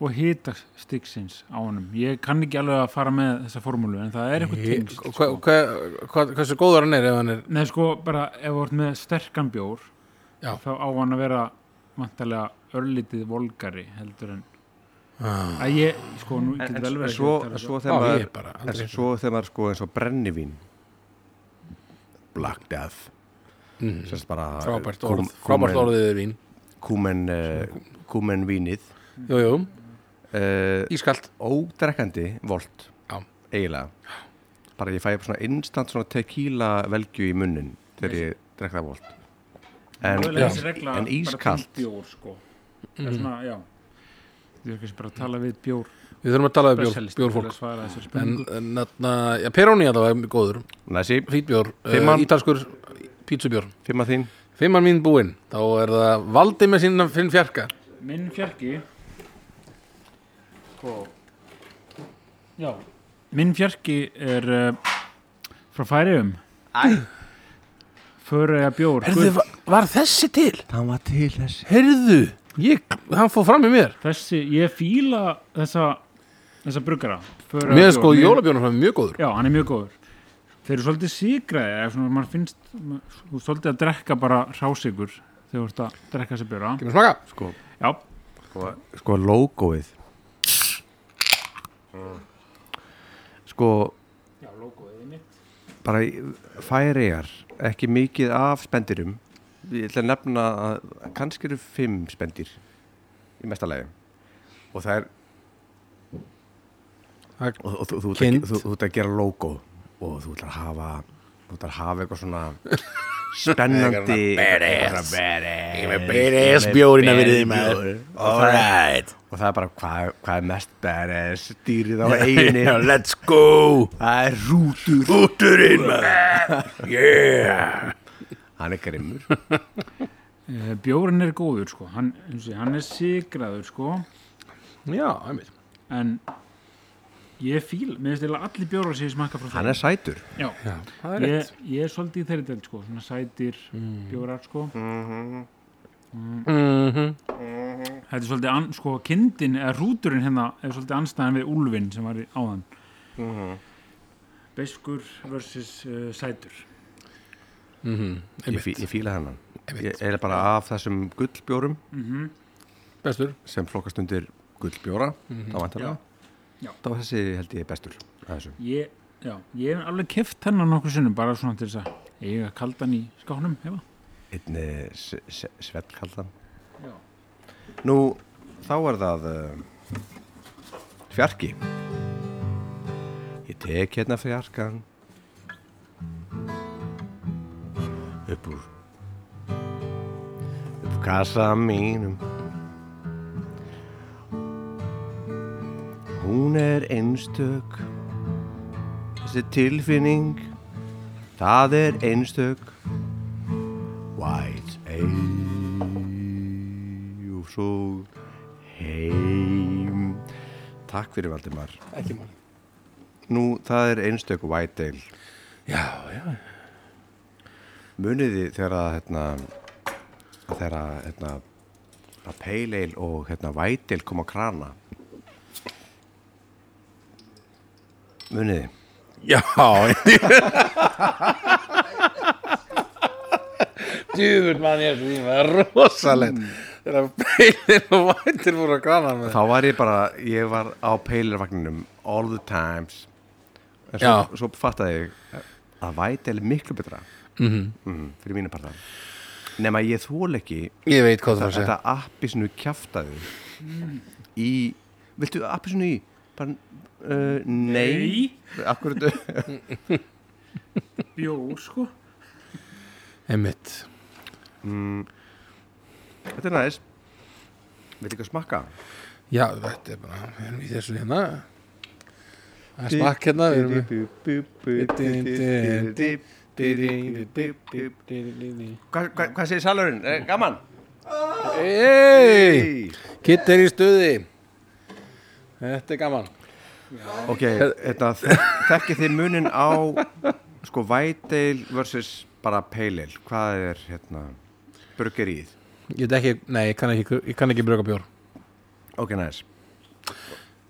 Speaker 3: og hitastiksins á honum ég kann ekki alveg að fara með þessa formúlu en það er einhver
Speaker 1: Ég-
Speaker 3: tengsl
Speaker 1: hva-
Speaker 3: sko.
Speaker 1: hva- hva- hversu góður hann er ef hann er
Speaker 3: Nei sko bara ef þú ert með sterkan bjór
Speaker 1: Já.
Speaker 3: þá á hann að vera vantarlega örlítið volgari heldur en
Speaker 1: ah,
Speaker 3: að ég sko nú
Speaker 2: en,
Speaker 3: getur vel
Speaker 2: en,
Speaker 3: verið
Speaker 2: en
Speaker 3: að
Speaker 2: svo,
Speaker 3: ég tala-
Speaker 2: svo
Speaker 1: já,
Speaker 2: þegar
Speaker 1: ég
Speaker 2: maður
Speaker 1: er bara
Speaker 2: en
Speaker 1: aldrei hægt
Speaker 2: svo þegar maður sko eins og brennivín Black Death
Speaker 1: Mm.
Speaker 2: sérst bara
Speaker 1: frábært
Speaker 2: kúm-
Speaker 1: orð, frábært
Speaker 2: kúmen-
Speaker 1: orð yfir vín
Speaker 2: kúmen uh, kúmen vínið
Speaker 1: jú, jú,
Speaker 2: uh,
Speaker 1: ískalt
Speaker 2: ódrekkandi volt
Speaker 1: Já.
Speaker 2: eiginlega bara ég fæ upp svona instant svona tequila velgju í munnin þegar ég drekka volt en,
Speaker 3: Mögulega þessi regla
Speaker 2: en
Speaker 3: bara
Speaker 2: ískalt.
Speaker 3: fyllt bjór sko það er
Speaker 1: Mhm.
Speaker 3: svona, já Þú er kannski bara að tala við bjór
Speaker 1: við þurfum að tala um bjór,
Speaker 3: specialist til að
Speaker 1: bjórfólk
Speaker 3: svara þessari
Speaker 1: en,
Speaker 3: spurningu
Speaker 1: en natna, já, Peroni að það var góður
Speaker 2: næsi,
Speaker 1: fítbjór, uh,
Speaker 2: Fimman.
Speaker 1: ítalskur pítsubjór
Speaker 2: fimm að þín
Speaker 1: Fimman mín búinn, þá er það Valdi með sína finn fjarka
Speaker 3: minn fjarki sko já, minn fjarki er uh, frá færiðum Föruða bjór gull.
Speaker 1: var þessi til?
Speaker 2: það var til þessi
Speaker 1: Heyrðu, ég, hann fór fram í mér
Speaker 3: þessi, ég fíla þessa þessa bruggara Föruða
Speaker 1: Mér
Speaker 3: bjór.
Speaker 1: er sko
Speaker 3: Mér-
Speaker 1: jólabjónum hann mjög góður
Speaker 3: Já, hann er mjög góður. Þeir eru svolítið sigraði, ef svona maður finnst, maður- þú ert svolítið að drekka bara hrásigur þegar þú ert að drekka sér björa.
Speaker 1: Kemur smaka?
Speaker 2: sko,
Speaker 3: Já,
Speaker 2: sko, sko logoið sko
Speaker 3: já logoðið mitt.
Speaker 2: bara færiðar ekki mikið af spendirum ég ætla að nefna að kannski eru fimm spendir í mesta lagi og það er
Speaker 1: Það-
Speaker 2: og, og, þú, þú, ert
Speaker 1: Kind.
Speaker 2: að, þú, þú ert að gera logo og þú ert að hafa þú ert að hafa eitthvað
Speaker 1: [LAUGHS]
Speaker 2: svona spennandi badass
Speaker 1: badass bjórinn að verið í maður.
Speaker 2: alright og það er bara hvað hva er mest badass
Speaker 1: [LAUGHS]
Speaker 2: dýrið á eiginni
Speaker 1: Let's go
Speaker 2: það er rútur
Speaker 1: Úturinn
Speaker 2: [LAUGHS]
Speaker 1: Yeah
Speaker 2: hann er grimmur
Speaker 3: Bjórin Eh, er góður, sko. Hann, eins og ég, hann er sigraður, sko.
Speaker 1: Já, einmitt
Speaker 3: En ég fíl, mér finnst eiginlega allir bjórar sem ég smakka frá
Speaker 2: hann er sætur
Speaker 3: Já,
Speaker 1: Já, það er
Speaker 3: ég,
Speaker 1: rétt
Speaker 3: ég er svolítið í þeirri delt, sko. Svona sætir
Speaker 2: Mm.
Speaker 3: bjórar, sko.
Speaker 1: Mhm.
Speaker 3: Þetta er svolítið, an, sko, kindin eða rúturinn hérna er svolítið anstæðan við úlfinn sem var í áðan. Mm
Speaker 1: Mhm.
Speaker 3: Beskur versus uh, sætur.
Speaker 1: Mm-hmm.
Speaker 2: ég, fí, ég fíla hennan ég er bara af þessum gullbjórum
Speaker 3: Mhm.
Speaker 1: Bestur
Speaker 2: sem flokkast undir gullbjóra þá vantarlega
Speaker 3: Mhm. Já.
Speaker 2: þá er þessi held ég bestur af þessum.
Speaker 3: Ég, já, ég hef alveg keft hennan nokkur sinnum bara svona til þess að eiga kaldan í skáknum, hefa.
Speaker 2: einn eh, s- s- svellkaldan
Speaker 3: Já.
Speaker 2: nú þá er það uh, fjarki ég tek hérna fjarkan upp úr upp úr kassa mínum hún er einstök þessi tilfinning það er einstök White Ale og svo heim Takk fyrir Valdimar
Speaker 1: Ekki mál
Speaker 2: Nú, það er einstök White Ale
Speaker 1: Já, já
Speaker 2: Muniði þegar að hérna, að þegar að hérna, að Pale Ale og hérna, White Ale koma á krana Muniði
Speaker 1: Já Djúður mann ég er því Það er rosalegt Þegar beilir og vætir fóru að grana með
Speaker 2: Þá var ég bara, ég var á Pale Ale vagninum all the times En svo,
Speaker 1: Já.
Speaker 2: svo fattaði ég að White Ale er miklu betra -hmm, fyrir mínu parta nema ég þól ekki
Speaker 1: Ég veit hvað það er að segja
Speaker 2: þetta appisinu kjaftaði í viltu appisinu í bara, uh, nei, nei. Akkur,
Speaker 3: Bjór, sko.
Speaker 1: Einmitt
Speaker 2: [LAUGHS] þetta er næst viltu ekki að smakka
Speaker 1: Já, þetta er bara Við erum í þessu hérna Það er smakk hérna við erum með-
Speaker 2: Hvað hva, hva segir salurinn? Er gaman?
Speaker 1: Hey! Kitt er í stuði Þetta er gaman
Speaker 2: Ok, þetta þekkið þið munin á sko White Ale versus bara Pale Ale Hvað er hérna burgerið?
Speaker 1: Ég veit ekki, nei, ég kann ekki, ég kann ekki brugga bjór
Speaker 2: Ok, næs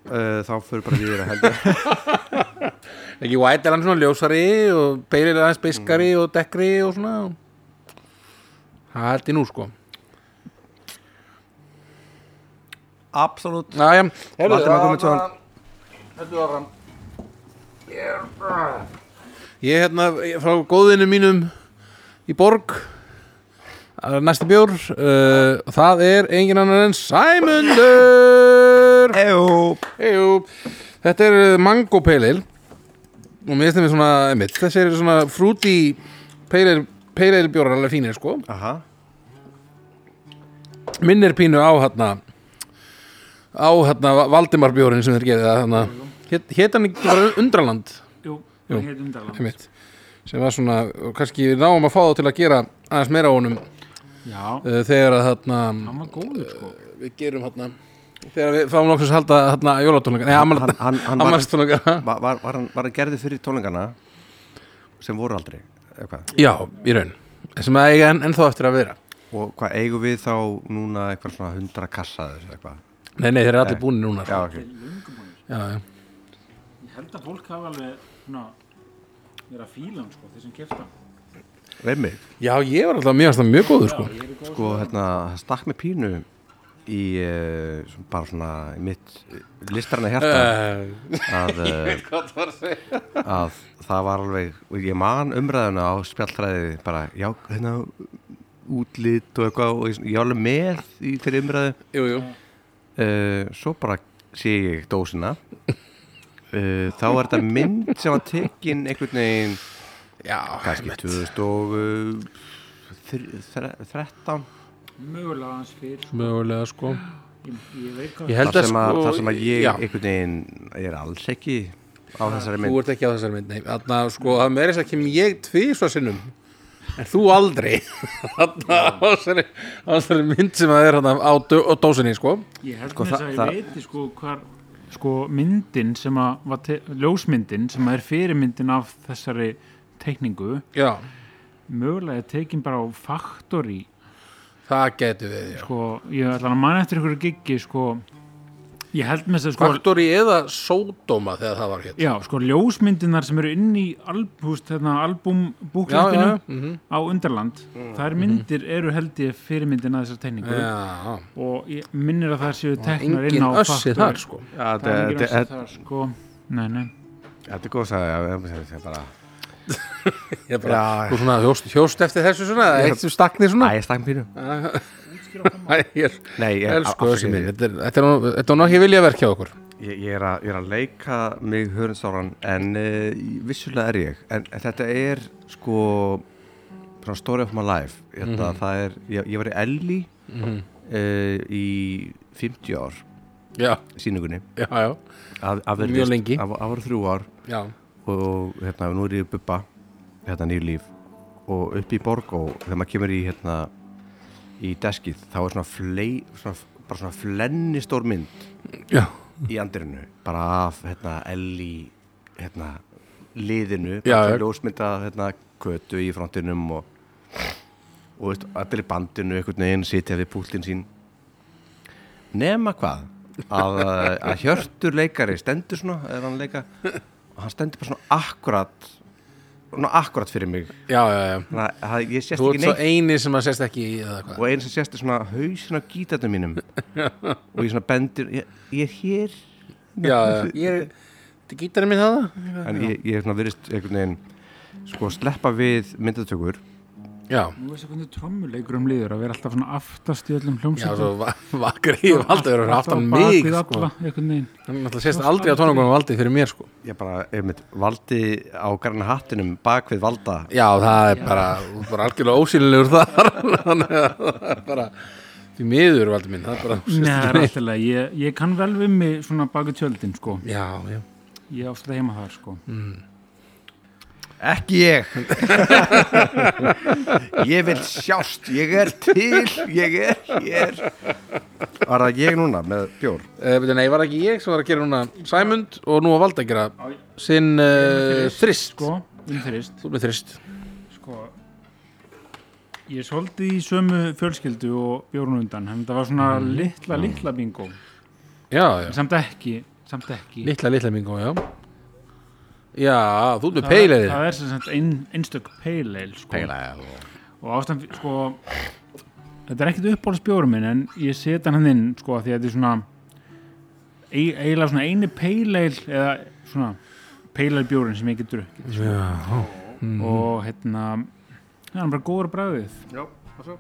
Speaker 2: uh, Þá fyrir bara við að helga
Speaker 1: Ekki white er hann svona ljósari og peilir er aðeins beiskari og dekkri og svona Það er allt í nú sko
Speaker 2: Absolutt
Speaker 1: Næja,
Speaker 2: Valdimar Guðmundsson.
Speaker 1: Heldur áfram Ég er hérna ég- frá góðinu mínum í Borg Það er næsti bjór uh, og það er engin annar en Sæmundur
Speaker 2: Ejó
Speaker 1: Jú, þetta er uh, mango peilil og mér finnst þeim svona einmitt, þessi er svona frúti peilil, peilil bjórar alveg fínir sko
Speaker 2: Aha
Speaker 1: minn er pínu á hérna á hérna Valdimar bjórin sem þeir gerði það hérna hét, hét hann ekki bara Undraland
Speaker 3: Jú,
Speaker 1: Jú.
Speaker 3: það heitir undarland
Speaker 1: einmitt, sem var svona og kannski við náum að fá þá til að gera aðeins meira á honum uh,
Speaker 3: Já,
Speaker 1: þegar að hérna
Speaker 3: hann var góður sko
Speaker 1: við gerum hérna þegar við fáum nokkuð að halda hérna jólatónleika nei,
Speaker 2: Hann- hann- hann var-
Speaker 1: ammalagstónleika
Speaker 2: Var, var, var, hann, var hann gerði fyrir tónleikana sem voru aldrei eða hvað?
Speaker 1: já, í raun sem að eiga en, ennþá eftir að vera
Speaker 2: og hvað eigum við þá núna eitthvað svona hundra kassaður eitthvað
Speaker 1: nei, nei, þeir eru allir búinir núna
Speaker 2: já,
Speaker 1: sko.
Speaker 2: okay.
Speaker 1: já, já.
Speaker 3: Ég held að fólk hafa alveg svona vera fílan sko, þeir sem kefta
Speaker 2: Vemmi,
Speaker 1: já, ég var alltaf mjög, mjög góður sko.
Speaker 2: sko hérna það stakk með pínu í uh, svona- bara svona í mitt listræna hjarta
Speaker 1: uh,
Speaker 2: að, uh, að það var alveg og ég man umræðuna á spjallræði bara, já, hérna útlit og eitthvað og ég, ég var alveg með í þeirri umræðu
Speaker 1: jú, jú
Speaker 2: uh, svo bara sé ég dósina uh, þá er þetta mynd sem var tekin einhvern veginn
Speaker 1: já,
Speaker 2: kannski eh, 2013
Speaker 3: mögulega hans fyrir sko.
Speaker 1: mögulega sko
Speaker 3: ég, ég veit hvað
Speaker 1: Ég
Speaker 2: þar
Speaker 1: held að
Speaker 2: sem, að,
Speaker 1: sko
Speaker 2: þar sem að ég
Speaker 1: já,
Speaker 2: einhvern veginn er alls ekki á þessari
Speaker 1: Þú
Speaker 2: mynd
Speaker 1: ert ekki á þessari mynd, nei Þannig að sko, það meira þess að kem ég tvísva sinnum En þú aldrei [LAUGHS] Þannig að á þessari, á þessari mynd sem það er hann á, dó- á dósinni sko
Speaker 3: ég held
Speaker 2: Sko,
Speaker 3: með þess
Speaker 2: það-
Speaker 3: að
Speaker 2: það-
Speaker 3: ég veiti sko hvar sko myndin sem að var te- ljósmyndin sem að er fyrirmyndin af þessari teikningu
Speaker 1: Já,
Speaker 3: mögulega er tekin bara á Factory
Speaker 1: það getur við já.
Speaker 3: sko, ég ætla að manna eftir ykkur giggi sko, ég held með þess að sko
Speaker 1: Faktori eða Sódóma þegar það var hér
Speaker 3: Já, sko, ljósmyndinar sem eru inn í albúst, þarna, albúmbúkletinu
Speaker 1: Já, já, mhm.
Speaker 3: á Undarland þær myndir eru held ég fyrirmyndina þessar tegningu
Speaker 1: Já,
Speaker 3: og ég minnir að það séu teknar inn
Speaker 1: engin
Speaker 3: á
Speaker 1: össi
Speaker 3: Factory.
Speaker 1: þar sko
Speaker 2: Ja,
Speaker 3: Það er
Speaker 2: þetta
Speaker 3: engin össi
Speaker 2: þetta-
Speaker 3: þar, sko Nei, nei,
Speaker 2: þetta er góð sagði já, þetta er bara-
Speaker 1: Ég bara,
Speaker 2: Já.
Speaker 1: þú svona hjóst, hjóst eftir þessu svona eða Eitt sem stakni
Speaker 2: Æ,
Speaker 1: svona
Speaker 2: ég stakk pínu
Speaker 1: Æ, ég
Speaker 2: Nei, ég,
Speaker 1: Elsku
Speaker 2: afsakið.
Speaker 1: þessi minn, þetta er- þetta er nú- þetta er nú ekki vilja verkja okkur
Speaker 2: ég, ég, er að, ég er að leika mig hörunsáran en uh, vissulega er ég en, en þetta er sko svona story of my life mm
Speaker 1: Mhm.
Speaker 2: það er, ég, ég var í Elli mm í 50 ár
Speaker 1: Já,
Speaker 2: síningunni
Speaker 1: já, já,
Speaker 2: af, af
Speaker 1: Mjög lengi.
Speaker 2: af, af voru þrjú ár
Speaker 1: já.
Speaker 2: og hérna, nú er ég í bubba hérna nýr líf og upp í borg og þegar maður kemur í hérna í deskið þá er svona, flei, svona bara svona flennistór mynd
Speaker 1: Já,
Speaker 2: í andirinu bara af hérna Elli hérna liðinu
Speaker 1: Já, já.
Speaker 2: bara sem ljósmynda hérna kötu í frontinum og og veist, allir í bandinu einhvern veginn sitja við púltin sín nema hvað að, að hjörtur leikari stendur svona eða hann leika og hann stendur bara svona akkurat svona akkurat fyrir mig
Speaker 1: já, já, já.
Speaker 2: þannig að- að ég
Speaker 1: Þú
Speaker 2: sést ekki
Speaker 1: ert svo
Speaker 2: neitt
Speaker 1: eini sem að sést ekki í eða hvað
Speaker 2: og eins og sést er svona hausin á gítarnum
Speaker 1: [LAUGHS]
Speaker 2: mínum og ég svona bendir ég, ég er hér
Speaker 1: Já, já, [LAUGHS] ég er Þetta gítarinn minn það
Speaker 2: en ég, ég er svona virðist einhvern veginn sko sleppa við myndatökur
Speaker 1: Já,
Speaker 3: nú veist það hvernig trommuleikur um liður að vera alltaf svona aftast í öllum
Speaker 1: já,
Speaker 3: hljómsveitum
Speaker 1: svo va- vakar um í valdi eru aftan mig sko.
Speaker 3: alla, einhvern veginn
Speaker 1: Þannig að það sést aldrei á tónungunum valdi fyrir mér sko.
Speaker 2: ég bara, einmitt, valdi á grann hattinum bak við valda
Speaker 1: Já, það er bara, þú ert bara algjörlega ósýnilegur þar [LAUGHS] Þannig að það er bara Því miður valdi minn, það er bara þú
Speaker 3: Nei,
Speaker 1: sést
Speaker 3: það
Speaker 1: ekki
Speaker 3: er
Speaker 1: neitt.
Speaker 3: alltaf, ég, ég kann vel við mig svona baki tjöldin, sko
Speaker 1: Já, já,
Speaker 3: ég á alltaf heima þar sko
Speaker 1: Mm.
Speaker 2: Ekki ég [LAUGHS] Ég vil sjást Ég er til Ég er hér Var það ég núna með bjór
Speaker 1: Eh, veitu, nei, var það ekki ég sem var að gera núna Sæmund og nú að valda að gera sinn uh, þrist
Speaker 3: sko, umþrist
Speaker 1: Þú með þrist
Speaker 3: sko ég er svolítið í sömu fjölskyldu og bjórn undan, en það var svona
Speaker 1: Mm.
Speaker 3: litla, litla bingo,
Speaker 1: Já, já,
Speaker 3: en samt ekki samt ekki
Speaker 1: litla, litla mingo, já Já, þú með peileðir
Speaker 3: það er sem sagt ein, einstök peileil sko. og ástæðan fyrir- sko, þetta er ekkit uppbólsbjórum minn en ég seta hann inn sko, af því að þetta er svona ei- eiginlega svona eini peileil eða svona peileilbjórin sem ég get drukkið sko. og hérna já, hann er bara góður bræðið
Speaker 2: Já, og svo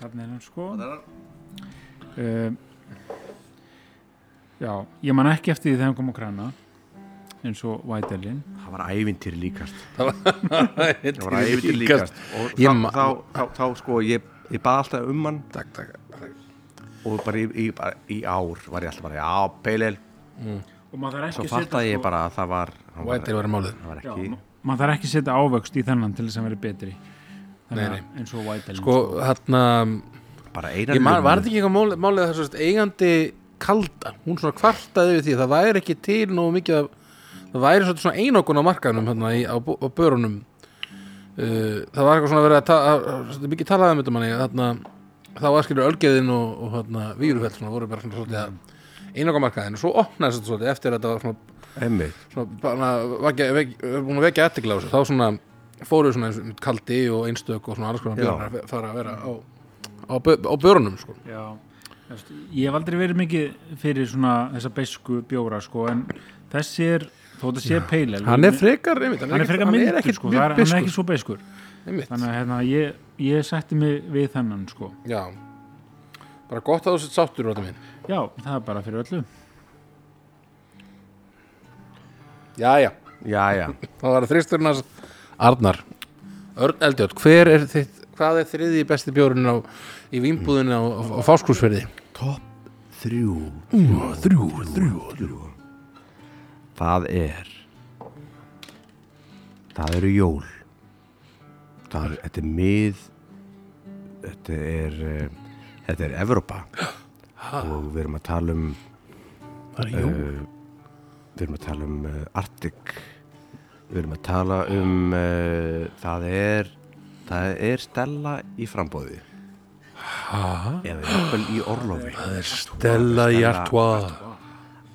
Speaker 3: þarna er hann sko
Speaker 2: er hann.
Speaker 3: uh, já, ég man ekki eftir því þegar hann kom á krana eins og Vædelin
Speaker 2: Það var ævintýr líkast
Speaker 1: Þetta
Speaker 2: Það var ævintýr líkast Og
Speaker 1: Ég
Speaker 2: þá,
Speaker 1: ma-
Speaker 2: þá, þá, þá sko ég, ég bað alltaf um hann
Speaker 1: Takk, takk
Speaker 2: Og bara í, í, bara í ár var ég alltaf bara Já, peilel
Speaker 3: og maður þarf
Speaker 2: Svo
Speaker 3: ekki að setja
Speaker 2: fattaði ég sko. bara að það var hann var-
Speaker 1: Vætir var málið
Speaker 2: Það var
Speaker 3: Já,
Speaker 2: ekki
Speaker 3: ma- maður þarf ekki að setja ávöxt í þennan til þess að vera betri Þannig
Speaker 1: Nei,
Speaker 3: að- eins og White Alien
Speaker 1: Sko, hérna
Speaker 2: bara einar
Speaker 1: Ég man,
Speaker 2: lúnu.
Speaker 1: var þetta ekki eitthvað málið, málið að þessu eigandi kalda Hún svona kvartaði yfir því að það væri ekki til nógu mikið af Það væri svolítið svona einokun á markanum hérna, í, á, bú- á börunum uh, Það var eitthvað svona verið að, ta að, að svolítið mikið talaði um þetta manni þarna, Þá var skilur ölgeðin og, og hérna, výrufell svona voru bara svona svolítið að einoka markaðin og svo opnaði þetta svolítið eftir að þetta var svona
Speaker 2: Einmitt.
Speaker 1: svona bara vekja, vekja, búin að vekja eftirgla á þessu þá svona fóru svona eins- kaldi og einstök og svona alls konar
Speaker 2: Já.
Speaker 1: björnar að fara að vera á, á, bö- á björnum sko.
Speaker 3: Já, þú veist, ég hef aldrei verið mikið fyrir svona þessa beisku bjóra sko, en þessi er þó þetta sé peilel
Speaker 1: frekar einmitt,
Speaker 3: hann er frekar myndur sko, það er, hann er ekki svo beiskur þannig að hérna, ég, ég setti mig við þennan sko.
Speaker 1: já bara gott að þú sett sáttur rota mín
Speaker 3: já, það er bara fyrir öllu
Speaker 1: já já,
Speaker 2: Já, já
Speaker 1: það var þristurinn hans Arnar Örn Eldjótt, hver er þitt hvað er þriði besti bjórn á í vínbúðinu á, á, á fáskúsferði
Speaker 2: Þrjú
Speaker 1: Mm, þrjú, þrjú, þrjú
Speaker 2: Það er Það eru jól Það er, þetta er mið Þetta er eh, Þetta er Evrópa og við erum að tala um
Speaker 1: það er
Speaker 2: uh,
Speaker 1: jú,
Speaker 2: við erum að tala um uh, Arctic við erum að tala um uh, það er það er stella í frambóði ha? eða jafnvel í orlofi
Speaker 1: það er Stella
Speaker 2: Stella-
Speaker 1: Jartois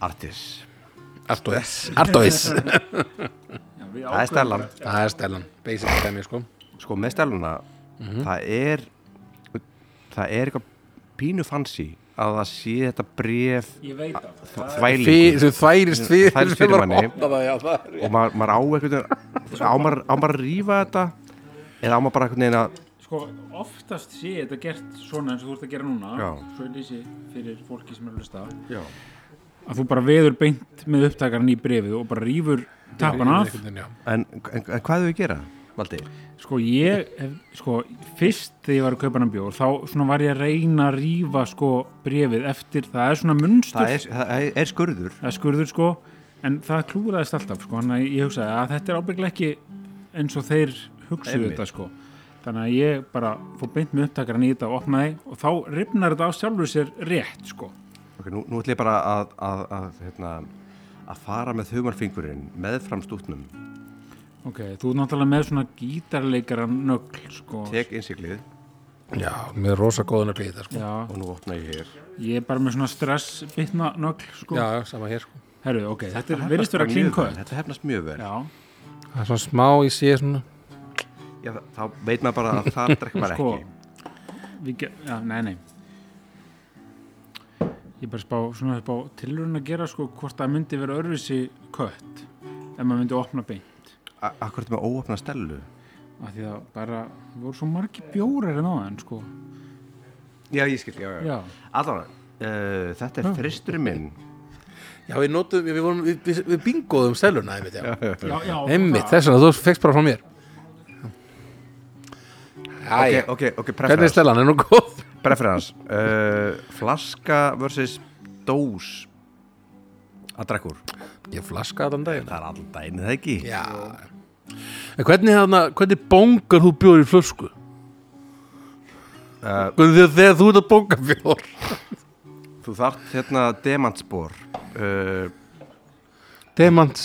Speaker 2: Artis
Speaker 1: Artois Artois
Speaker 2: það er stellan
Speaker 1: Það er Stellan, basic dæmi sko
Speaker 2: sko með steluna
Speaker 1: Mhm.
Speaker 2: það er það er eitthvað pínu fancy að það sé þetta bref
Speaker 3: ég veit að
Speaker 2: þvælingu
Speaker 1: sem þvælist fyrir
Speaker 2: Þvælist fyrir manni.
Speaker 1: það, já, það er
Speaker 2: og maður, maður á eitthvað á maður, á maður að rífa þetta eða á maður bara einhvern veginn að
Speaker 3: sko, oftast sé þetta gert svona eins og þú ert að gera núna
Speaker 2: Já.
Speaker 3: svo ég lýsi fyrir fólki sem er að hlusta
Speaker 2: Já.
Speaker 3: að þú bara veður beint með upptakarinn í brefið og bara rýfur tappan af
Speaker 1: Einhvern veginn, já.
Speaker 2: en, en, en hvað þau að gera? Valdi?
Speaker 3: sko ég, hef- sko fyrst þegar ég var að kaupa hann bjór þá svona var ég að reyna að rýfa sko brefið eftir, það er svona munstur
Speaker 2: Það er, það er skurður
Speaker 3: það er skurður sko en það klúraðist alltaf sko hann að ég hugsaði að þetta er ábygglega ekki eins og þeir hugsuðu
Speaker 2: Einmitt.
Speaker 3: þetta sko þannig að ég bara fór beint með upptakarinn í þetta og opnaði og þá ripnar þetta á sjálfur sér rétt sko
Speaker 2: ok, nú, nú ætlum ég bara að að, að, hérna, að fara með þumarfingurinn með framstútnum
Speaker 3: ok, þú ert náttúrulega með svona gítarleikara nögl sko
Speaker 2: tek innsiklið
Speaker 1: já, með rosa góðan að byrja þetta sko
Speaker 3: já,
Speaker 2: og nú opna ég hér
Speaker 3: ég er bara með svona stressbitna nögl sko
Speaker 1: Já, já, sama hér sko
Speaker 3: Herru, ok, þetta er verðist vera
Speaker 2: Mjög vel,
Speaker 3: klinköld
Speaker 2: Þetta hefnast mjög vel
Speaker 3: Já,
Speaker 1: Það er svona smá í sé svona
Speaker 2: Já, þá veit maður bara
Speaker 3: [LAUGHS]
Speaker 2: að það drekka maður
Speaker 3: Sko.
Speaker 2: ekki
Speaker 3: við ge- já, nei, nei Ég er bara að spá, svona að spá tilurinn að gera sko hvort það myndi vera örfisi kött ef maður myndi opna beint
Speaker 2: A- Akkur þetta með óopna stelu
Speaker 3: af því að bara, það voru svo margi bjórar en á þann sko
Speaker 2: Já, ég skil, já,
Speaker 3: Já,
Speaker 2: Allara, uh, þetta er þristurinn minn
Speaker 1: Já, við notum, við, vorum, við, við, við bingoðum seluna einmitt, já
Speaker 3: já, já
Speaker 1: Einmitt, þess vegna, þú fegst bara frá mér
Speaker 2: Ok,
Speaker 1: Æja,
Speaker 2: ok, ok,
Speaker 1: hvernig er
Speaker 2: preference
Speaker 1: Stellan, er nú góð?
Speaker 2: Preference uh, Flaska versus Eh, dós að drakka úr
Speaker 1: Ég flaska þann daginn
Speaker 2: Það er alltaf dæni, það ekki
Speaker 1: Já En hvernig, hana, hvernig bongar þú bjór í flösku?
Speaker 2: Uh,
Speaker 1: Hvernig þegar, þegar þú ert að bonga bjór?
Speaker 2: Þú þarft hérna demantspor uh,
Speaker 1: Demants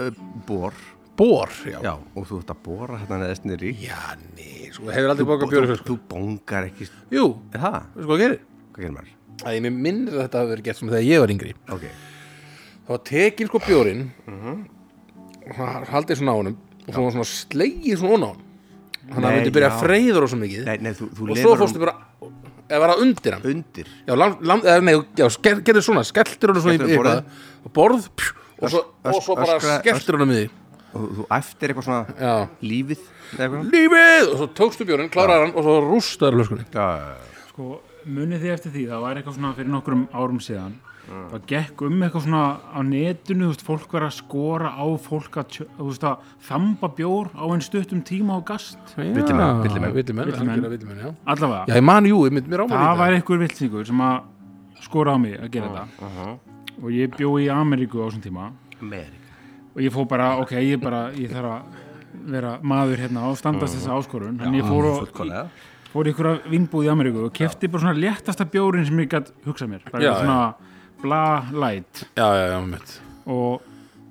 Speaker 2: uh, Bor
Speaker 1: Bór, já
Speaker 2: Já, og þú þarft að bora hérna neðst niður í
Speaker 1: Já, nei, sko, hefur aldrei
Speaker 2: Þú-
Speaker 1: bongað bjór í
Speaker 2: þú-
Speaker 1: flösku
Speaker 2: Þú bongar ekki Er
Speaker 1: Jú,
Speaker 2: það?
Speaker 1: veistu hvað gerir?
Speaker 2: Hvað gerir maður?
Speaker 1: Æ, mér minnir að þetta hafi verið gert sem þegar ég var yngri
Speaker 2: Ok
Speaker 1: Það var tekin sko bjórin mm
Speaker 2: Mhm.
Speaker 1: -hmm. Haldið svona á honum Og svo var svona slegið svona ón á honum Þannig að það
Speaker 2: Nei,
Speaker 1: myndi byrja
Speaker 2: já.
Speaker 1: að freyða rosa mikið
Speaker 2: Nei, nei, þú, þú
Speaker 1: Og
Speaker 2: lifir
Speaker 1: svo
Speaker 2: honum
Speaker 1: fórstu bara Eða var það undir hann
Speaker 2: undir
Speaker 1: Já, land, land, eða, nei, já sker, gerðu svona, skelltir honum svona í
Speaker 2: Skelltir honum
Speaker 1: eitthvað og borð pjú, og, svo,
Speaker 2: Ösk-
Speaker 1: og svo bara
Speaker 2: öskra-
Speaker 1: skelltir honum í því
Speaker 2: og þú- þú æftir eitthvað svona
Speaker 1: Já,
Speaker 2: lífið eða eitthvað
Speaker 1: lífið! Og svo tókstu björn, klárar hann og svo rústaður löskunni
Speaker 2: Já, já, já.
Speaker 3: Sko, munið þið eftir því, það var eitthvað svona fyrir nokkrum árum síðan það gekk um eitthvað svona á netinu þú veist, fólk var að skora á fólk að, tjö- þú veist, að þamba bjór á einn stuttum tíma á gast
Speaker 2: Villimenn, villimenn.
Speaker 1: Ah, villimenn,
Speaker 3: Villimenn.
Speaker 1: algjörlega villimenn, já
Speaker 3: allavega,
Speaker 1: Já, ég man, jú, ég mynd mér ámæli
Speaker 3: það var einhver viltingur sem að skora á mig að gera þetta og ég bjó í Ameríku á þessum tíma
Speaker 2: Amerika
Speaker 3: og ég fór bara, ok, ég bara ég þarf að vera maður hérna og standast þessa áskorun, en ég fór og
Speaker 2: Fullkólega
Speaker 3: fór í einhverja vinnbúð í Ameríku og kefti bara svona léttasta bjórin sem ég gætt hugsað mér bara
Speaker 1: Já,
Speaker 3: eitthvað svona bla light
Speaker 1: Já, já, já, mitt
Speaker 3: og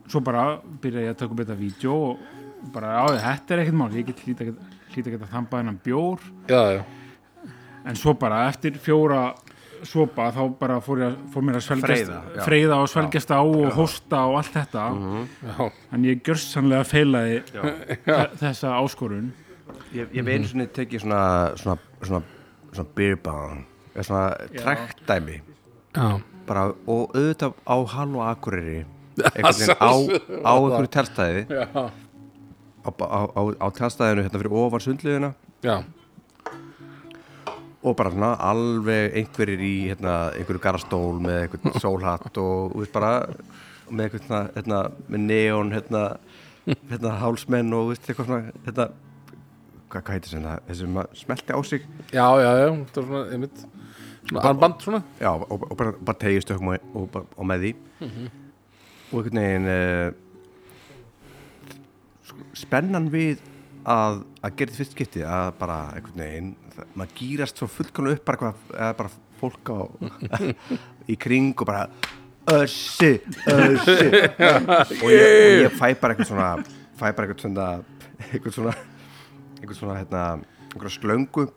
Speaker 3: svo bara byrjaði ég að taka upp þetta vídeo og bara á því, þetta er ekkert mál ég get hlýta að geta þambað hennan bjór
Speaker 1: Já, já,
Speaker 3: en svo bara eftir fjóra sopa þá bara fór, ég, að- fór mér að svelgjast
Speaker 2: Freyða, já. Mhm.
Speaker 3: freyða og svelgjast á og hósta og allt þetta
Speaker 1: já,
Speaker 3: en ég gjörsanlega feilaði þe- þessa áskorun
Speaker 2: Ég ég hef einu sinni tekið svona svona, svona, svona beer bong eða svona trektdæmi
Speaker 1: já.
Speaker 2: bara og auðvitað á Hall og
Speaker 1: [LAUGHS]
Speaker 2: Akureyri
Speaker 1: að
Speaker 2: einhvern veginn á,
Speaker 1: sjálfsögðu
Speaker 2: á einhverju teltstæði
Speaker 1: Já,
Speaker 2: á, á, á, á teltstæðinu hérna fyrir ofar sundliðina
Speaker 1: já,
Speaker 2: og bara svona alveg einhverjir í hérna, einhverju garastól með einhvern sólhatt og þú veist bara með einhvern svona, hérna, með neon hérna, hérna hálsmenn og þú veist eitthvað svona hérna, hvað, hvað heitir sem það, þessi sem að smelti á sig
Speaker 1: já, já, já Það var svona, ég mynd Svona armband svona
Speaker 2: já, og, og bara, bara tegist okkur og, og, bara- og með því og einhvern veginn uh, spennan við að, að gera þetta fyrst skipti að bara einhvern veginn það- maður gýrast svo fullkona upp bara, hvað, eða bara fólk á, [LAUGHS] í kring og bara össi, össi og ég, og ég fæ bara eitthvað svona fæ bara eitthvað svona eitthvað svona eitthvað svona hérna einhverja slöngu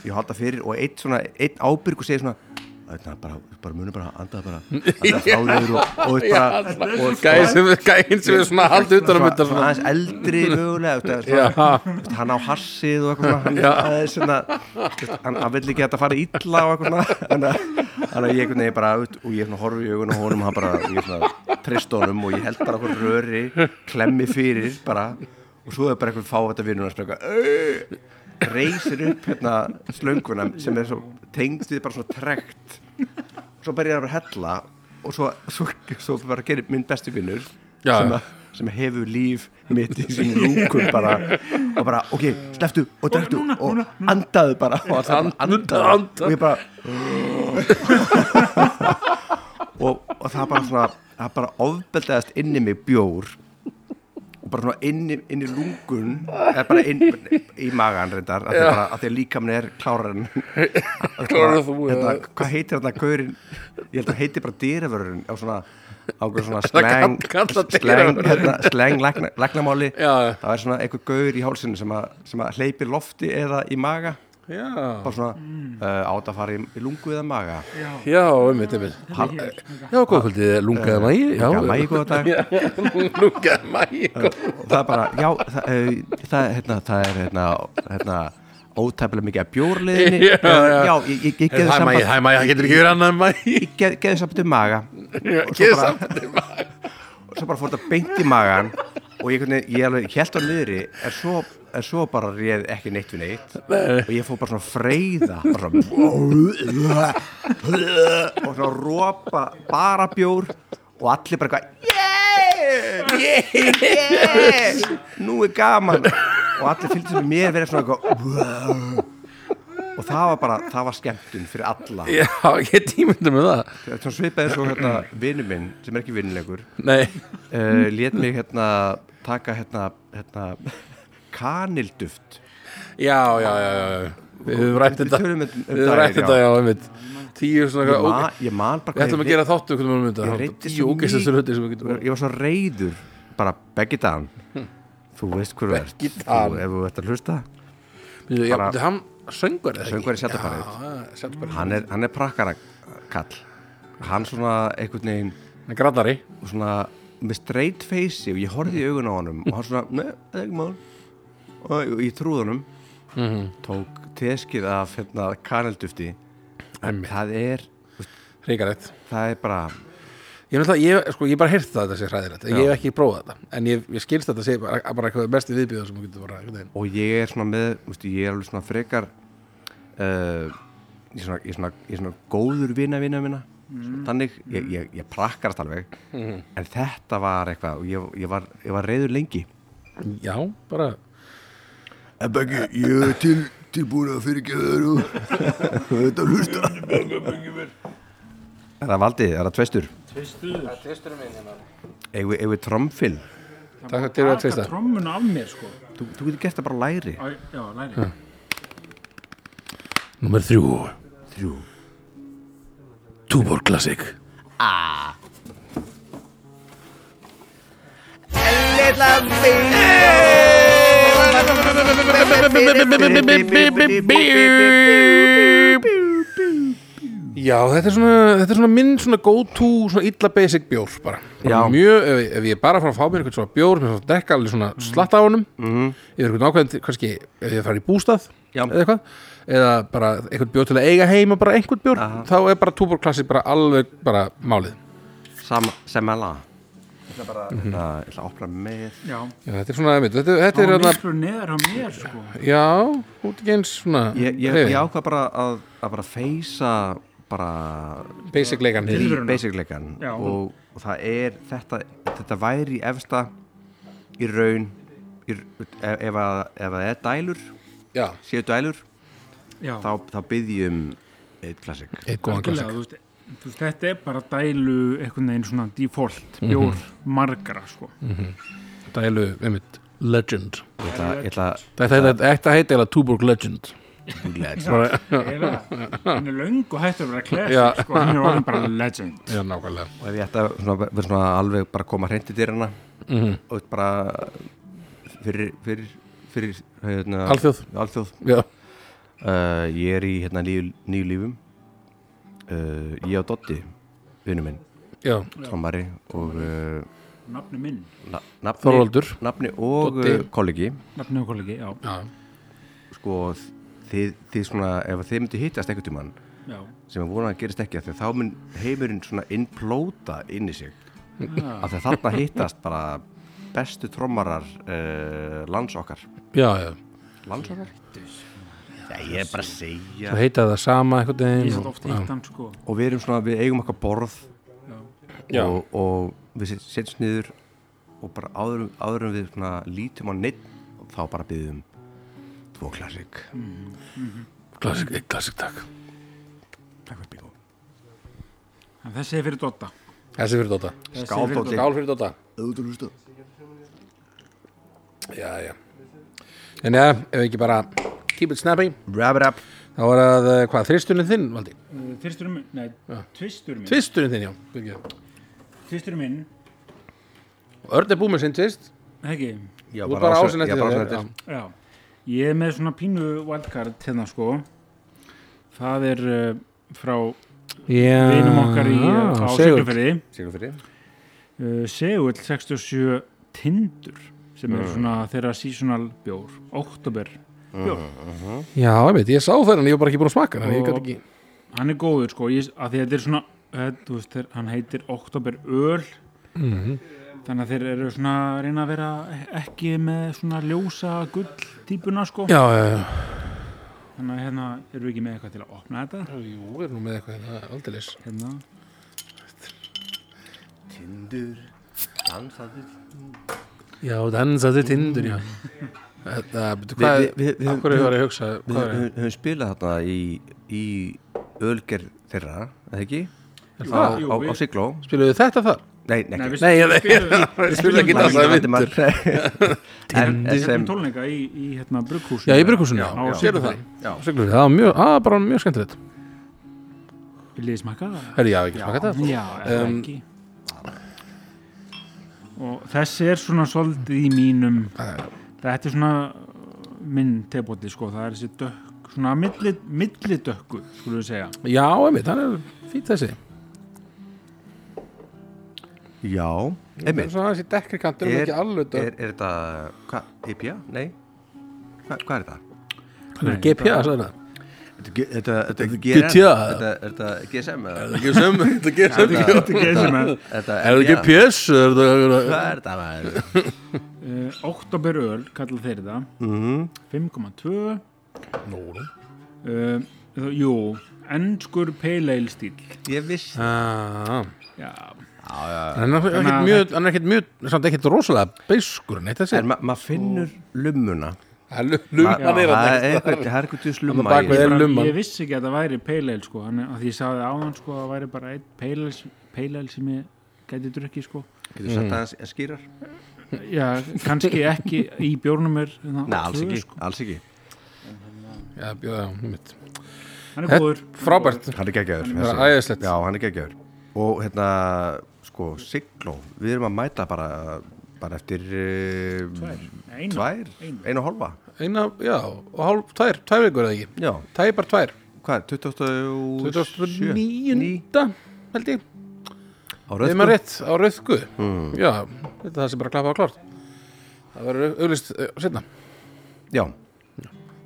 Speaker 2: ég halda fyrir og eitt svona einn ábyrg og segir svona hérna, bara, bara munum bara anda bara anda fráður og, og, og bara og
Speaker 1: Gæin sem, gæin sem er svona haldið utan að mynda
Speaker 2: svona
Speaker 1: svona
Speaker 2: aðeins eldri mögulega þú veist,
Speaker 1: Já,
Speaker 2: svona, þú veist, hann á hassið og eitthvað svona, hann, aðeins svona þú veist, hann, hann vill ekki að þetta fara illa og eitthvað svona þannig að- þannig að ég einhvern veginn bara ut, og ég svona horfi í augun og honum og hann bara, ég svona trist honum og ég held bara okkur röri klemmi fyrir bara og svo er bara eitthvað fá þetta vinnun að spöka reysir upp hérna slönguna sem er svo tengd við bara svona trekt svo bara ég að bara að hella og svo, svo, svo bara gerir minn besti vinnur
Speaker 1: Já.
Speaker 2: sem, að- sem hefur líf mitt í sín rúkum bara og bara, ok, sleftu og drektu og andaðu bara og allt saman,
Speaker 1: And-
Speaker 2: andaðu
Speaker 1: anda.
Speaker 2: og ég bara og, og það bara svona það bara ofbeldaðist inn í mig bjór og bara svona inn í, inn í lungun eða bara inn í magan reyndar að því bara að því að líkamni er
Speaker 1: [LAUGHS]
Speaker 2: klárar en
Speaker 1: Klárar en þú,
Speaker 2: hérna,
Speaker 1: eða?
Speaker 2: hvað heitir þetta gaurin ég held að heiti bara dyravörun á svona ákveð svona
Speaker 1: Það kall-
Speaker 2: slang
Speaker 1: kalla
Speaker 2: slang,
Speaker 1: dyravörðurinn.
Speaker 2: hérna, slang lækna, læknamáli
Speaker 1: Já.
Speaker 2: það er svona einhver gaur í hálsinu sem, að, sem að hleypir lofti eða í maga
Speaker 1: Já,
Speaker 2: bara svona mm. átt að fara í, í lungu eða maga
Speaker 1: já, um mitt, um mitt Já, góð kvöldið, lungaði mægi Já,
Speaker 2: já, mægi góða dag
Speaker 1: lungaði mægi
Speaker 2: og það er bara, já það, uh, það, er, hérna, það er hérna, hérna ótæfilega mikið að bjórliðinni
Speaker 1: Já, já.
Speaker 2: já, ég, ég, ég
Speaker 1: Hæ
Speaker 2: geði
Speaker 1: mægi,
Speaker 2: samband
Speaker 1: hæ mægi, það getur ekki verið annað en mægi
Speaker 2: ég geð, geði samband um maga og svo
Speaker 1: Geðu
Speaker 2: bara,
Speaker 1: samband um mægi
Speaker 2: og svo bara fór þetta beint í magan og ég, hvernig, ég alveg held á niðri en svo, en svo bara réð ekki neitt við neitt og ég fór bara svona að freyða bara svona og svona rópa bara bjór og allir bara eitthvað yeah, yeah, yeah nú er gaman og allir fylgdi sem mér verið svona eitthvað og og það var bara, það var skemmtun fyrir alla
Speaker 1: Já, ég tímyndi með það
Speaker 2: þetta er svona svipaði svo hérna vinnu minn sem er ekki vinnulegur
Speaker 1: Nei,
Speaker 2: uh, lét mig hérna taka hérna, hérna [LAUGHS] kanilduft
Speaker 1: já, já, já, já. Við höfum rætt
Speaker 2: Við
Speaker 1: þetta
Speaker 2: tölum um- um
Speaker 1: Við höfum
Speaker 2: daginn,
Speaker 1: rætt þetta,
Speaker 2: já.
Speaker 1: já, einmitt Tíu svona,
Speaker 2: ég
Speaker 1: ok,
Speaker 2: man, ég man bara
Speaker 1: við ætlum að
Speaker 2: ég,
Speaker 1: gera þáttu Hvernig maður mynda,
Speaker 2: Ég reiddi
Speaker 1: tíu
Speaker 2: svo
Speaker 1: ógeistastur
Speaker 2: mikið.
Speaker 1: hluti sem við getum
Speaker 2: reynd- ég var svo reyður bara beggi dagann þú veist hver þú ert
Speaker 1: Beggi Dan.
Speaker 2: Þú- ef þú ert að hlusta
Speaker 1: Býtu, Já,
Speaker 2: Bara-
Speaker 1: þetta hann söngur er það
Speaker 2: Söngvari
Speaker 1: ekki?
Speaker 2: Sjaldabarið.
Speaker 1: Já, það er Sjaldabarið.
Speaker 2: hann er, hann er prakkara kall hann svona einhvern veginn
Speaker 1: Hann er graddari
Speaker 2: og svona með straight face og ég horfði í augun á honum og hann svona, neð, það er ekki mál og ég- ég trúði honum tók teskið af hérna kanildufti
Speaker 1: Einmitt.
Speaker 2: það er,
Speaker 1: Ríkarætt
Speaker 2: það er bara
Speaker 1: Ég hef náttúrulega, ég, sko, ég hef bara heyrt það að þetta sé hræðilegt Ég hef ekki prófað þetta En ég, ég skilst þetta sé bara, bara eitthvað mesti viðbjöð sem þú getur bara einhvern veginn.
Speaker 2: og ég er svona með, veist, ég er alveg svona frekar uh, ég, er svona, ég, er svona, ég er svona góður vina vina minna þannig, ég, ég, ég prakkarast alveg en þetta var eitthvað og ég, ég, var, ég var reyður lengi
Speaker 1: Já, bara
Speaker 2: En Beggi, ég er til, tilbúin að fyrirgefa þér og þetta hlusta Er það valdið, er það tveistur? Eigum við- eigum við trommfil?
Speaker 1: Takk til að
Speaker 3: taka
Speaker 1: tveista
Speaker 3: trommun af mér sko
Speaker 2: Þú, þú getur gert það bara á læri
Speaker 3: Æ, já, læri
Speaker 1: Númer þrjú
Speaker 2: Þrjú
Speaker 1: Túborg Classic Já, þetta er svona, þetta er svona minn svona go-to, svona illa basic bjór bara. bara
Speaker 2: Já.
Speaker 1: mjög, ef, ef ég er bara fara að fá mér eitthvað svona bjór, mér svona dekka alveg svona slatta á honum, mm. yfir eitthvað nákvæmd kannski ef ég fara í bústað
Speaker 2: Mhm. Já.
Speaker 1: eða eitthvað, eða bara eitthvað bjór til að eiga heima bara einhvern bjór, þá er bara túborg klassik bara alveg bara málið
Speaker 2: Sama, sem að laga Þetta bara, þetta, ég ætla að opna með
Speaker 3: Já,
Speaker 1: Já, þetta er svona, einmitt, þetta, þetta
Speaker 3: það
Speaker 1: er
Speaker 3: var
Speaker 1: hérna,
Speaker 3: miklu neðar á mér sko
Speaker 1: já, út ekki eins svona
Speaker 2: Ég, ég,
Speaker 1: hrifinn.
Speaker 2: ég ákvað bara að, að bara feysa bara
Speaker 1: basic leikan
Speaker 2: í
Speaker 3: Tilveruna.
Speaker 2: basicleikan
Speaker 3: Já.
Speaker 2: og, og það er þetta, þetta væri í efsta í raun í, ef, ef, að, ef að það er dælur
Speaker 1: Já,
Speaker 2: séu dælur
Speaker 3: Já,
Speaker 2: þá, þá byggjum eitt klassik
Speaker 1: eitt góðan
Speaker 3: algjörlega,
Speaker 1: klassik
Speaker 3: þú veist, þú veist, þetta er bara dælu einhvern veginn svona default
Speaker 1: Mhm.
Speaker 3: bjór margra sko
Speaker 1: Dælu, einmitt, legend
Speaker 2: ég ætla, ég ætla
Speaker 1: Þetta þetta- þetta heiti eða Túborg legend Bara-
Speaker 3: Eiginlega, hann er löng og hættur að
Speaker 1: Já.
Speaker 3: vera classic sko, hann er orðin bara legend
Speaker 1: Já, nákvæmlega
Speaker 2: og ef ég ætta svona, verið svona alveg bara að koma hreint í dyrana
Speaker 1: Mhm.
Speaker 2: og bara fyrir, fyrir, fyrir hérna,
Speaker 1: Alþjóð.
Speaker 2: alþjóð.
Speaker 1: Já,
Speaker 2: Uh, ég er í hérna nýju, nýju lífum uh, ég og Dotti vinnu minn,
Speaker 1: já,
Speaker 2: trommari og uh,
Speaker 3: nafni minn,
Speaker 2: na- nafni,
Speaker 1: Þorvaldur.
Speaker 2: nafni og
Speaker 1: Doddi.
Speaker 2: uh, kollegi
Speaker 3: nafni og kollegi já,
Speaker 1: já,
Speaker 2: sko þið, þið svona, ef þið myndu hittast einhvern tímann
Speaker 3: já,
Speaker 2: sem að vona að gerist ekki af því að þá mun heimurinn svona implóta inn í sig
Speaker 1: Ah.
Speaker 3: já.
Speaker 2: af því að þarna hittast bara bestu trommarar uh, lands okkar
Speaker 1: já, já.
Speaker 2: lands okkar? Já, ég er bara að segja
Speaker 1: Þú heita það sama einhvern
Speaker 3: ég
Speaker 1: veginn
Speaker 3: satt
Speaker 1: og-
Speaker 3: oft hitt hann sko
Speaker 2: og við erum svona, við eigum okkar borð
Speaker 1: Já.
Speaker 2: og, og við set- setjumst niður og bara áður, áður en við svona, lítum á neitt og þá bara byggðum tvo klassik
Speaker 1: Mm. Klassik, eitt klassik takk
Speaker 2: takk fyrir bíó
Speaker 3: en þessi er fyrir Dotta
Speaker 1: Þessi fyrir Dóta
Speaker 3: Þessi er
Speaker 2: Skál,
Speaker 3: fyrir
Speaker 2: Doddi.
Speaker 3: Dodda.
Speaker 1: Skál fyrir Dóta
Speaker 2: auðvitað hlusta
Speaker 1: Já, já En já, ef ekki bara keep it snappy
Speaker 2: rap rap
Speaker 1: þá var að, eh, hvað, þristurinn þinn, Valdi?
Speaker 3: Uh, fyrsturinn minn, nei, tvisturinn minn
Speaker 1: Tvisturinn þinn, já Birgir.
Speaker 3: tvisturinn minn,
Speaker 1: Og Örn er búið með sinn tvist
Speaker 3: ekki
Speaker 2: Já,
Speaker 1: Þú er bara
Speaker 2: á-
Speaker 1: ásinn
Speaker 2: já,
Speaker 1: eftir
Speaker 2: bara
Speaker 1: þér,
Speaker 2: ásinn
Speaker 1: já.
Speaker 2: eftir.
Speaker 3: Já, ég er með svona pínu wildcard hérna sko það er uh, frá
Speaker 1: Já
Speaker 3: vinum okkar í,
Speaker 1: Ah,
Speaker 3: uh, á
Speaker 1: Sigurð.
Speaker 3: Siglufjörði
Speaker 2: Sigur fyrir
Speaker 3: uh, Segull 67 Tindur sem er svona þeirra seasonal bjór oktober bjór
Speaker 1: Já, einmitt, ég sá það en ég var bara ekki búin að smaka hann ég gat
Speaker 3: Og-
Speaker 1: ekki
Speaker 3: hann er góður sko, ég, að því að þetta er svona eh, þú veist, þeir, hann heitir Oktober Öl
Speaker 1: Mhm.
Speaker 3: þannig að þeir eru svona að reyna að vera ekki með svona ljósa gull típuna sko,
Speaker 1: Já, já, já
Speaker 3: þannig að hérna eru við ekki með eitthvað til að opna þetta
Speaker 1: Jú, við erum nú með eitthvað hérna, aldeilis
Speaker 3: hérna,
Speaker 2: Tindur Dansaður
Speaker 1: Já, dansaði tindur, já Þetta, betur Hérna, hvað
Speaker 2: Við- við- við-
Speaker 1: Af hverju var ég að hugsa
Speaker 2: Við
Speaker 1: hvað er-
Speaker 2: höfum- höfum spilað þarna í, í ölgerð þeirra, eða ekki?
Speaker 1: er
Speaker 2: Á,
Speaker 1: það?
Speaker 2: á, á Sigló
Speaker 1: Spiluðu þetta þar?
Speaker 2: Nei, nei, ekki
Speaker 1: Nei, ég- [LAUGHS]
Speaker 3: ég
Speaker 1: spilum ekki dansa.
Speaker 2: Magnús
Speaker 1: það er
Speaker 2: Valdimar. [LAUGHS] En- en
Speaker 3: sem
Speaker 2: sem-
Speaker 3: tólninga í, í hérna brugghúsinu
Speaker 1: Já, í brygghúsinu,
Speaker 3: á
Speaker 1: já,
Speaker 3: Siglufirði.
Speaker 1: sérðu það Siglufirði, Það var mjög, það var bara mjög skemmtilegt
Speaker 3: Viljið þið smakka það?
Speaker 1: Herri, já, ekki smaka þetta
Speaker 3: Já, eða
Speaker 1: Um,
Speaker 3: ekki Og þessi er svona svolítið í mínum Þetta er svona uh, minn tebóti sko, það er þessi dökk svona milli, milli dökku skulum við segja
Speaker 1: Já, einmitt, hann er fýtt þessi
Speaker 2: Já, einmitt
Speaker 1: Svona þessi dekkri kantur,
Speaker 2: Er,
Speaker 1: ekki alveg
Speaker 2: er, er þetta, hvað, IPA? Nei, Hva, hvað er þetta?
Speaker 1: Hann er GPA, sagði það
Speaker 2: Þetta ge- Þetta þetta er
Speaker 1: GTR.
Speaker 2: GRM, þetta- er þetta GSM eða?
Speaker 1: Ekki sem, þetta gerir sem
Speaker 2: Þetta-
Speaker 3: Þetta
Speaker 2: Þetta
Speaker 1: Er það ekki
Speaker 2: PIA?
Speaker 1: PS? Er það
Speaker 2: Hvað er þetta maður?
Speaker 3: er Oktoberöl, kalla uh, þeir það
Speaker 2: Mhm.
Speaker 3: 5,2
Speaker 1: Nóra
Speaker 3: uh, þá- Jú, ennskur pale ale stíl
Speaker 2: Ég vissi
Speaker 3: Já,
Speaker 1: Hann Ah. er ekkert
Speaker 3: að-
Speaker 1: mjög, hann er ekkert mjög, samt ekkert rosalega beiskur, neitt þessi
Speaker 2: En ma- maður finnur lummuna
Speaker 1: Hann er lumman
Speaker 2: það
Speaker 1: er þarna.
Speaker 2: er eitthvað, það er eitthvað djús
Speaker 1: Þarna
Speaker 2: lumma
Speaker 1: bak
Speaker 2: í-
Speaker 1: við er
Speaker 3: bara,
Speaker 1: lumman.
Speaker 3: ég vissi ekki að það væri pale ale sko, hann, að því ég sagði áðan sko, að það væri bara einn pale ale, sem- pale ale sem ég gæti drukkið sko
Speaker 2: Getur sagt aðeins að skýrar?
Speaker 3: Já, kannski ekki í bjórnum er hérna, sko.
Speaker 2: Nei, alls ekki, alls ekki
Speaker 1: Já, já, já, einmitt.
Speaker 3: Hann er
Speaker 1: Þetta-
Speaker 3: góður
Speaker 1: Frábært
Speaker 2: Hann er geggjaður
Speaker 1: bara
Speaker 2: þessi.
Speaker 1: æðislegt.
Speaker 2: Já, hann er geggjaður Og hérna, sko, Sigló Við erum að mæta bara, bara eftir uh, Tvær
Speaker 3: Einu.
Speaker 2: Tvær,
Speaker 3: Einu.
Speaker 2: einu og hálfa
Speaker 1: Eina, já, og hálf, tvær, tvær vikur eða ekki
Speaker 2: Já,
Speaker 1: Tæpar tvær
Speaker 2: hvað, 27
Speaker 1: 29. held ég
Speaker 2: Á
Speaker 1: Ef maður
Speaker 2: röðsku
Speaker 1: rétt á rauðku Já, þetta er það sem bara klappa á klárt Það verður auðlist uh, setna,
Speaker 2: Já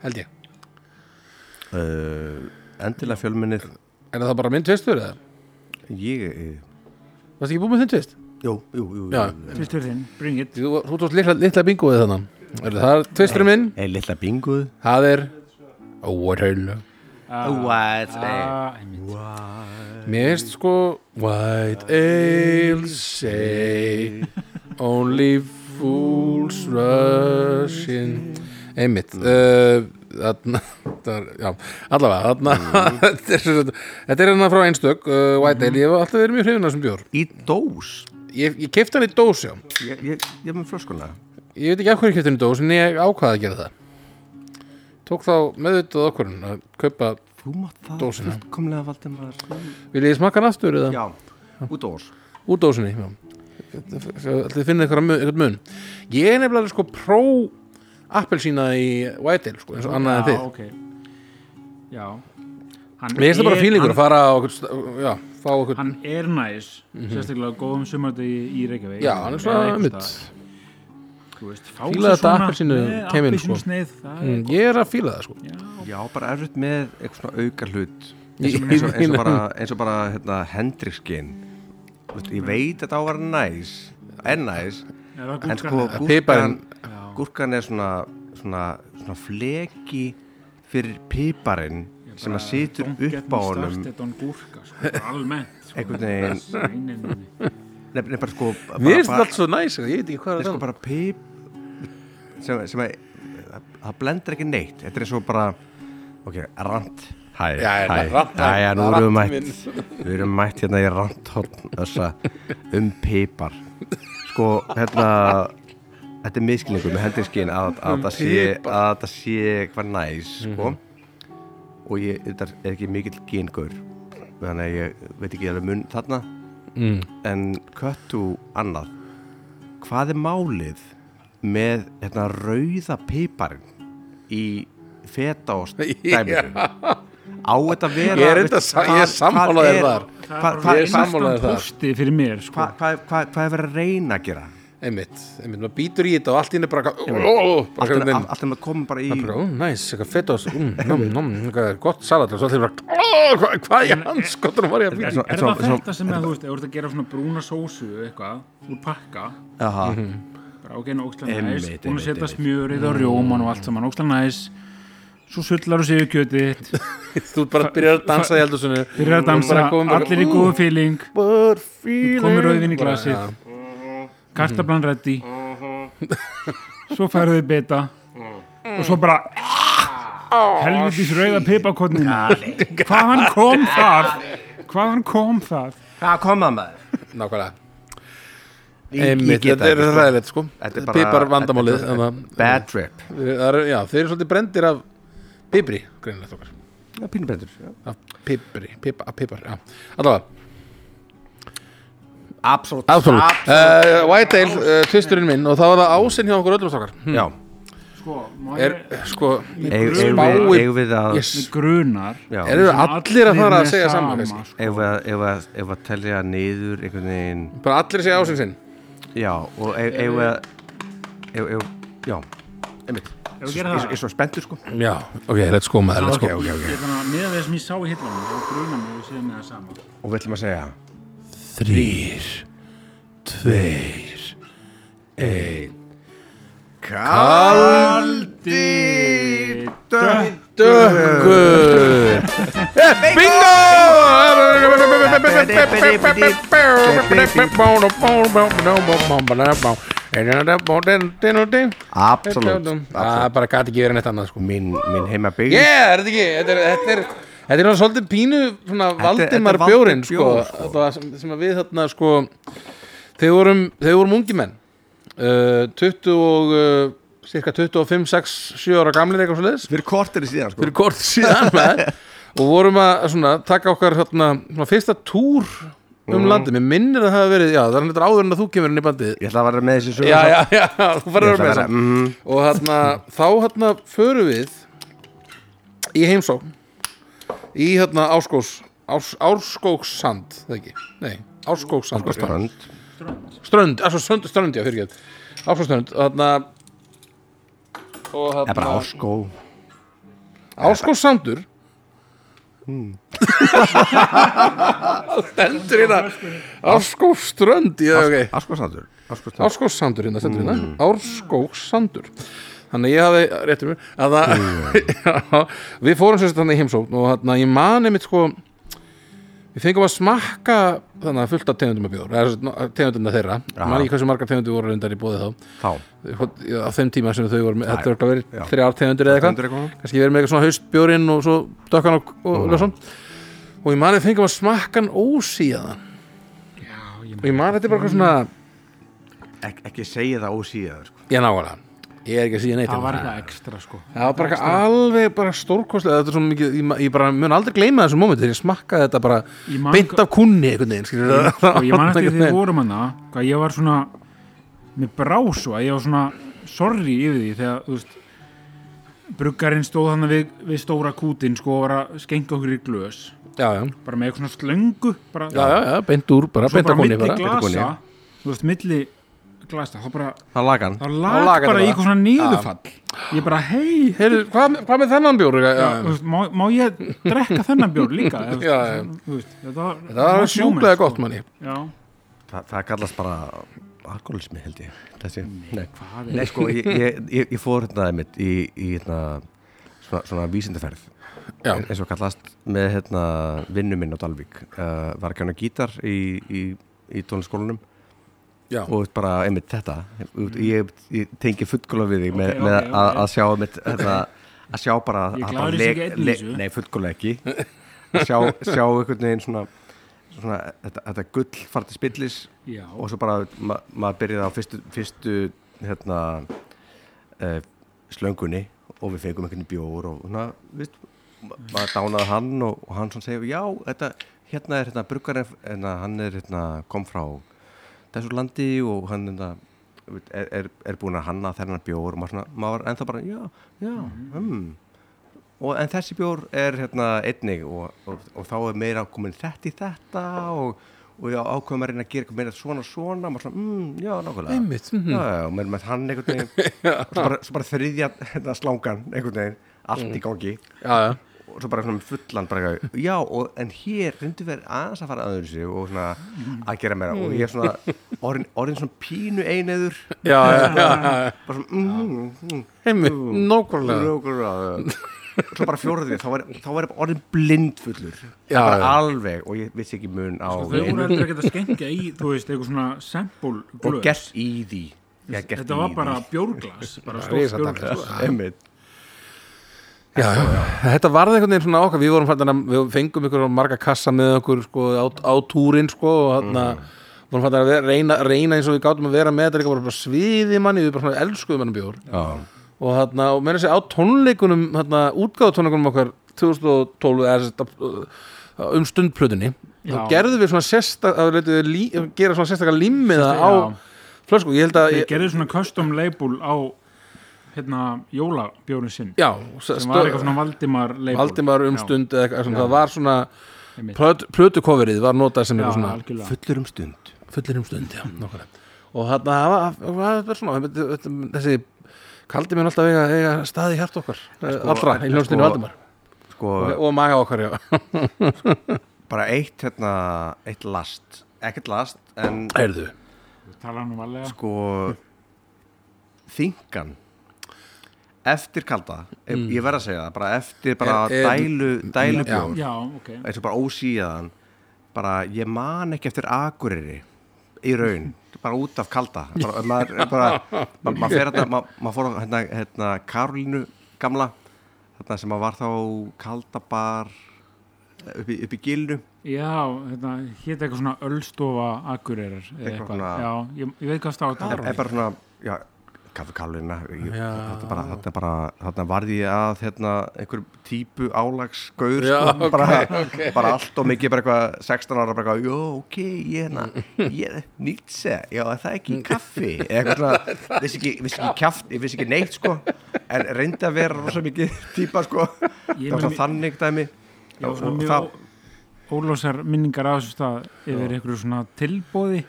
Speaker 1: held ég
Speaker 2: uh, Endilega fjölmennir
Speaker 1: Er það bara minn tvistur eða?
Speaker 2: Ég eh,
Speaker 1: Varst ekki búið með þinn tvist?
Speaker 2: Jú, jú, jú,
Speaker 1: Já.
Speaker 2: jú.
Speaker 3: Tvistur þinn, bring it
Speaker 1: Þú þú tókst litla, litla bingoið þannig Er það tvisturinn minn?
Speaker 2: Ei, litla binguð
Speaker 1: Það er Óvarhauðlega
Speaker 2: What?
Speaker 3: Ah, einmitt.
Speaker 1: Mér finnst sko White ale say Only fools rush in Einmitt uh, Þarna það er- Já, allavega þarna, [LAUGHS] þetta, er, sem sagt- þetta er hérna frá einstök uh, White Ale, ég hef alltaf verið mjög hrifin af þessum bjór
Speaker 2: Í dós
Speaker 1: Ég, ég kefti hann í dós, já
Speaker 2: Ég, ég, ég er með flöskuna
Speaker 1: Ég veit ekki af hverju ég kefti hann í dós en ég ákvaða að gera það Tók þá meðvitað okkur að kaupa
Speaker 2: Þú mátt það
Speaker 1: Dósina.
Speaker 2: fullkomlega Valdimar
Speaker 1: Viljið þið smakka hann aftur eða?
Speaker 2: Já, út dós
Speaker 1: úr dósinni já. þið finnir eitthvað mun, eitthvað mun ég er nefnilega sko pró appelsína í White Ale sko, eins og annað en
Speaker 3: Já,
Speaker 1: þið
Speaker 3: ok Já Hann
Speaker 1: mér finnst það bara
Speaker 3: er-
Speaker 1: fílingur að
Speaker 3: hann-
Speaker 1: fara á okkur, sta- já, fá okkur
Speaker 3: Hann er næs, sérstaklega á góðum sumardegi í Reykjavík
Speaker 1: Mhm. já, hann er
Speaker 3: Eða
Speaker 1: svona
Speaker 3: einhvers
Speaker 1: mitt
Speaker 3: staðar. Þú veist, fá
Speaker 1: Fíla
Speaker 3: sér
Speaker 1: þetta
Speaker 3: svona
Speaker 1: appelsínu
Speaker 3: með
Speaker 1: keiminn, sko.
Speaker 3: appelsínusneið, það er
Speaker 1: Mm,
Speaker 3: gott.
Speaker 1: ég er að fíla það sko
Speaker 3: Já,
Speaker 2: Já, bara erfitt með eitthvað svona auka hlut
Speaker 1: Í-
Speaker 2: eins og, eins og, eins
Speaker 1: í-
Speaker 2: og bara, eins og bara hérna, Hendrikskin Vist, Ég veit að það var næs en næs
Speaker 3: er það
Speaker 2: en
Speaker 3: gúrkan
Speaker 2: sko
Speaker 3: eða?
Speaker 2: gúrkan,
Speaker 1: Piparinn-
Speaker 2: gúrkan er svona, svona, svona fleki fyrir piparinn sem að situr
Speaker 3: Don't get
Speaker 2: upp á
Speaker 3: me
Speaker 2: honum
Speaker 3: started on gúrka, sko, almennt sko.
Speaker 2: Einhvern veginn.
Speaker 3: Nei, nei, nei, nei.
Speaker 2: nefnir bara sko bara,
Speaker 1: mér finnst
Speaker 2: bara-
Speaker 1: þetta allt svo næs sko, ég veit ekki hvað er
Speaker 2: Það er sko
Speaker 1: það
Speaker 2: bara pip sem, sem að það blendar ekki neitt þetta er eins og bara ok, rant hæ,
Speaker 1: Já, já,
Speaker 2: hæ,
Speaker 1: rant,
Speaker 2: hæ, já, nú
Speaker 1: rant
Speaker 2: erum við
Speaker 1: minn.
Speaker 2: mætt við erum mætt hérna í ranthorn þessa um pipar sko, hérna þetta er miskilningur með hendirskinn að, að,
Speaker 1: Um
Speaker 2: það sé, að það sé hvað næs sko og ég þetta er ekki mikill gengur þannig að ég veit ekki alveg mun þarna
Speaker 1: Mm.
Speaker 2: en köttu annað hvað er málið með hérna rauða piparinn í feta og
Speaker 1: [LAUGHS]
Speaker 2: dæmir á þetta að vera
Speaker 1: Ég er enda
Speaker 2: veist,
Speaker 1: sa- ég er
Speaker 2: hvað-
Speaker 1: sammála
Speaker 2: hvað
Speaker 1: þér
Speaker 2: er-
Speaker 1: þar.
Speaker 2: hvað-
Speaker 1: ég
Speaker 2: hvað-
Speaker 3: Það er bara
Speaker 1: er
Speaker 3: instant
Speaker 1: sammála þér þar.
Speaker 3: pósti fyrir mér sko.
Speaker 2: hvað- hvað- hvað- hvað er verið að reyna að gera
Speaker 1: einmitt, einmitt, maður býtur í þetta og allt inn er bara eitthvað- ó, ó, ó, bara
Speaker 2: allt er
Speaker 1: einhvern
Speaker 2: all-
Speaker 1: veginn.
Speaker 2: allt er með að koma bara í
Speaker 1: Bara, ó, næs, eitthvað fett og
Speaker 2: [LAUGHS]
Speaker 1: nom, nom, eitthvað gott salat og svo allir bara, ó, hvað- hvað er hans skotunum var ég að
Speaker 3: Er,
Speaker 1: býta
Speaker 2: Svo-
Speaker 3: er
Speaker 2: svo-
Speaker 3: það
Speaker 2: svo-
Speaker 3: þetta sem að þú veist, ef þú ert að gera svona brúna sósu eitthvað úr pakka
Speaker 2: Aha.
Speaker 3: bara ákveðin ókslega
Speaker 2: Einmitt,
Speaker 3: næs, búin að
Speaker 2: einmitt,
Speaker 3: setja
Speaker 2: einmitt. Mm.
Speaker 3: smjörið og rjóman og allt saman ókslega næs svo sullar þú séu kjötið
Speaker 1: þú bara byrjar að dansa í eldhúsinu
Speaker 3: byrjar að dansa, allir í góðu feeling
Speaker 1: góðu
Speaker 2: Mhm.
Speaker 3: komir rauðin í glasið kartablan reddi svo færðu þið beta
Speaker 2: Mhm.
Speaker 3: og svo bara
Speaker 2: Ah!
Speaker 3: helvitis
Speaker 2: Oh,
Speaker 3: rauða pipakornina hvaðan kom það hvaðan kom það
Speaker 5: Hvað koma maður?
Speaker 1: nákvæmlega
Speaker 5: Ég, ég
Speaker 1: Einmitt,
Speaker 5: get
Speaker 1: þetta
Speaker 5: það
Speaker 1: er
Speaker 5: ekki, sko.
Speaker 1: ræðilegt sko
Speaker 2: Þetta er bara-
Speaker 1: pipar vandamálið
Speaker 2: þetta er bara-
Speaker 1: þannig að-
Speaker 2: Bad trip
Speaker 1: það eru- já, þeir eru svolítið brendir af pipri greinilegt okkar
Speaker 2: Já, pínbrendur já.
Speaker 1: af pipri, pipa, af pipar já. allavega,
Speaker 5: Absolutt
Speaker 1: absolutt uh, White Ale, uh, tvisturinn minn og það var það ásinn hjá okkur öllum okkar hm.
Speaker 2: Já,
Speaker 3: sko, má
Speaker 1: er,
Speaker 3: ég
Speaker 1: sko,
Speaker 2: eigum eigum við,
Speaker 1: spáir
Speaker 2: eigum við að
Speaker 1: yes.
Speaker 3: mig grunar
Speaker 2: já,
Speaker 1: eru
Speaker 3: sem
Speaker 1: allir að fara að
Speaker 3: með
Speaker 1: segja saman kannski?
Speaker 3: sko.
Speaker 2: Eigum við að, eigum við að, eigum við að telja niður einhvern veginn
Speaker 1: bara allir að segja ásinn sinn
Speaker 2: Já, og eigum eigum við að eigum- eigum- Já, einmitt
Speaker 3: Ef við
Speaker 2: Ég
Speaker 3: gerum
Speaker 2: ég-
Speaker 3: það?
Speaker 2: ég er svo spenntur sko
Speaker 1: já, ok, let's go maður let's go
Speaker 2: ok, ok
Speaker 3: Ég þannig að miða við það sem ég sá í hillanum þá grunar mig að við segjum með það saman
Speaker 2: Og við ætlum að segja
Speaker 1: þrýr, tveir
Speaker 3: Aldi
Speaker 1: dökkur bingo
Speaker 2: Absolutt
Speaker 1: það bara gæti ekki verið neitt annað sko
Speaker 2: Minn, minn heima byggð
Speaker 1: yeah, er þetta ekki þetta er, þetta er, þetta er nú svolítið pínu svona
Speaker 2: þetta er
Speaker 1: Valdimar bjórin sko,
Speaker 2: Valdimar bjór, sko.
Speaker 1: það sem, sem að við þarna sko þeir vorum, þeir vorum ungi menn uh, 20 og uh, cirka 25, 6, 7 ára gamlir eitthvað svo leiðis
Speaker 2: Fyrir kortir í síðan sko
Speaker 1: fyrir kort
Speaker 2: [LAUGHS]
Speaker 1: síðan maður. og vorum að svona, taka okkar hérna, svona, fyrsta túr um
Speaker 2: Mhm.
Speaker 1: landið, mér minnir að það hafa verið já, það er þetta áður en að þú kemur inn í bandið
Speaker 2: Ég ætla að vera með þessi sögur
Speaker 1: já, já, já, [LAUGHS] þú
Speaker 2: Ég
Speaker 1: farið að
Speaker 2: ætla
Speaker 1: vera með
Speaker 2: að vera
Speaker 1: það
Speaker 2: mm,
Speaker 1: og hérna, þá hérna förum við í heimsókn í hérna Áskóks Ás, Árskókssand, það ekki nei, Árskókssand
Speaker 2: Strönd
Speaker 1: strönd, altså strönd, strönd, já, fyrir ekki Árskóksströnd, og hérna og
Speaker 2: Það er
Speaker 1: hérna
Speaker 2: bara áskó
Speaker 1: Árskókssandur Hmm. [LAUGHS] stendur hérna Árskóksströnd, já, ok
Speaker 2: Áskósandur Áskósandur
Speaker 1: Árskókssandur hérna, stendur hérna Árskókssandur Þannig að ég hafði réttur mér að það, [LAUGHS] já, við fórum sérst þannig í heimsókn og þannig að ég mani mitt sko við fengum að smakka þannig að fullt af tegundum að bjór eða sem sagt, no- tegundina þeirra,
Speaker 2: Já.
Speaker 1: man ekki hversu margar tegundir voru reyndar í bóði þá,
Speaker 2: Þá
Speaker 1: á þeim tíma sem þau voru með, þetta er örugglega
Speaker 2: Já.
Speaker 1: verið þrjár tegundir eða eitthvað
Speaker 2: Ströndur eitthvað
Speaker 1: kannski verið með eitthvað svona haustbjórinn og svo dökkan og, og ljósan og ég man að fengum að smakkan ósíðan og ég man þetta er bara eitthvað svona
Speaker 2: Ek, Ekki segja það ósíðaður sko
Speaker 1: ég návæðan, ég er ekki að síða neitt
Speaker 3: það var
Speaker 1: hérna.
Speaker 3: eitthvað ekstra sko
Speaker 1: það var bara eitthvað alveg bara stórkostlega þetta er svo mikið, ég, ma- ég bara mun aldrei gleyma þessum mómentu þegar ég smakkaði þetta bara
Speaker 3: Ég man-
Speaker 1: beint af kunni einhvern veginn skilur
Speaker 3: og sko, ég man eftir því við vorum hana hvað ég var svona mér brá svo að ég var svona sorry yfir því þegar þú veist bruggarinn stóð hann við, við stóra kútin sko og var að skengja okkur í glös
Speaker 1: já, já,
Speaker 3: bara með eitthvað svona slöngu bara,
Speaker 1: já, já, já, beint úr bara,
Speaker 3: svo
Speaker 1: beint
Speaker 3: bara
Speaker 1: af kunni
Speaker 3: milli
Speaker 1: bara. Beint
Speaker 3: glasa
Speaker 1: af kunni.
Speaker 3: þú veist milli glasa þá bara
Speaker 2: Það lagan
Speaker 3: þá
Speaker 1: Þá
Speaker 3: lag
Speaker 1: lagar
Speaker 3: bara
Speaker 1: það.
Speaker 3: í eitthvað svona niðurfall ég bara hei
Speaker 1: Heyrðu, hvað, hvað með þennan bjór? Já, já,
Speaker 3: þú veist, má, má ég drekka þennan bjór líka Eða,
Speaker 1: [LAUGHS]
Speaker 3: þú
Speaker 1: Já,
Speaker 3: veist,
Speaker 1: já.
Speaker 3: þú veist, þetta var, sko.
Speaker 1: það var sjúklega gott manni
Speaker 3: já,
Speaker 2: Þa, Það kallast bara alkoholismi held ég Þessi Nei, Nei sko ég, ég, ég, ég fór hérna einmitt í, í hérna svona, svona vísindaferð
Speaker 1: Já.
Speaker 2: eins og kallast með hérna vinnu minn á Dalvík uh, var ekki hann að gítar í, í, í tónliskólanum
Speaker 1: Já.
Speaker 2: og bara einmitt þetta ég, ég, ég tengi fullkóla við þig með,
Speaker 3: Mm. Ok,
Speaker 2: með
Speaker 3: ok, ok.
Speaker 2: Að, að sjá einmitt þetta, að sjá bara
Speaker 3: Ég
Speaker 2: að
Speaker 3: glaður
Speaker 2: bara
Speaker 3: þessi ekki einn í þessu.
Speaker 2: nei fullkóla
Speaker 3: [LAUGHS]
Speaker 2: ekki að sjá, sjá einhvern veginn svona, svona þetta, þetta gull farti spillis
Speaker 3: já,
Speaker 2: og svo bara ma maður byrjaði á fyrstu, fyrstu hérna uh, slöngunni og við fengum einhvern bjór og svona, við, ma maður dánaði hann og, og hann svona segir já, þetta, hérna er hérna bruggarinn, hérna, hann er hérna kom frá þessu landi og hann hérna, er, er, er búin að hanna þennan bjór og maður, svona, maður var ennþá bara já, já, hmm og en þessi bjór er hérna einnig og, og, og þá er meira komin þetta í þetta og, og já, ákveðum að reyna að gera eitthvað meira svona svona maður svona, mm, já, nákvæmlega
Speaker 1: Einmitt, mhm.
Speaker 2: já, já, og meira með hann einhvern veginn og svo bara, svo bara þriðja hérna, slangan einhvern veginn, allt í gangi
Speaker 1: Já, já,
Speaker 2: og svo bara svona með fullan bara, eitthvað, já, og, en hér reyndum við aðeins að fara aðeins og svona að gera meira og ég er svona orðin, orðin svona pínu eineður
Speaker 1: já, já, já, já.
Speaker 2: bara svona, mm, mm,
Speaker 1: Einmitt, nákvæmlega
Speaker 2: Rúkulega. svo bara fjórðið þá var, þá var ég orðin blindfullur
Speaker 1: Já,
Speaker 2: bara
Speaker 1: já.
Speaker 2: alveg og ég vissi ekki mun á
Speaker 3: Sko, þau
Speaker 2: neinu.
Speaker 3: voru aldrei að geta skengja í þú veist, eitthvað svona sample
Speaker 2: og
Speaker 3: glös
Speaker 2: gert í því
Speaker 3: þetta var bara bjórglas bara stórt
Speaker 1: risa
Speaker 3: bjórglas
Speaker 2: [LAUGHS] Einmitt.
Speaker 1: Já, já, þetta varði einhvern veginn svona okkar við vorum fættan að við fengum ykkur marga kassa með okkur sko, á, á túrin sko, og þarna vorum fættan að vera, reyna, reyna eins og við gátum að vera með þetta líka bara, bara sviði manni, við bara svona elskuðum hennar bjór
Speaker 2: Já.
Speaker 1: og þarna, og meira að segja á tónleikunum þarna, útgáðutónleikunum okkar 2012 eða sem sagt, uh, um stundplötunni þá
Speaker 3: Já.
Speaker 1: gerðum við svona sérsta að við leytum við lí, gera svona sérstaka limmiða á
Speaker 3: Já.
Speaker 1: flösku, ég held að
Speaker 3: þeir
Speaker 1: ég,
Speaker 3: gerðu svona custom label á hérna jólabjórun sinn
Speaker 1: já,
Speaker 3: sem var
Speaker 1: stö-
Speaker 3: eitthvað svona Valdimar label
Speaker 1: Valdimar um stund eða eitthvað svona, það var svona
Speaker 3: Einmitt.
Speaker 1: plöt- plötucoverið var notað sem
Speaker 3: já,
Speaker 1: eitthvað svona
Speaker 3: algjörlega
Speaker 2: Fullur um stund
Speaker 1: fullir um stund, já, nokkara og þarna, það var- það var það var svona þetta- þetta- þessi, kaldi mér alltaf eiga, eiga staði hjart okkar, sko, allra í hljómsdýni
Speaker 2: sko,
Speaker 1: Valdimar
Speaker 2: Sko,
Speaker 1: og, og maga okkar, já
Speaker 2: bara eitt hérna, eitt last ekkert last, en
Speaker 1: Heyrðu,
Speaker 3: tala hann um varlega
Speaker 2: sko þingan eftir kalda, mm. ég verð að segja það bara eftir bara
Speaker 1: Er- er-
Speaker 2: dælu dælu bjór,
Speaker 3: já, ok
Speaker 2: eins og bara ósíðan bara ég man ekki eftir akureyri í raun, bara út af kalda bara, maður, er bara, ma, maður fer þetta ma, maður fór á, hérna, hérna Karolínu gamla, hérna sem maður var þá kaldabar upp í, upp í gilnu
Speaker 3: já, þetta hétt eitthvað svona Ölstofa Akureyrar eða
Speaker 2: Eitthvað
Speaker 3: eitthvað
Speaker 2: svona-
Speaker 3: já, ég, ég veit hvað stáð þetta
Speaker 2: er bara svona já, kaffekálina þetta bara, þetta bara, þarna varði ég að hérna, einhver típu álags gaur,
Speaker 1: Já,
Speaker 2: sko,
Speaker 1: ok,
Speaker 2: bara, bara allt og mikið bara eitthvað 16 ára bara eitthvað, jó, ok, ég hérna ég, Nietzsche, já, er það ekki kaffi eða eitthvað
Speaker 3: [LAUGHS]
Speaker 2: svona, vissi ekki, vissi ekki kjaft, ég vissi ekki neitt, sko en reyndi að vera rosa mikið típa, sko
Speaker 3: Ég
Speaker 2: það var
Speaker 3: meina,
Speaker 2: svona þannig dæmi
Speaker 3: Já,
Speaker 2: og,
Speaker 3: svona
Speaker 2: og
Speaker 3: mjög
Speaker 2: það,
Speaker 3: ólósar minningar að þessu stað yfir einhverju svona tilbóði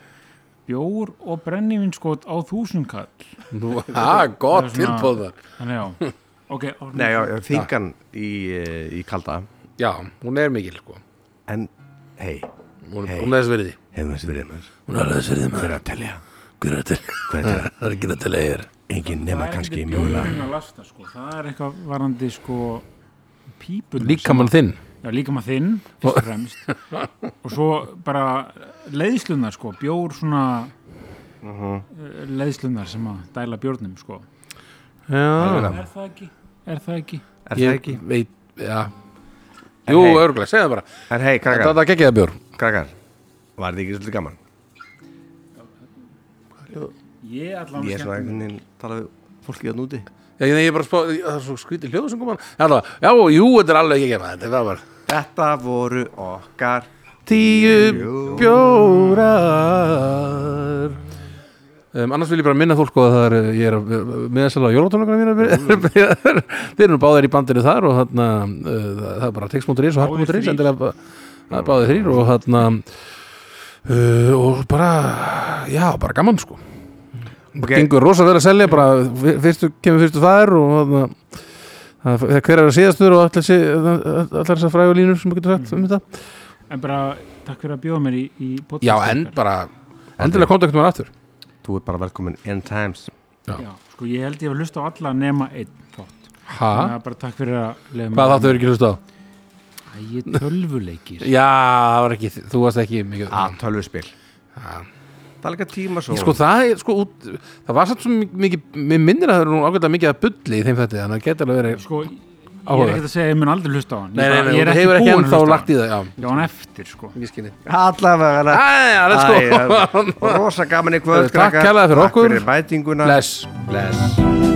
Speaker 3: bjór og brennivinskot á þúsundkall
Speaker 1: nú, [LAUGHS] ha, gott
Speaker 3: Það er svona-
Speaker 1: tilbóð þar
Speaker 3: þannig
Speaker 2: [LAUGHS]
Speaker 3: já, ok orðin-
Speaker 2: nei, já, já, þingan í, eh, í kalda,
Speaker 1: já, hún er mikil, sko
Speaker 2: en hei,
Speaker 1: hún,
Speaker 2: Hey.
Speaker 1: hún er þess verið
Speaker 2: hefum þessi verið maður
Speaker 1: hún er þess verið, maður,
Speaker 2: að telja,
Speaker 1: hver er þetta
Speaker 2: hvað er þetta
Speaker 1: það er ekki þetta leiðir
Speaker 2: engin
Speaker 3: það
Speaker 2: nema
Speaker 3: er
Speaker 2: kannski
Speaker 3: ekkert
Speaker 2: mjögulega
Speaker 3: bjórinn að lasta, sko. það er eitthvað varandi sko pípunar
Speaker 1: líka mann þinn,
Speaker 3: Já, líka maður þinn, fyrst og fremst [LAUGHS] og svo bara leiðslunar sko, bjór svona uh leiðslunar sem að dæla bjórnum sko
Speaker 1: já,
Speaker 3: Er það ekki? Er það ekki?
Speaker 2: er það
Speaker 1: ég
Speaker 2: ekki?
Speaker 1: veit já, jú,
Speaker 2: hey.
Speaker 1: örgulega, segja það bara
Speaker 2: En hei,
Speaker 1: þetta
Speaker 2: krakkar,
Speaker 1: það gekkið það bjór
Speaker 2: krakkar var þið ekki svolítið gaman?
Speaker 3: Ég allan
Speaker 2: Ég er svona einhvern veginn tala við hérna fólki að núti
Speaker 1: Já, ég, ég bara spá, ég- það er svo skrítið hljóð sem kom hann Já, já, jú, þetta er alveg ekki hérna Þetta var bara
Speaker 2: Þetta voru okkar
Speaker 1: Tíu bjórar um, Annars vil ég bara minna fólk á að það er, ég er með þess að jólatónleikana mína Þeir eru báðir í bandinu þar og þarna uh, það er bara text.is og harp.is
Speaker 3: þrír.
Speaker 1: endilega það er báðir þrýr og þarna uh, og bara já, bara gaman sko
Speaker 2: Ok.
Speaker 1: Gengur rosa vel að selja bara fyr- fyrstu, kemur fyrstu þær og þarna það- það- hver er að síðastur og allar þessi- allar þessar frægu línur sem við getum sagt um þetta
Speaker 3: En bara takk fyrir að bjóða mér í, í podcast
Speaker 1: Já, en bara endilega kontaktum hann aftur
Speaker 2: Þú ert bara velkomin in times
Speaker 3: Já, sko ég held ég að hlusta á alla nema einn þátt Þannig
Speaker 1: Hæ?
Speaker 3: að bara takk fyrir að leiða
Speaker 1: Hvað þáttu verið ekki hlust á?
Speaker 3: Æ, tölvuleikir
Speaker 1: Já, það var ekki, þú varst ekki mikið
Speaker 2: að tölvuspil Það er líka tíma svo
Speaker 1: Ah, Sko það, er, sko, út, það var satt svo mikið Mér minnir að það eru nú ágætlega mikið að bulli í þeim þetta Þannig að það geta alveg verið
Speaker 3: Sko, ég er
Speaker 1: Áhugavert.
Speaker 3: ekkert að segja að ég mun aldrei hlusta á hann Ég
Speaker 1: Nei, nei,
Speaker 3: bara-
Speaker 1: nei,
Speaker 3: ég er
Speaker 1: þú
Speaker 3: ekki
Speaker 1: hefur ekki
Speaker 3: búinn að
Speaker 1: ennþá
Speaker 3: hlusta á
Speaker 1: lagt í það Já,
Speaker 3: hann. Já, hann eftir sko
Speaker 1: ég skilji
Speaker 2: Allavega
Speaker 1: Æja, let's
Speaker 2: Æ,
Speaker 1: go [LAUGHS]
Speaker 2: Rosa gaman í kvöld
Speaker 1: sko. Takk
Speaker 2: krakkar.
Speaker 1: kærlega fyrir okkur.
Speaker 2: Takk fyrir mætinguna
Speaker 1: Bless
Speaker 2: Bless